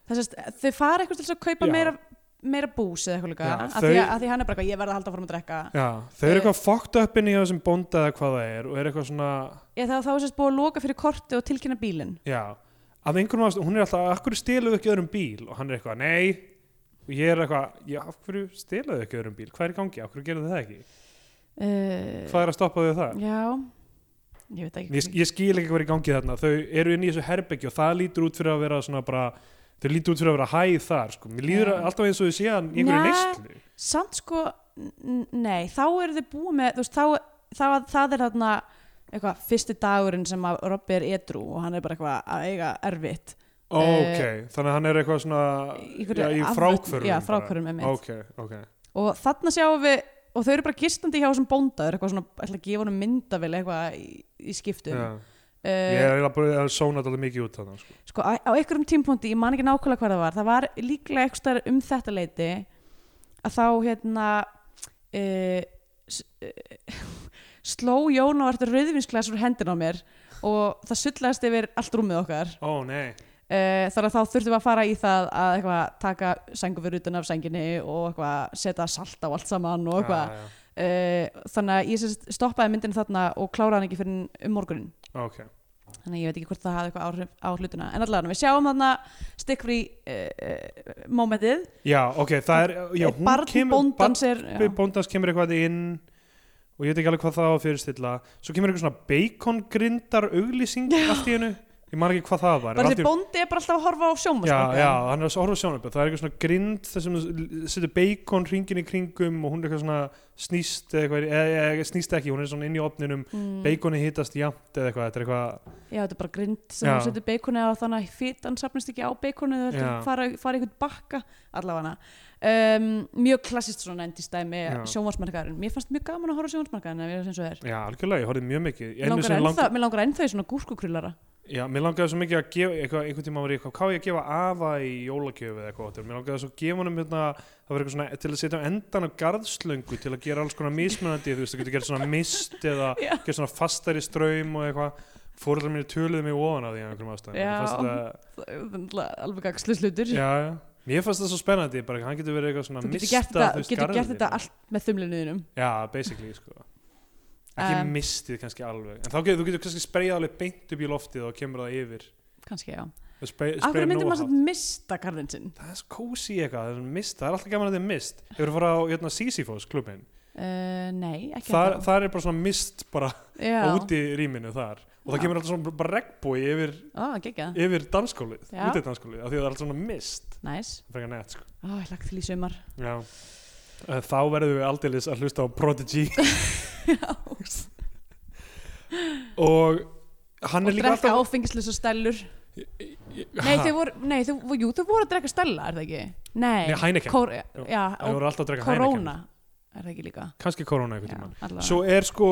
C: Þessast, þau fara eitthvað til þess að kaupa
B: Já.
C: meira, meira bús eða eitthvað líka
B: Já,
C: af,
B: þau-
C: því að, af því hann er bara eitthvað, ég verð að halda fórum að drekka
B: Já, þau eru eitthvað fokkt upp inn í þessum bónda eða hvað það er og er eitthvað svona,
C: ég þá þá er sérst búið að loka fyrir korti og tilkynna bílinn
B: já af einhverjum ástæðum, hún er alltaf, akkur stiluðu ekki öðrum bíl og hann er eitthvað, nei og ég er eitthvað, já, af hverju stiluðu ekki öðrum bíl, hvað er í gangi, af hverju gerðu það ekki
C: uh,
B: hvað er að stoppa þau það?
C: já ég veit ekki
B: Ég, ég skil ekki hvað er í gangi þarna, þau eru inn í þessu herbergi og það lítur út fyrir að vera svona bara þau lítur út fyrir að vera hæð þar, sko mér líður
C: Já.
B: alltaf eins og þau séðan í einhverju
C: Nei.
B: neyslu
C: samt sko, n- nei þá eru þau búið með, þú veist þá, þá, það er þarna eitthvað fyrsti dagurinn sem að Robby er edru og hann er bara eitthvað að eiga erfitt
B: ok, þannig að hann er eitthvað svona
C: Eh, einhverju
B: já, í
C: afvötn-
B: frákvörum
C: já, fráhvörfum, einmitt.
B: ok, ok,
C: og þarna sjáum við og þau eru bara gistandi hjá þessum bónda þau eru eitthvað svona, ætla að gefa honum myndavel eitthvað í, í skiptum
B: já. Ég
C: uh,
B: er eiginlega bara að sóna þetta mikið út þannig sko.
C: sko, á, á einhverjum tímpunkti, ég man ekki nákvæmlega hvað það var það var líklega eitthvað stær um þetta leiti að þá hérna uh, s- uh, [LAUGHS] sló Jón á eftir rauðvinsglas úr hendin á mér og það sullast yfir allt rúmið okkar
B: Ó nei,
C: uh, þar að þá þurftum við að fara í það að eitthvað, taka sængufur utan af sænginni og eitthvað, setja salt á allt saman og eitthvað
B: já,
C: Eh, þannig að ég sem sagt stoppaði myndinu þarna og kláraði hann ekki fyrir um morgunin
B: já, ok
C: þannig að ég veit ekki hvort það hafði eitthvað áhrif á hlutina en allavega við sjáum þarna stikkfrí uh, uh, momentið Eh,
B: Já, ok, það er, já, hún
C: barn
B: kemur
C: bóndans er já,
B: barn bóndans kemur eitthvað inn og ég veit ekki alveg hvað það á að fyrirstilla svo kemur eitthvað svona beikongrindar auglýsing allt í hennu, ég man ekki hvað það var en
C: bara
B: allt í
C: þessi
B: einu-
C: bóndi er bara alltaf að horfa á sjóma
B: Já, já, hann er að horfa sjónupið, það er eitthvað svona grind þar sem þú setur beikon ringin í kringum og hún er eitthvað svona snýst eða eitthvað, eða, eða snýst ekki, hún er svona inn í opninum
C: Mm.
B: beikoni hittast jafnt eða eitthvað, þetta er eitthvað
C: já, þetta er bara grind sem
B: Já.
C: hún setur beikonið á þannig að fítan safnist ekki á beikonið þetta
B: Já.
C: fara, fara í einhvern bakka allavega um, mjög klassist svona endistæmi
B: Já.
C: sjónvarsmarkaðurinn, mér fannst mjög gaman að horfa sjónvarsmarkaðurinn ef ég er sem svo er
B: Já, algjörlega, ég horfði mjög mikið Einu
C: Mér langar
B: sinni
C: ennþá- mig langar ennþá í svona gúrkukrullara
B: [LAUGHS] Já, mér langaði svo mikið að gefa, eitthvað, einhvern tíma var ég eitthvað, hvað á ég að gefa afa í jólagjöfu eða eitthvað, áttur? mér langaði svo að gefa honum hérna, það var eitthvað svona, til að setja á endan á garðslöngu til að gera alls konar mismunandi, þú veist, þú getur gert svona mist eða
C: Já.
B: gera svona fastari straum og eitthvað, fóröldar mínu töluðu mig ofan að því að einhverjum ástæðum,
C: Já.
B: Mér fannst það-
C: Það er náttúrulega alveg gagslu slutur
B: já, já, mér fannst það svo spennandi, bara hann getur verið eitthvað svona
C: þú getur
B: mista,
C: gert þetta,
B: þú veist,
C: getur gert
B: garðinn.
C: þetta allt með þumlinuðinum
B: Já, basically, sko. Ekki
C: Um,
B: mistið kannski alveg, en þá getur þú getur kannski spreyjað alveg beint upp í loftið og kemur það yfir.
C: kannski já,
B: Þú Spray,
C: af
B: spreyjar
C: hverju myndir
B: nógu
C: maður
B: hátt.
C: samt mista garðin sinn
B: það er svo kósi eitthvað, það er mist, það er alltaf gaman að það er mist ég verið að fara á hérna, Sisyphos klubin
C: uh, nei, ekki
B: þar, þar er bara svona mist bara á
C: það
B: úti rýminu þar og það
C: Já.
B: kemur alltaf svona bara regnbói yfir,
C: ó, gegja,
B: yfir danskólið,
C: Já.
B: úti danskólið af því að það er alltaf svona mist,
C: næs
B: frekar nett sko.
C: ó, ég lagt til í
B: [LAUGHS]
C: sumar
B: já Eh, þá verðum við aldeilis að hlusta á Prodigy og hann
C: og
B: er líka
C: drekka
B: alltaf
C: áfengislega stælur nei,
B: Ha?
C: þau voru, nei, þau, jú, þau voru að drekka stæla er það ekki?
B: Nei,
C: nei,
B: Heineken.
C: kor, já,
B: Jú. Þau
C: og
B: voru alltaf að drekka Heineken
C: korona er það ekki líka
B: kannski korona einhvern
C: já,
B: tímann
C: allavega.
B: Svo er sko,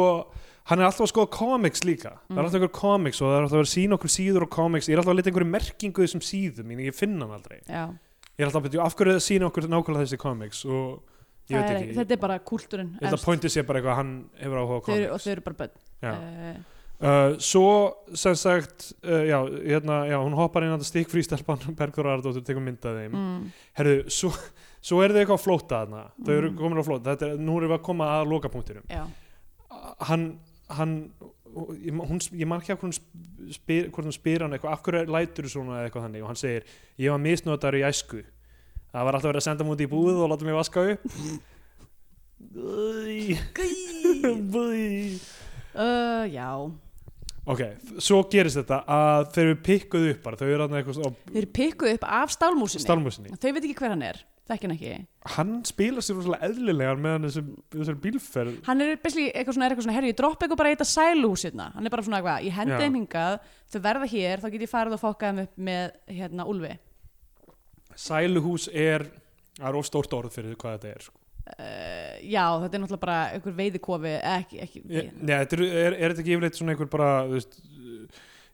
B: hann er alltaf að skoða comics líka Það
C: Mhm.
B: er alltaf einhver comics og það er alltaf að vera að sína okkur síður og comics Ég er alltaf að leta einhverju merkingu í þessum síðum Ég ég finn hann aldrei
C: já,
B: Ég er alltaf að byrja, af hverju er það að sína okkur nákvæmlega þessi comics Og ég
C: það
B: veit
C: er,
B: ekki
C: þetta er bara kultúrin
B: Ég held að pointi sé bara eitthvað að hann hefur áhuga á
C: þau eru, og
B: comics
C: þau eru bara bönn
B: Já.
C: uh,
B: Uh, Svo sem sagt, uh, já, hérna, já, hún hoppar inn að stikk frístelpan Bergþóra Ardóttur tekur myndað þeim
C: mm,
B: Herðu, svo, svo er þau eitthvað að flóta þarna Þau eru
C: Mm.
B: komin á flóta, þetta er, nú erum við að koma að lokapunktinum
C: já,
B: hann, hann og ég, hún, ég man ekki að hún sp- spyr, hvort hún spyr hann eitthvað af hverju lætur svona eða eitthvað þannig og hann segir ég var misnotar í æsku það var alltaf verið að senda múti í búið og láta mig vaska upp Búi. Búi.
C: Uh, já,
B: ok, f- svo gerist þetta að þeir eru pikkuð upp bara, þau eru hann eitthvað á
C: þeir eru pikkuð upp af stálmúsinni
B: stálmúsinni
C: Þau veit ekki hver hann er, þekki hann ekki
B: hann spila sér rosalega eðlilegan meðan þessum, þessum bílferð
C: Hann er basically eitthvað svona, er eitthvað svona herri, ég droppa eitthvað bara í þetta sæluhús hérna Hann er bara svona eitthvað, ég hendi
B: Já.
C: þeim hingað Þau verða hér, þá get ég farið og fokkað þeim upp með hérna Úlfi uh,
B: sæluhús er það er of stórt orð fyrir hvað þetta er sko.
C: Eh, Já, þetta er náttúrulega bara einhver veiðikofi eh, ekki, ekki,
B: Ég- Nei, þetta er, er, er þetta ekki yfirleitt svona einhver bara þú veist,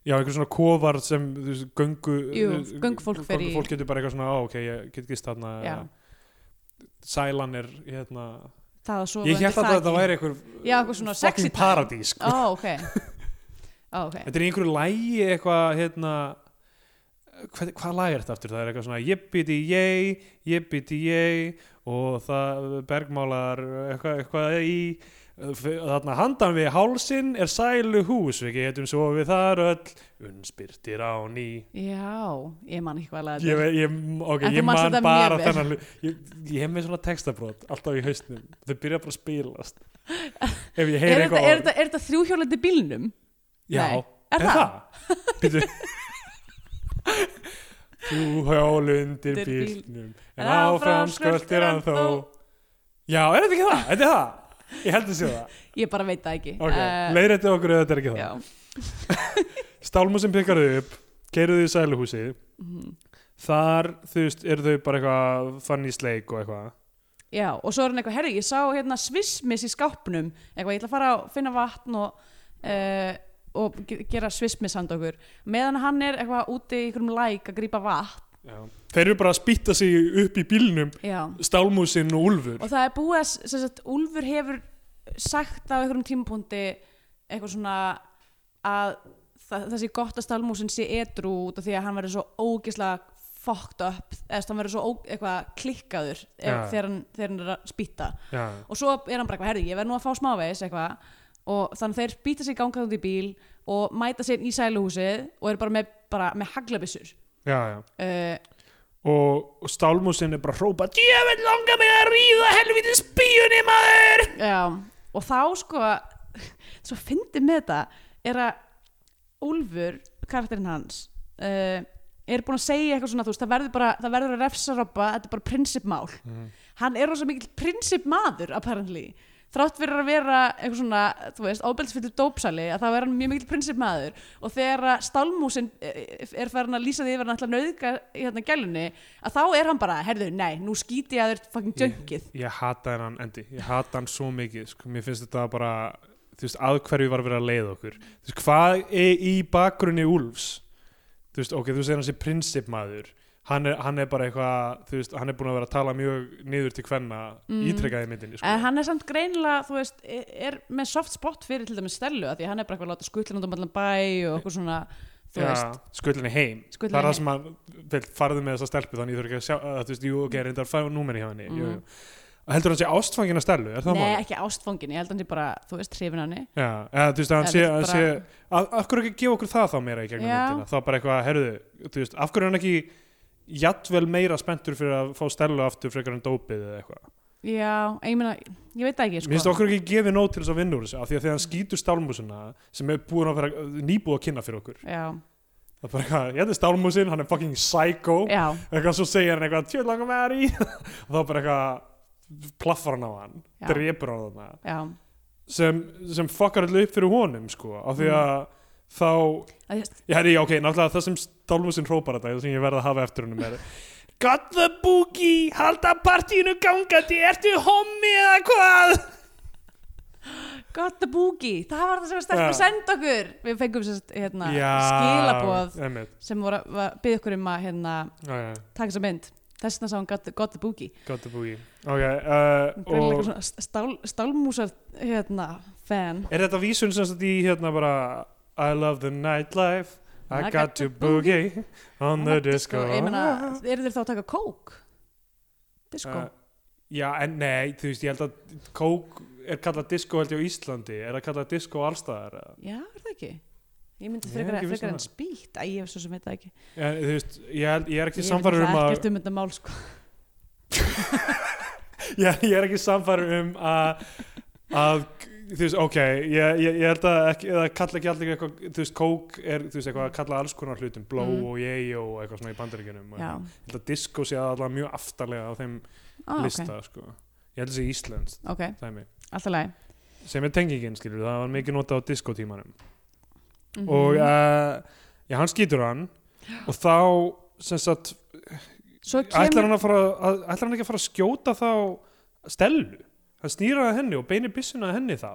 B: já, einhver svona kofar sem þú veist, göngu
C: Jú, göngufólk fer í-
B: göngufólk getur bara eitthvað svona, á, ok, ég get gist þarna
C: Já.
B: eða sælan er hérna
C: það að sofa
B: ég
C: undir
B: held að þetta
C: þaki.
B: væri einhver
C: Já, eitthvað svona sexy
B: fucking
C: time.
B: paradís sko.
C: Ó, ok Ó, ok
B: þetta er í einhverju lægi eitthvað hérna Hvað, hvað lag er þetta aftur? Það er eitthvað svona jippiti jei, jippiti jei og það bergmálar eitthvað, eitthvað í þarna handan við hálsin er sælu hús, við getum svo við þar öll, unnspyrtir á ný
C: Já, ég man ekki hvað að
B: ég, vei- ég, ok,
C: En þú
B: ég
C: manst
B: man
C: þetta
B: bara
C: mjög vel.
B: þennan hlut. ég, ég hef með svona textabrót alltaf í hausnum, þau byrja bara að
C: [LAUGHS]
B: spilast ef ég heyri
C: Er þetta,
B: eitthvað
C: er
B: orð.
C: þetta, er þetta þrjúhjólandi bílnum?
B: Já,
C: Nei. Er
B: er það? Býtu Þú hjól undir
C: Undir bíl-
B: bílnum En áfram skvöldir hann þó Já, er þetta ekki það? Þetta er það? Ég held að sé
C: [LAUGHS]
B: það
C: Ég bara veit það ekki
B: Ok,
C: Eh,
B: leiðrætti okkur ef þetta er ekki
C: Já,
B: það Stálmúsin pikkar þau upp Keiruðu í sæluhúsi
C: Mhm.
B: Þar, þú veist, eru þau bara eitthvað fann í sleik og eitthvað
C: já, og svo er hann eitthvað, herri, ég sá hérna svismis í skápnum, eitthvað, ég ætla að fara að finna vatn og, uh, og ge- gera svismis handa okkur meðan hann er eitthvað úti í einhverjum læk að grípa vatn,
B: Já. Þeir eru bara að spýta sig upp í bílnum
C: já
B: Stálmúsin og Úlfur
C: og það er búið að, s- sem sagt, Úlfur hefur sagt á einhverjum tímapunkti eitthvað svona að það, það sé gott að stálmúsin sé edru út af því að hann verður svo ógislega fucked up, eða þú veist, hann verður svo ó, eitthvað klikkaður
B: Já.
C: ef, þegar, hann, þegar hann er að spýta
B: Já,
C: og svo er hann bara eitthvað, herði, ég verð nú að fá smávegis eitthvað og þannig þeir býta sig gangað út í bíl og mæta sér í sæluhúsið og eru bara með, bara með haglabissur
B: já, já
C: uh,
B: og stálmúsin er bara að hrópa djöfell langar mig að ríða helvítið spíunni maður
C: Já, og þá sko svo fyndið með þetta er að Úlfur karakterinn hans uh, er búin að segja eitthvað svona þú veist, það verður bara, það verður að refsa robba þetta er bara prinsipmál hann er rosa mikill prinsipmaður apparently þrátt fyrir að vera eitthvað svona, þú veist, óbeltsfyllir dópsali að þá er hann mjög mikill prinsipmaður og þegar að stálmúsin eh, er farin að lýsa því yfir hann alltaf nöðga í hérna gælunni, að þá er hann bara, herðu, nei, nú skýti ég að þér fucking djöngið
B: ég hata hennan endi, ég hata hann svo mikið sko. mér finnst þetta bara þú veist, að hverju var verið að leiða okkur þú veist, hvað er í bakgrunni Úlfs þú veist, ok, þú segir hann sé prinsip maður hann er, hann er bara eitthvað þú veist, hann er búin að vera að tala mjög niður til hvenna mm. ítrekkaði myndinni sko.
C: En hann er samt greinilega, þú veist, er er með soft spot fyrir til dæmis Stellu að því að hann er bara eitthvað að láta skutlin út um allan bæ og okkur svona, þú veist,
B: skullinni heim
C: Skuldinni
B: það er það
C: heim.
B: sem að vel, farðu með þessa stelpu þannig ég þurf ekki að sjá að, þú veist, jú, ok,
C: Mm.
B: reyndar að fá númeri hjá henni jú,
C: Mhm.
B: jú. heldur hann sé ástfangin að stelu, er það
C: nei
B: málið?
C: ekki ástfóngin, ég held að hann sé bara, þú veist, hrifin hann
B: Já, eða þú veist að hann
C: Eða
B: sé,
C: þú
B: hann
C: veist,
B: sé að, af hverju ekki gefa okkur það þá meira í gegnum
C: Já.
B: myndina þá bara eitthvað, herðu, þú veist, af hverju er hann ekki jafnvel meira spenntur fyrir að fá stelu aftur frekar en dópið eða eitthvað
C: Já, en ég meina, ég veit það ekki,
B: Mér finnst
C: sko.
B: okkur ekki gefið nót til þess að vinna úr þessu af því að þegar hann skýtur stálmúsina sem er búin að vera nýbúið að kynna fyrir okkur
C: Já,
B: það er bara eitthvað, ég hefði stálmúsin, hann er fucking psycho
C: já,
B: eitthvað svo segir hann eitthvað, tjóð langar með í [LAUGHS] og þá bara eitthvað plaffar hann á hann,
C: Já.
B: drepur hann þarna
C: já.
B: sem, sem fokkar allir upp fyrir honum sko, af því að
C: Mm.
B: þá
C: Að þú veist,
B: Já, herri, já, ok, náttúrulega það sem Stálmusinn hrópar þetta, það sem ég verð að hafa eftir húnum er Got the boogie, halda partíinu gangandi, ertu hommi eða hvað?
C: Got the boogie, það var það sem var stelpur
B: Já.
C: að senda okkur. Við fengum sérst, hérna, skilaboð
B: einmitt,
C: sem voru að var- biðja okkur um að, hérna,
B: já, já,
C: taka þessa mynd. Þess vegna sá hann got, the- got the boogie.
B: got the boogie Ok, uh,
C: Greinilega
B: og
C: eitthvað svona st- stál, stálmúsar, hérna, fan.
B: er þetta vísun sem þetta í hérna bara I love the nightlife, I,
C: I
B: got, to boogie on the disco Ah.
C: Ég meina, eru þeir þá að taka kók? Disco?
B: Uh, Já, en nei, þú veist, ég held að kók er kallað disco held ég á Íslandi er það kallað disco allstaðar eða?
C: Já, er það ekki? Ég myndi
B: Ég er
C: frekar,
B: ekki viss um
C: frekar en
B: það.
C: spýtt Æ, ég hef svo sem veit það ekki
B: en, þú veist, ég, held, ég er ekki
C: Ég
B: samfæður um að
C: ekkert um þetta mál sko
B: [LAUGHS] ég, ég er ekki samfæður um að að, þú veist, ok ég, ég, ég held að ekki, eða kalla ekki allir eitthvað, þú veist, kók er, þú veist, eitthvað að kalla alls konar hlutum, bló
C: Mm.
B: og ég og eitthvað svona í bandaríkjunum og
C: Já,
B: ég held að disco sé allavega mjög aftarlega á þeim
C: ah, ok,
B: lista, sko ég held að sé Íslands,
C: ok,
B: dæmi
C: alltaf lagi
B: sem er tengingin, skilur, það var mikið notað á disco tímanum
C: Mhm.
B: og uh, já, hann skýtur hann og þá sem sagt,
C: Svo
B: ætlar
C: kemur
B: hann, að fara, að, ætlar hann ekki að fara að skjóta þá stelu hann snýra að henni og beinir byssuna að henni þá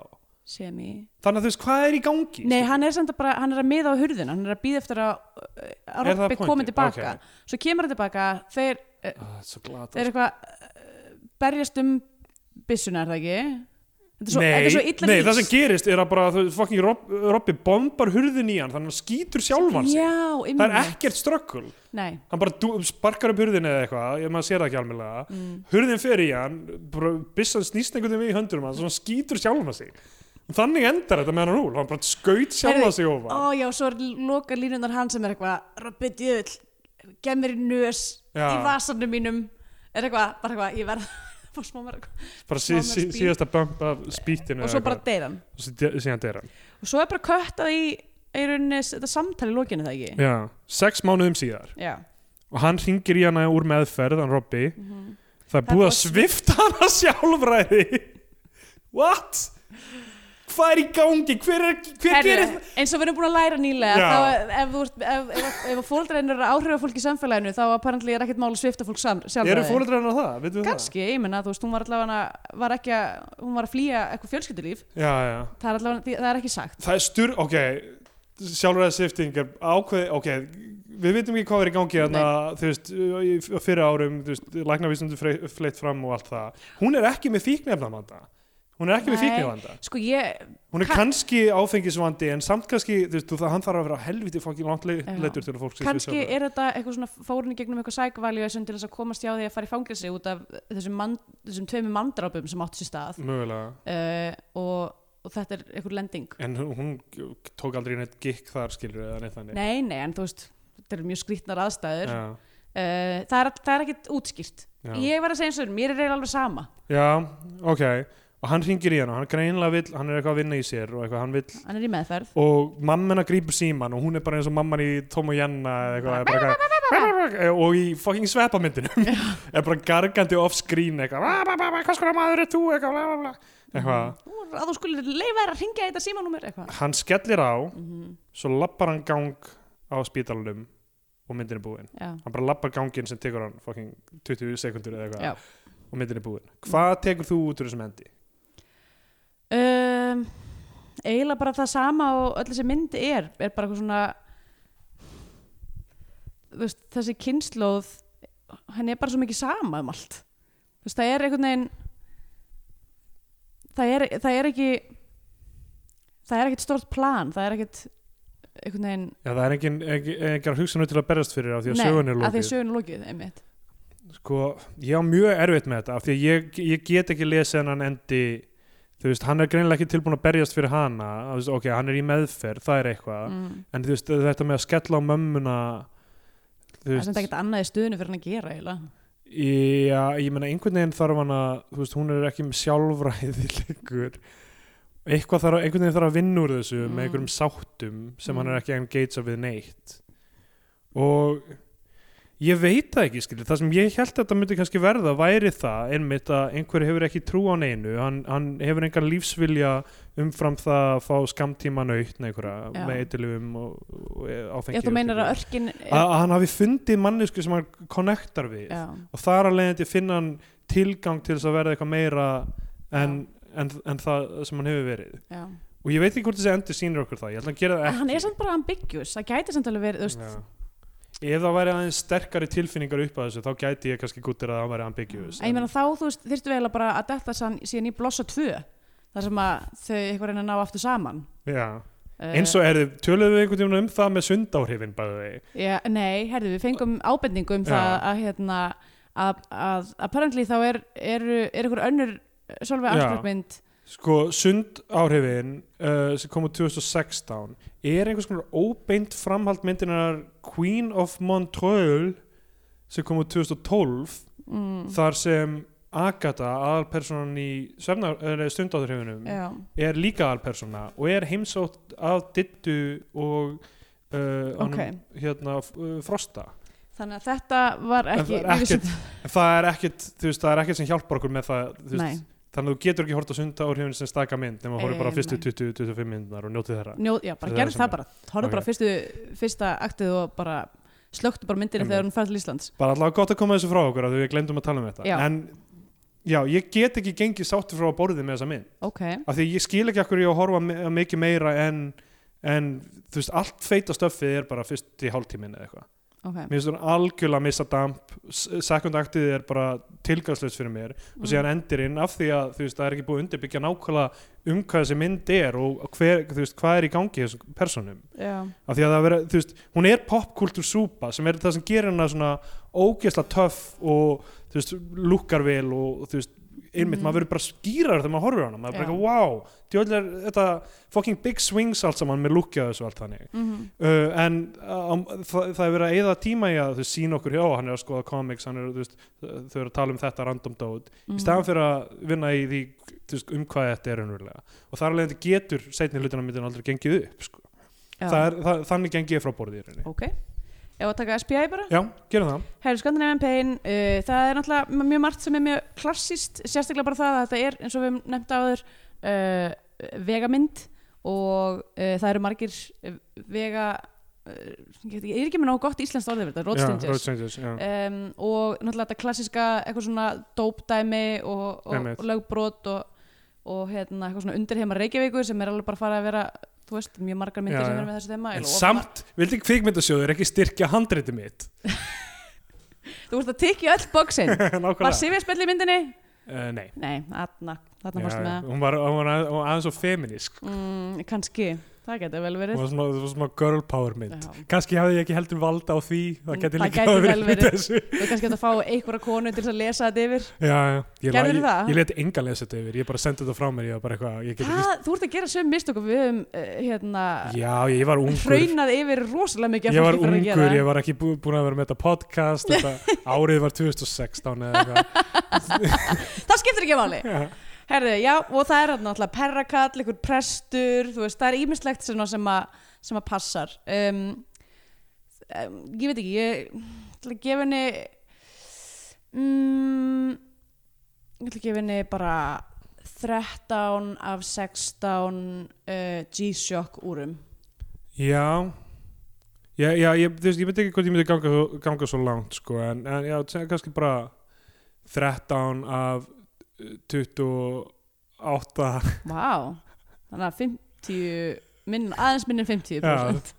C: sem í
B: þannig að þú veist hvað er í gangi
C: Nei,
B: skilur?
C: hann er samt að bara, hann er að miða á hurðina hann er að býða eftir að, uh, að
B: Er það
C: Robby komi
B: pointið?
C: tilbaka Svo kemur hann tilbaka, þeir,
B: Ah, það er svo glata
C: þeir eitthvað eh, berjast um byssuna, er það ekki? Þetta er svo, þetta
B: nei,
C: er svo illa
B: nei, það
C: lýst.
B: sem gerist er að bara þú veist, fucking Rob, Robby bombar hurðin í hann þannig að hann skýtur sjálfan sig
C: Já,
B: það er
C: ymmið,
B: ekkert ströggul
C: nei
B: hann bara dú- sparkar upp hurðin eða eitthvað ef maður sér það ekki almennilega
C: mm.
B: hurðin fer í hann, bara byssan snýst einhvern veginn við í höndurum hans og hann skýtur sjálfa sig og þannig endar þetta með hann rúl hann bara skaut sjálfa
C: Heyrðu,
B: sig ofan
C: Ó já, svo er loka línunar hann sem er eitthvað Robbi djöðl, gem mér í nös
B: Já.
C: í vasanum mínum er eitthvað, bara eitthvað, ég verð fá smá mér eitthvað
B: bara sí,
C: smá með
B: sí,
C: spýt.
B: síðasta bump af spýttinu
C: og
B: eða
C: svo bara
B: eitthvað.
C: deyr hann
B: og svo de- síðan deyr hann
C: og svo er bara köttað í, í rauninni þetta samtali í lokinu er það ekki
B: já, sex mánuðum síðar
C: Já,
B: og hann ringir í hana úr meðferð hann Robby,
C: Mhm.
B: það er búið að svifta hana sjálfræði what? hvað er í gangi? hver, er, hver
C: Herru,
B: gerir það?
C: eins og við erum búin að læra nýlega
B: Já.
C: þá ef, þú ert- ef, ef, ef, ef fóldrein eru áhrifa fólk í samfélaginu þá apparently er ekkert mál að svifta fólk sam-
B: eru
C: sjálfræði
B: fóreldrar hennar það? Vitum við
C: Kanski, ég menna, þú veist, hún var allavega var ekki að, hún var að flýja eitthvað fjölskyldulíf
B: það? já, já
C: það er allavega, það er ekki sagt
B: það er styr, ok sjálfræðisifting er ákveð ok, við veitum ekki hvað er í gangi þarna, þú veist, í- á fyrra árum þú veist, læknavísundu fleitt fram og allt það hún er ekki með fíknefnavanda hún er ekki með
C: Nei.
B: fíknefnavanda
C: Sko ég,
B: hún er
C: Ka-
B: kannski áfengisvandi en samt kannski, þú veist, þú- það, hann þarf að vera helviti fokkin langt le-
C: Já.
B: leittur til að fólk sé
C: kannski
B: sjálfræði.
C: er þetta eitthvað svona fórun í gegnum eitthvað sækvaljuðisum til þess að komast hjá því að fara í fangelsi út af þessum, mann, þessum tveimur mandrápum sem áttu sér stað
B: mögulega
C: uh, og, og þetta er eitthvað lending
B: en hún- hún tók aldrei neitt gikk þar skilur eða neitt þannig
C: Nei, nei, en þú veist, þetta eru mjög skrýtnar aðstæður uh,
B: já,
C: það, er, það er ekkit útskýrt
B: já.
C: Ég var að segja eins og þér, mér er eiginlega alveg sama
B: já, ok og hann ringir í hann og hann greinlega vill hann er eitthvað að vinna í sér og eitthvað, hann vill
C: Hann er í meðferð
B: og mamman að grípur síman og hún er bara eins og mamman í Tom og Janna eða eitthvað, bara eitthvað og í fucking svepamyndinu [LAUGHS] er bara gargandi off screen eitthvað "Bla, bla, bla, bla, hvað skoða maður er þú eitthvað, bla, bla, bla." eitthvað
C: Þú- Að þú skulle leifa þér að ringja þetta símanúmer eitthvað
B: hann skellir á
C: Mhm,
B: svo lappar hann gang á spítalunum og myndin er búin
C: Já,
B: hann bara lappar ganginn sem tekur hann fucking 20 sekundur eða
C: já.
B: eitthvað og myndin er búin hvað tekur þú út úr þessum hendi?
C: um, eiginlega bara það sama og öll þessi mynd er er bara eitthvað svona þú veist, þessi kynnslóð henni er bara svo mikið sama um allt þú veist, það er einhvern veginn það er, það er ekki það er ekkert stort plan það er ekkert einhvern veginn
B: Já, það er engin, engin, engin hugsanur til að berjast fyrir á því að
C: Nei,
B: sögun er
C: af því að
B: lókið
C: sögun er lokið einmitt.
B: Sko, ég á mjög erfitt með þetta af því að ég, ég get ekki lesið hennan endi þú veist, hann er greinilega ekki tilbúin að berjast fyrir hana, þú veist, ok, hann er í meðferð það er eitthvað,
C: mm.
B: en þú veist þetta með að skella á mömmuna þú
C: það er
B: veist,
C: sem ekkert annað í stöðinu fyrir hann að gera eiginlega.
B: já, ég meina einhvern veginn þarf hann að, þú veist, hún er ekki með sjálfræði lengur eitthvað þarf, einhvern veginn þarf að vinna úr þessu
C: Mm.
B: með einhverjum sáttum sem hann
C: Mm.
B: er ekki engagea við neitt og ég veit það ekki skilur, það sem ég held að þetta myndi kannski verða væri það einmitt að einhver hefur ekki trú á neinu, hann, hann hefur engan lífsvilja umfram það að fá skamtíma naut einhverja
C: Já.
B: með eitilum og, og áfengi
C: ég þú
B: og
C: meinar að
B: slíku.
C: örkin
B: að að hann hafi fundið mannesku sem hann konnektar við
C: já,
B: og þar að leiðandi finna hann tilgang til þess að verða eitthvað meira en, en, en það sem hann hefur verið
C: já.
B: og ég veit ekki hvort þessi endur sýnir okkur það ég ætla að gera það
C: En
B: ekki
C: hann er samt bara ambiguous, það gæti samt alveg verið þú veist,
B: Já. ef það væri aðeins sterkari tilfinningar upp að þessu þá gæti ég kannski gúttir að það væri ambiguous
C: En ég meina þá, þú veist, þyrftu eiginlega bara að detta sann, síðan í blossa 2 þar sem að þau eitthvað reyna að ná aftur saman Eh,
B: já. eins og er þið, töluðu við einhvern tímann um það með sundáhrifin bæði
C: já, Nei, herðu, við fengum ábendingu um
B: Já.
C: það að hérna að, að apparently þá er, er, er ykkur önnur eh, Solveig
B: Já.
C: Arnstrókmynd
B: Sko, sund áhrifin uh, sem kom úr 2016 er einhvers konar óbeint framhald myndinar Queen of Montreux sem kom úr 2012
C: mm,
B: þar sem Agatha, aðalpersonan í svefnar- eh, stundáðurhifinum
C: já,
B: er líka aðalpersona og er heimsótt af Dittu og uh,
C: Ok.
B: hérna f- uh, Frosta
C: þannig að þetta var
B: En
C: ekki
B: það er ekkert- en það er ekkert, þú veist, það er ekkert sem hjálpar okkur með það, þú
C: nei,
B: veist, þannig að þú getur ekki hort að sunda áhrifin sem staka mynd nema að horfa bara
C: Eh,
B: á fyrstu
C: nei.
B: 20-25 myndunar og njótið þeirra
C: njó, já, bara
B: Það er
C: gerði það
B: svona-
C: bara horfðu bara
B: Ok.
C: fyrstu, fyrsta aktið og bara slöktu bara myndinu
B: Einmitt.
C: þegar hún færð til Íslands
B: bara allavega gott að koma þessu frá okkur af því við glemdum að tala um þetta
C: Já.
B: en já, ég get ekki gengið sáttur frá borðið með þessa mynd
C: ok,
B: af því ég skil ekki okkur ég á að horfa me- mikið meira en, en þú veist, allt feita stöffið er bara fyrst í hálftímin eða eitthvað
C: ok
B: mér finnst það algjörlega að missa damp sekundaktið er bara tilgangslöst fyrir mér
C: Mm.
B: og síðan endirinn af því að þú veist, það er ekki búið að undirbyggja nákvæmlega um hvað þessi mynd er og hver, þú veist, hvað er í gangi í þessum personum
C: já,
B: af því að það vera, þú veist, hún er popkultúr súpa sem er það sem gerir hana svona ógeðsla töff og þú veist, lukkar vel og þú veist einmitt,
C: Mhm.
B: maður verður bara skýrar þegar maður horfir á hana maður er bara
C: Já.
B: eitthvað, wow, djóðlega er þetta fucking big swings allt saman með lukkja þessu allt þannig
C: mhm,
B: uh, en um, það, það er verið að eyða tíma í að þú veist, sína okkur, já, hann er að skoða comics hann er, þú veist, þau eru að tala um þetta random dót
C: Mhm.
B: í staðan fyrir að vinna í því þú veist, um hvað þetta er raunverulega og þar alveg getur seinni hlutina myndin aldrei gengið upp sko
C: já.
B: það er, það, þannig gengi ég frá borðið í rauninni
C: ok, ef að taka SPI bara
B: já, gerum það
C: Herri, Scandinavian Pain, uh, það er náttúrulega mjög margt sem er mjög klassist, sérstaklega bara það að þetta er, eins og við hefum nefnt áður, uh, vegamynd og uh, það eru margir eh, vega, uh, ég, veit ekki- ég er ekki með nógu gott íslenskt orðið fyrir þetta,
B: Já,
C: roadstrangers.
B: Road Strangers, já.
C: Um, og náttúrulega þetta klassiska eitthvað svona dópdæmi og, og,
B: Einmitt.
C: og lögbrot og, og hérna, eitthvað svona undirheima Reykjavíkur sem er alveg bara farið að vera, þú veist, mjög margar myndir
B: Já,
C: sem
B: já.
C: eru með þessi þema.
B: en samt, vildi kvikmyndasjóður ekki styrkja handreiti mitt [LAUGHS]
C: Þú veist að tykja öll bóksin. Var
B: nákvæmlega,
C: Sivja spell í myndinni?
B: uh, nei
C: Nei, þarna, þarna
B: Já,
C: fórstu
B: já.
C: með það.
B: hún var, hún var aðeins, aðeins og feminísk
C: Mm, kannski, það getur vel verið.
B: hún var svona, það var svona girl power mynd
C: Já. Mm,
B: kannski hafði ég ekki heldur valda á því það geti
C: Það
B: líka
C: gæti
B: verið
C: vel
B: hluti
C: verið.
B: þessu.
C: Við kannski getum að fá einhverja konu til þess að lesa þetta yfir.
B: já, já. ég, la-
C: Gerðirðu
B: ég,
C: það?
B: ég let enga lesa þetta yfir ég bara sendi þetta frá mér ég var bara eitthvað, ég get
C: Það, þú ert að gera söm mistök og við höfum, uh, hérna,
B: ekki já, ég var ungur
C: hraunað yfir rosalega mikið af
B: ég var
C: fólki fyrir að
B: ungur,
C: gera.
B: ég var ekki bú, búin að vera með þetta podcast
C: [LAUGHS]
B: þetta, árið var 2016 eða eitthvað
C: Það skiptir ekki máli.
B: Já.
C: Herðu, já, og það er þarna náttúrulega perrakall, einhver prestur, þú veist, það er ímislegt sem, að- sem, að, sem að passar. Um, um, ég veit ekki, ég ætla að gefa henni, um, ég ætla að gefa henni bara 13 af 16 uh, G-Shock úrum.
B: Já Já, já ég, þú veist, ég myndi ekki hvort ég myndi ganga svo, ganga svo langt sko, en, en já, t- kannski bara 13 af uh, [LAUGHS] 28
C: Vá, þannig að 50, minn, aðeins minn er 50%.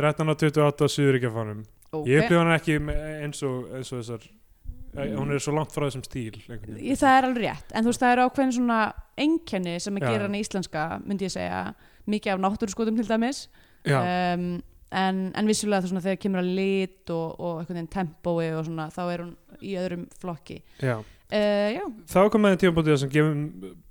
B: 13 af 28 suðuríkjafanum
C: Ok.
B: Ég upplifa hana ekki me- eins og, eins og þessar mm. hún er svo langt frá þessum stíl einhvern
C: Ég-
B: veginn.
C: það er alveg rétt, en þú veist það eru ákveðin svona einkenni sem að
B: Já.
C: gera hana íslenska myndi ég segja, mikið af náttúrskotum til dæmis
B: Já,
C: um, en, en vissulega það svona þegar kemur að lit og, og einhvern veginn tempói og svona þá er hún í öðrum flokki
B: já
C: uh, Já,
B: Þá er komið að tímabótið sem gefum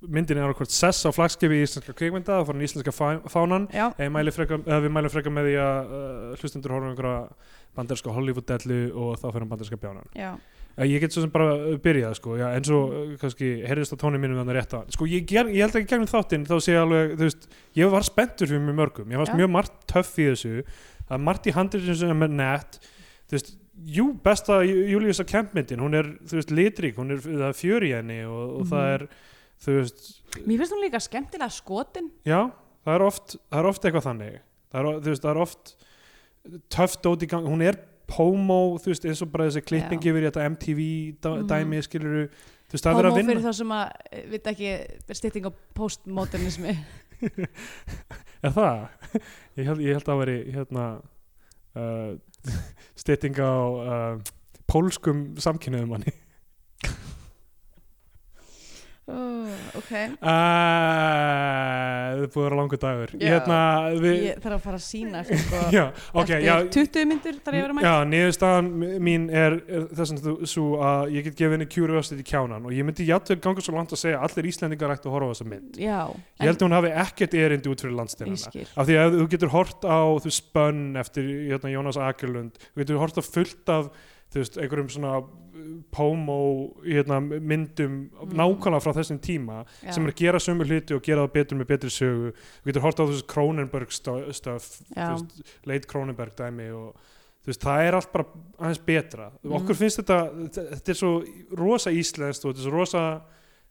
B: myndinni ára hvort sess á flagskipi í íslenska kvikmynda og fór hann í íslenska fá- fánan
C: já,
B: Ég mæli freka, uh, við mælum freka með því að uh, hlustendur horfum einhverja banderska Hollywood-dellu og þá fyrir banderska bjánan.
C: já,
B: Uh, ég get svo sem bara uh, byrjað, sko, já, eins og uh, kannski heyrðist á tónum mínum þannig rétt að. Sko, ég, ger, ég held ekki gegnum þáttinn, þá sé ég alveg, þú veist, ég var spenntur fyrir mjög mörgum. Ég varst
C: Já.
B: mjög margt töff í þessu. Það er margt í handriðinu sem er nett. Þú veist, jú, besta Júliusa Kempmyndin, hún er, þú veist, litrík, hún er, það er fjör í henni og, og það
C: Mhm.
B: er, þú veist,
C: mér finnst hún líka skemmtilega skotin
B: Já, það er oft, það er oft eitthvað þannig það er, o- þú veist, það er oft töft út í gang, hún er pomo, þú veist, eins og bara þessi klipping
C: Já.
B: yfir í þetta MTV dæ-
C: Mhm.
B: dæmi, skiluru þú veist, það er
C: Homo
B: að vinna,
C: fyrir þá sem að, eh, vita ekki stytting á postmodernismi
B: er það [LAUGHS] ég held, ég held að veri hérna uh, [LAUGHS] stytting á uh, [LAUGHS] pólskum samkynniðum manni
C: oh,
D: ok
B: Það er Ah, búið að vera langur dagur
D: Já.
B: Hérna, við,
D: Ég þarf að fara að sína sko,
B: [LAUGHS] já, ok,
C: Eftir
B: já
C: 20 myndur þarf ég að vera mætt
B: Já, niðurstaðan m- mín er, er þess að þú svo að ég get gefið henni curiosity kjánan og ég myndi játtur ganga svo langt að segja að allir Íslendingar ættu að horfa á þessa mynd
C: Já,
B: Ég held um að hún hafi ekkert erindi út fyrir landsteinana
C: ég skil
B: af því að þú getur hort á þú veist, spönn eftir hérna, Jónas Akerlund þú getur hort á fullt af þú veist, einhverjum svona uh, pómó hérna, myndum
D: Mm.
B: nákvæmlega frá þessum tíma
D: já.
B: sem er að gera sömu hluti og gera það betur með betri sögu þú getur hort á þessu Cronenberg sto- stuff þú
C: Já.
B: veist, leit Cronenberg dæmi og þú veist, það er allt bara aðeins betra
D: Mhm.
B: okkur finnst þetta, þetta er svo rosa íslenskt og þetta er svo rosa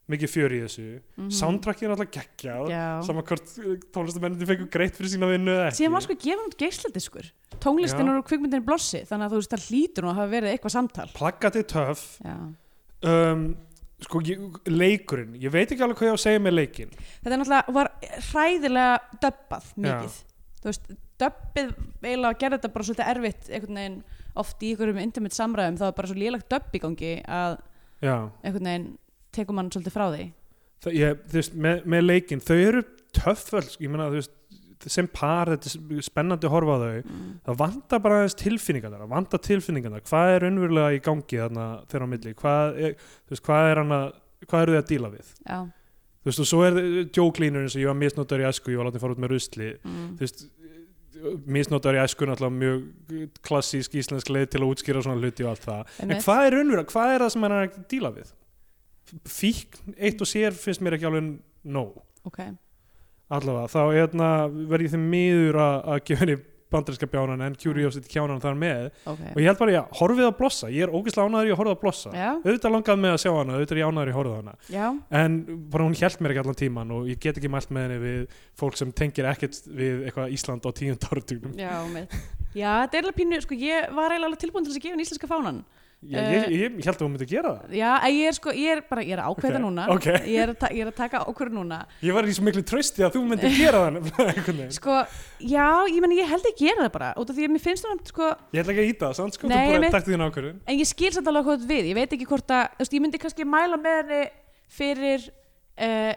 B: mikið fjör í þessu mm.
D: Mhm.
B: soundtrackin er alltaf geggjað
D: Já.
B: saman hvort tónlistamenninni fengur greitt fyrir sína vinnu eða
C: Síðan var
B: ekki
C: sko gefin út geisladiskur Tónlistin
B: Já.
C: og kvikmyndin er blossi Þannig að þú veist það hlýtur nú að hafa verið eitthvað samtal
B: plaggatið töff
C: Já.
B: um, sko ég, leikurinn, ég veit ekki alveg hvað ég á að segja með leikinn
C: Þetta er náttúrulega var hræðilega döbbað mikið
B: Já.
C: Þú veist, döbbið eiginlega gerði þetta bara svolítið erfitt einhvern veginn oft í einhverjum intimate samræðum þá er bara svo lélagt döbb í gangi að
B: já,
C: einhvern veginn tekur mann svolítið frá því
B: það, ég, þú veist, með, með leikinn þau eru töff öll, sko, ég meina þú veist sem par, þetta er spennandi að horfa á þau
C: Mm.
B: það vantar bara aðeins tilfinningarnar það vantar tilfinningarnar, hvað er unnverulega í gangi þarna þeirra á milli hvað er, þú veist, hvað er hana, hvað eru þið að díla við
C: Já,
B: þú veist, og svo er djóklínurinn sem ég var misnotar í æsku, ég var látið að fara út með rusli
C: mm.
B: þú veist, misnotar í æsku náttúrulega mjög klassísk íslensk leið til að útskýra svona hluti og allt það en
C: Einmitt.
B: hvað er unnverulega, hvað er það sem hann er að díla við fíkn eitt og sér finnst mér ekki alveg nóg
C: ok
B: allavega, þá hérna, verð ég þeim miður að, að gefa henni bandarinska bjánan en Curiosity kjánan þar með
C: Ok,
B: og ég held bara, já, horfið að blossa ég er ógeðslega ánæður í að horfa að blossa
C: já,
B: auðvitað langað með að sjá hana, auðvitað er ég ánæður í að horfa á hana
C: já,
B: en bara hún hjælt mér ekki allan tíman og ég get ekki mælt með henni við fólk sem tengir ekkert við eitthvað Ísland á tíund áratugum
C: já, mitt. Já, þetta er eiginlega pínu, sko, ég var eiginlega alveg tilbúin til þess að gefa henni íslenska fánan
B: ég,
C: Eh.
B: ég, ég, ég held að hún myndi gera það
C: Já, en ég er sko, ég er bara, ég er að ákveða
B: Ok,
C: núna
B: ok.
C: ég, er að ta- ég er að taka ákveða núna
B: ég var í svo miklu trösti að þú myndi gera það nefnilega, [LAUGHS] einhvern veginn.
C: Sko, já, ég meni, ég held ég gera það bara út af því að mér finnst það, sko,
B: ég ætla ekki að íta það, samt sko, þú
C: Nei,
B: bara
C: einmitt.
B: takti þín ákvörðun
C: en ég skil samt alveg hvað þú átt við, ég veit ekki hvort að, þú veist, ég myndi kannski mæla með henni fyrir uh,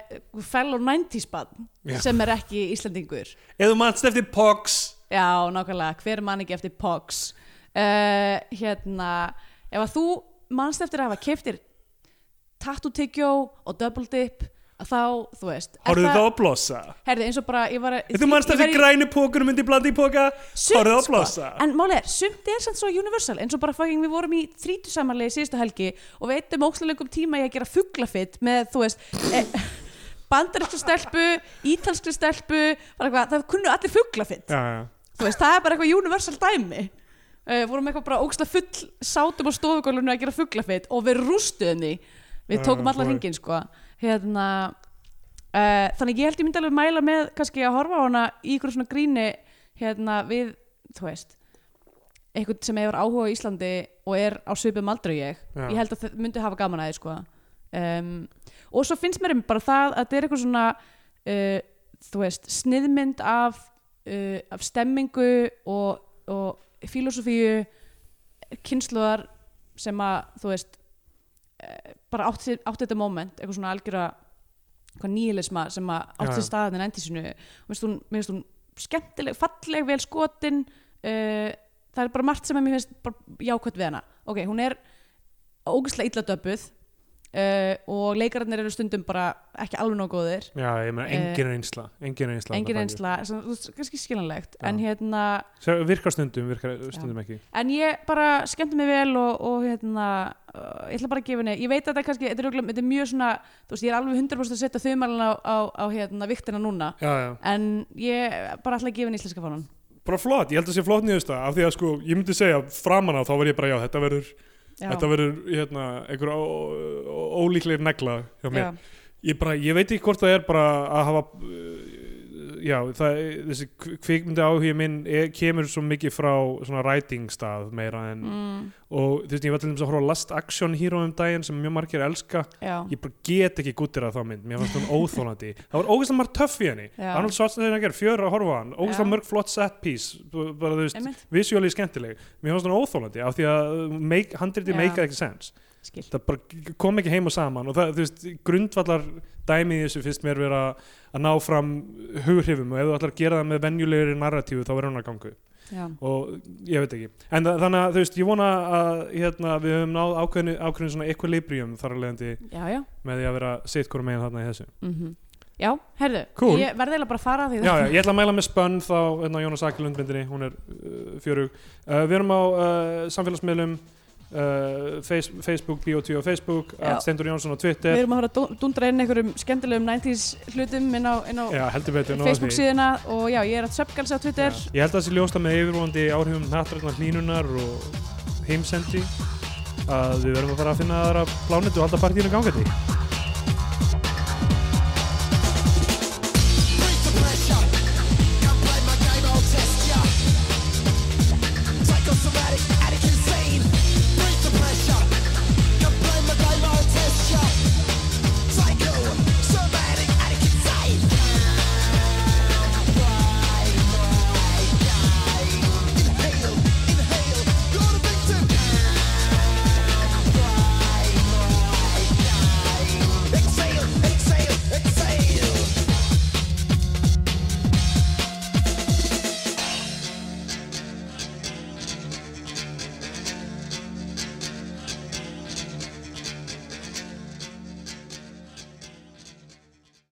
C: fellow 90s bann
B: Já.
C: sem er ekki Íslandingur
B: eða þú manst eftir POX
C: Já, nákvæmlega, hver mann ekki eftir POX uh, Hérna, ef að þú manst eftir að hafa keiftir tattoo tyggjó og double dip að þá, þú veist er
B: horfðu
C: það-
B: þá að blossa
C: Herðu, eins og bara, ég var
B: Ef Þú mannst
C: ég
B: eftir
C: var í-
B: grænu pókunum undir blandi í póka
C: Sumt,
B: Horfðu á
C: sko.
B: blossa.
C: En málið er, sumt er samt svo universal eins og bara fucking við vorum í þrítu samanlega í síðustu helgi og við eittum ókslulegum tíma í að gera fuglafitt með, þú veist e, [LAUGHS] bandarinskri stelpu ítalskri stelpu, bara eitthvað það kunnu allir fuglafitt,
B: Já, já
C: þú veist, það er bara eitthvað universal dæmi uh, vorum eitthvað bara óksla full sátum á stofugólunum að gera fuglafitt og við rústuðum því við tókum
B: Já,
C: allar
B: boy.
C: hringin, sko hérna uh, þannig ég held ég myndi alveg mæla með kannski að horfa á hana í ykkur svona gríni hérna við, þú veist einhvern sem hefur áhuga á Íslandi og er á svipum aldrei ég
B: Já.
C: ég held að það myndi hafa gaman að þið sko um, og svo finnst mér einmitt bara það að þetta er eitthvað svona uh, þú veist, sniðmynd af, uh, af stemmingu og, og filosofíu kynsluðar sem að þú veist eh, bara átti, átti þetta moment eitthvað svona algjöra eitthvað nýhilisma sem að
B: Já,
C: átti
B: já.
C: sér staðan en endi sinu mér finnst hún, mér finnst hún skemmtileg, falleg vel skotin uh, það er bara margt sem að mér finnst bara jákvæmt við hana ok, hún er ógeðslega illa döpuð uh, og leikararnir eru stundum bara ekki alveg nóg góðir
B: Já, ég meina, engin reynsla Engin reynsla
C: Eh. engin reynsla, sem, þú veist, kannski skiljanlegt
B: Já.
C: en hérna,
B: Sér, Virkar stundum, virkar stundum ekki
C: en ég bara skemmti mig vel og, og hérna uh, ég ætla bara að gefa henni, ég veit að þetta er kannski þetta er, örugglega- þetta er mjög svona, þú veist, ég er alveg 100% að setja þau á, á, á hérna viktina núna
B: Já, já
C: en ég bara ætla að gefa henni íslenska fánan
B: Bara flott, ég held að sé flott nýðust það Af því að sko, ég myndi segja framan á þá verð ég bara Já, þetta verður,
C: Já.
B: þetta verður hérna, einhver ó- ó- ólíklegir negla hjá mér
C: Já.
B: ég, bara, ég veit ekki hvort það er bara að hafa uh, já, það, þessi kvikmyndi áhugi minn er, kemur svo mikið frá svona writing stað meira en
C: Mm.
B: og þú veist, ég var til dæmis að horfa á Last Action Hero um daginn sem mjög margir elska
C: Já.
B: ég bara get ekki guttir að þá mynd mér fannst hún óþólandi, það var ógeðslega margt töff í henni
C: Já.
B: Arnold Schwarzenegger, fjör að horfa á hann ógeðslega
C: Já.
B: mörg flott set piece b- bara þú veist,
C: Einmitt.
B: visjóli skemmtileg mér fannst hún óþólandi af því að uh, make, handriti
C: Já.
B: make ekki sense
C: skil
B: það bara kom ekki heim og saman og það, þú veist, grundvallar dæmið í þessu finnst mér vera að ná fram hughrifum og ef þú ætlar að gera það með venjulegri narratífu þá verður hún að gangu
C: já.
B: og ég veit ekki en það, þannig að þú veist, ég vona að hérna, við höfum náð ákveðinu, ákveðinu svona equilibrium þar að leiðandi
C: já, já,
B: með því að vera sitt hvora megin þarna í þessu
C: mm já, herðu
B: Cool.
C: ég verði eiginlega bara að fara því
B: Já, já, ég ætla að mæla með spönn þá hérna, Jónas Akilund myndinni, hún er uh, fjörug. Uh, við erum á uh, samfélagsmiðlum uh, face, Facebook, Bio2 á Facebook
C: Já.
B: að Stendur Jónsson á
C: við
B: Twitter
C: erum að fara að dú- dúndra inn einhverjum skemmtilegum 90s hlutum inn á, inn á
B: Já, heldur betur nóg af
C: Facebook
B: því.
C: síðuna og já, ég er að söpgalsi á Twitter
B: Já. Ég held að það sé ljósta með yfirvóandi áhrifum nattræknar hlínunar og heimsendi að við verðum að fara að finna aðra plánetu og halda partíinu gangandi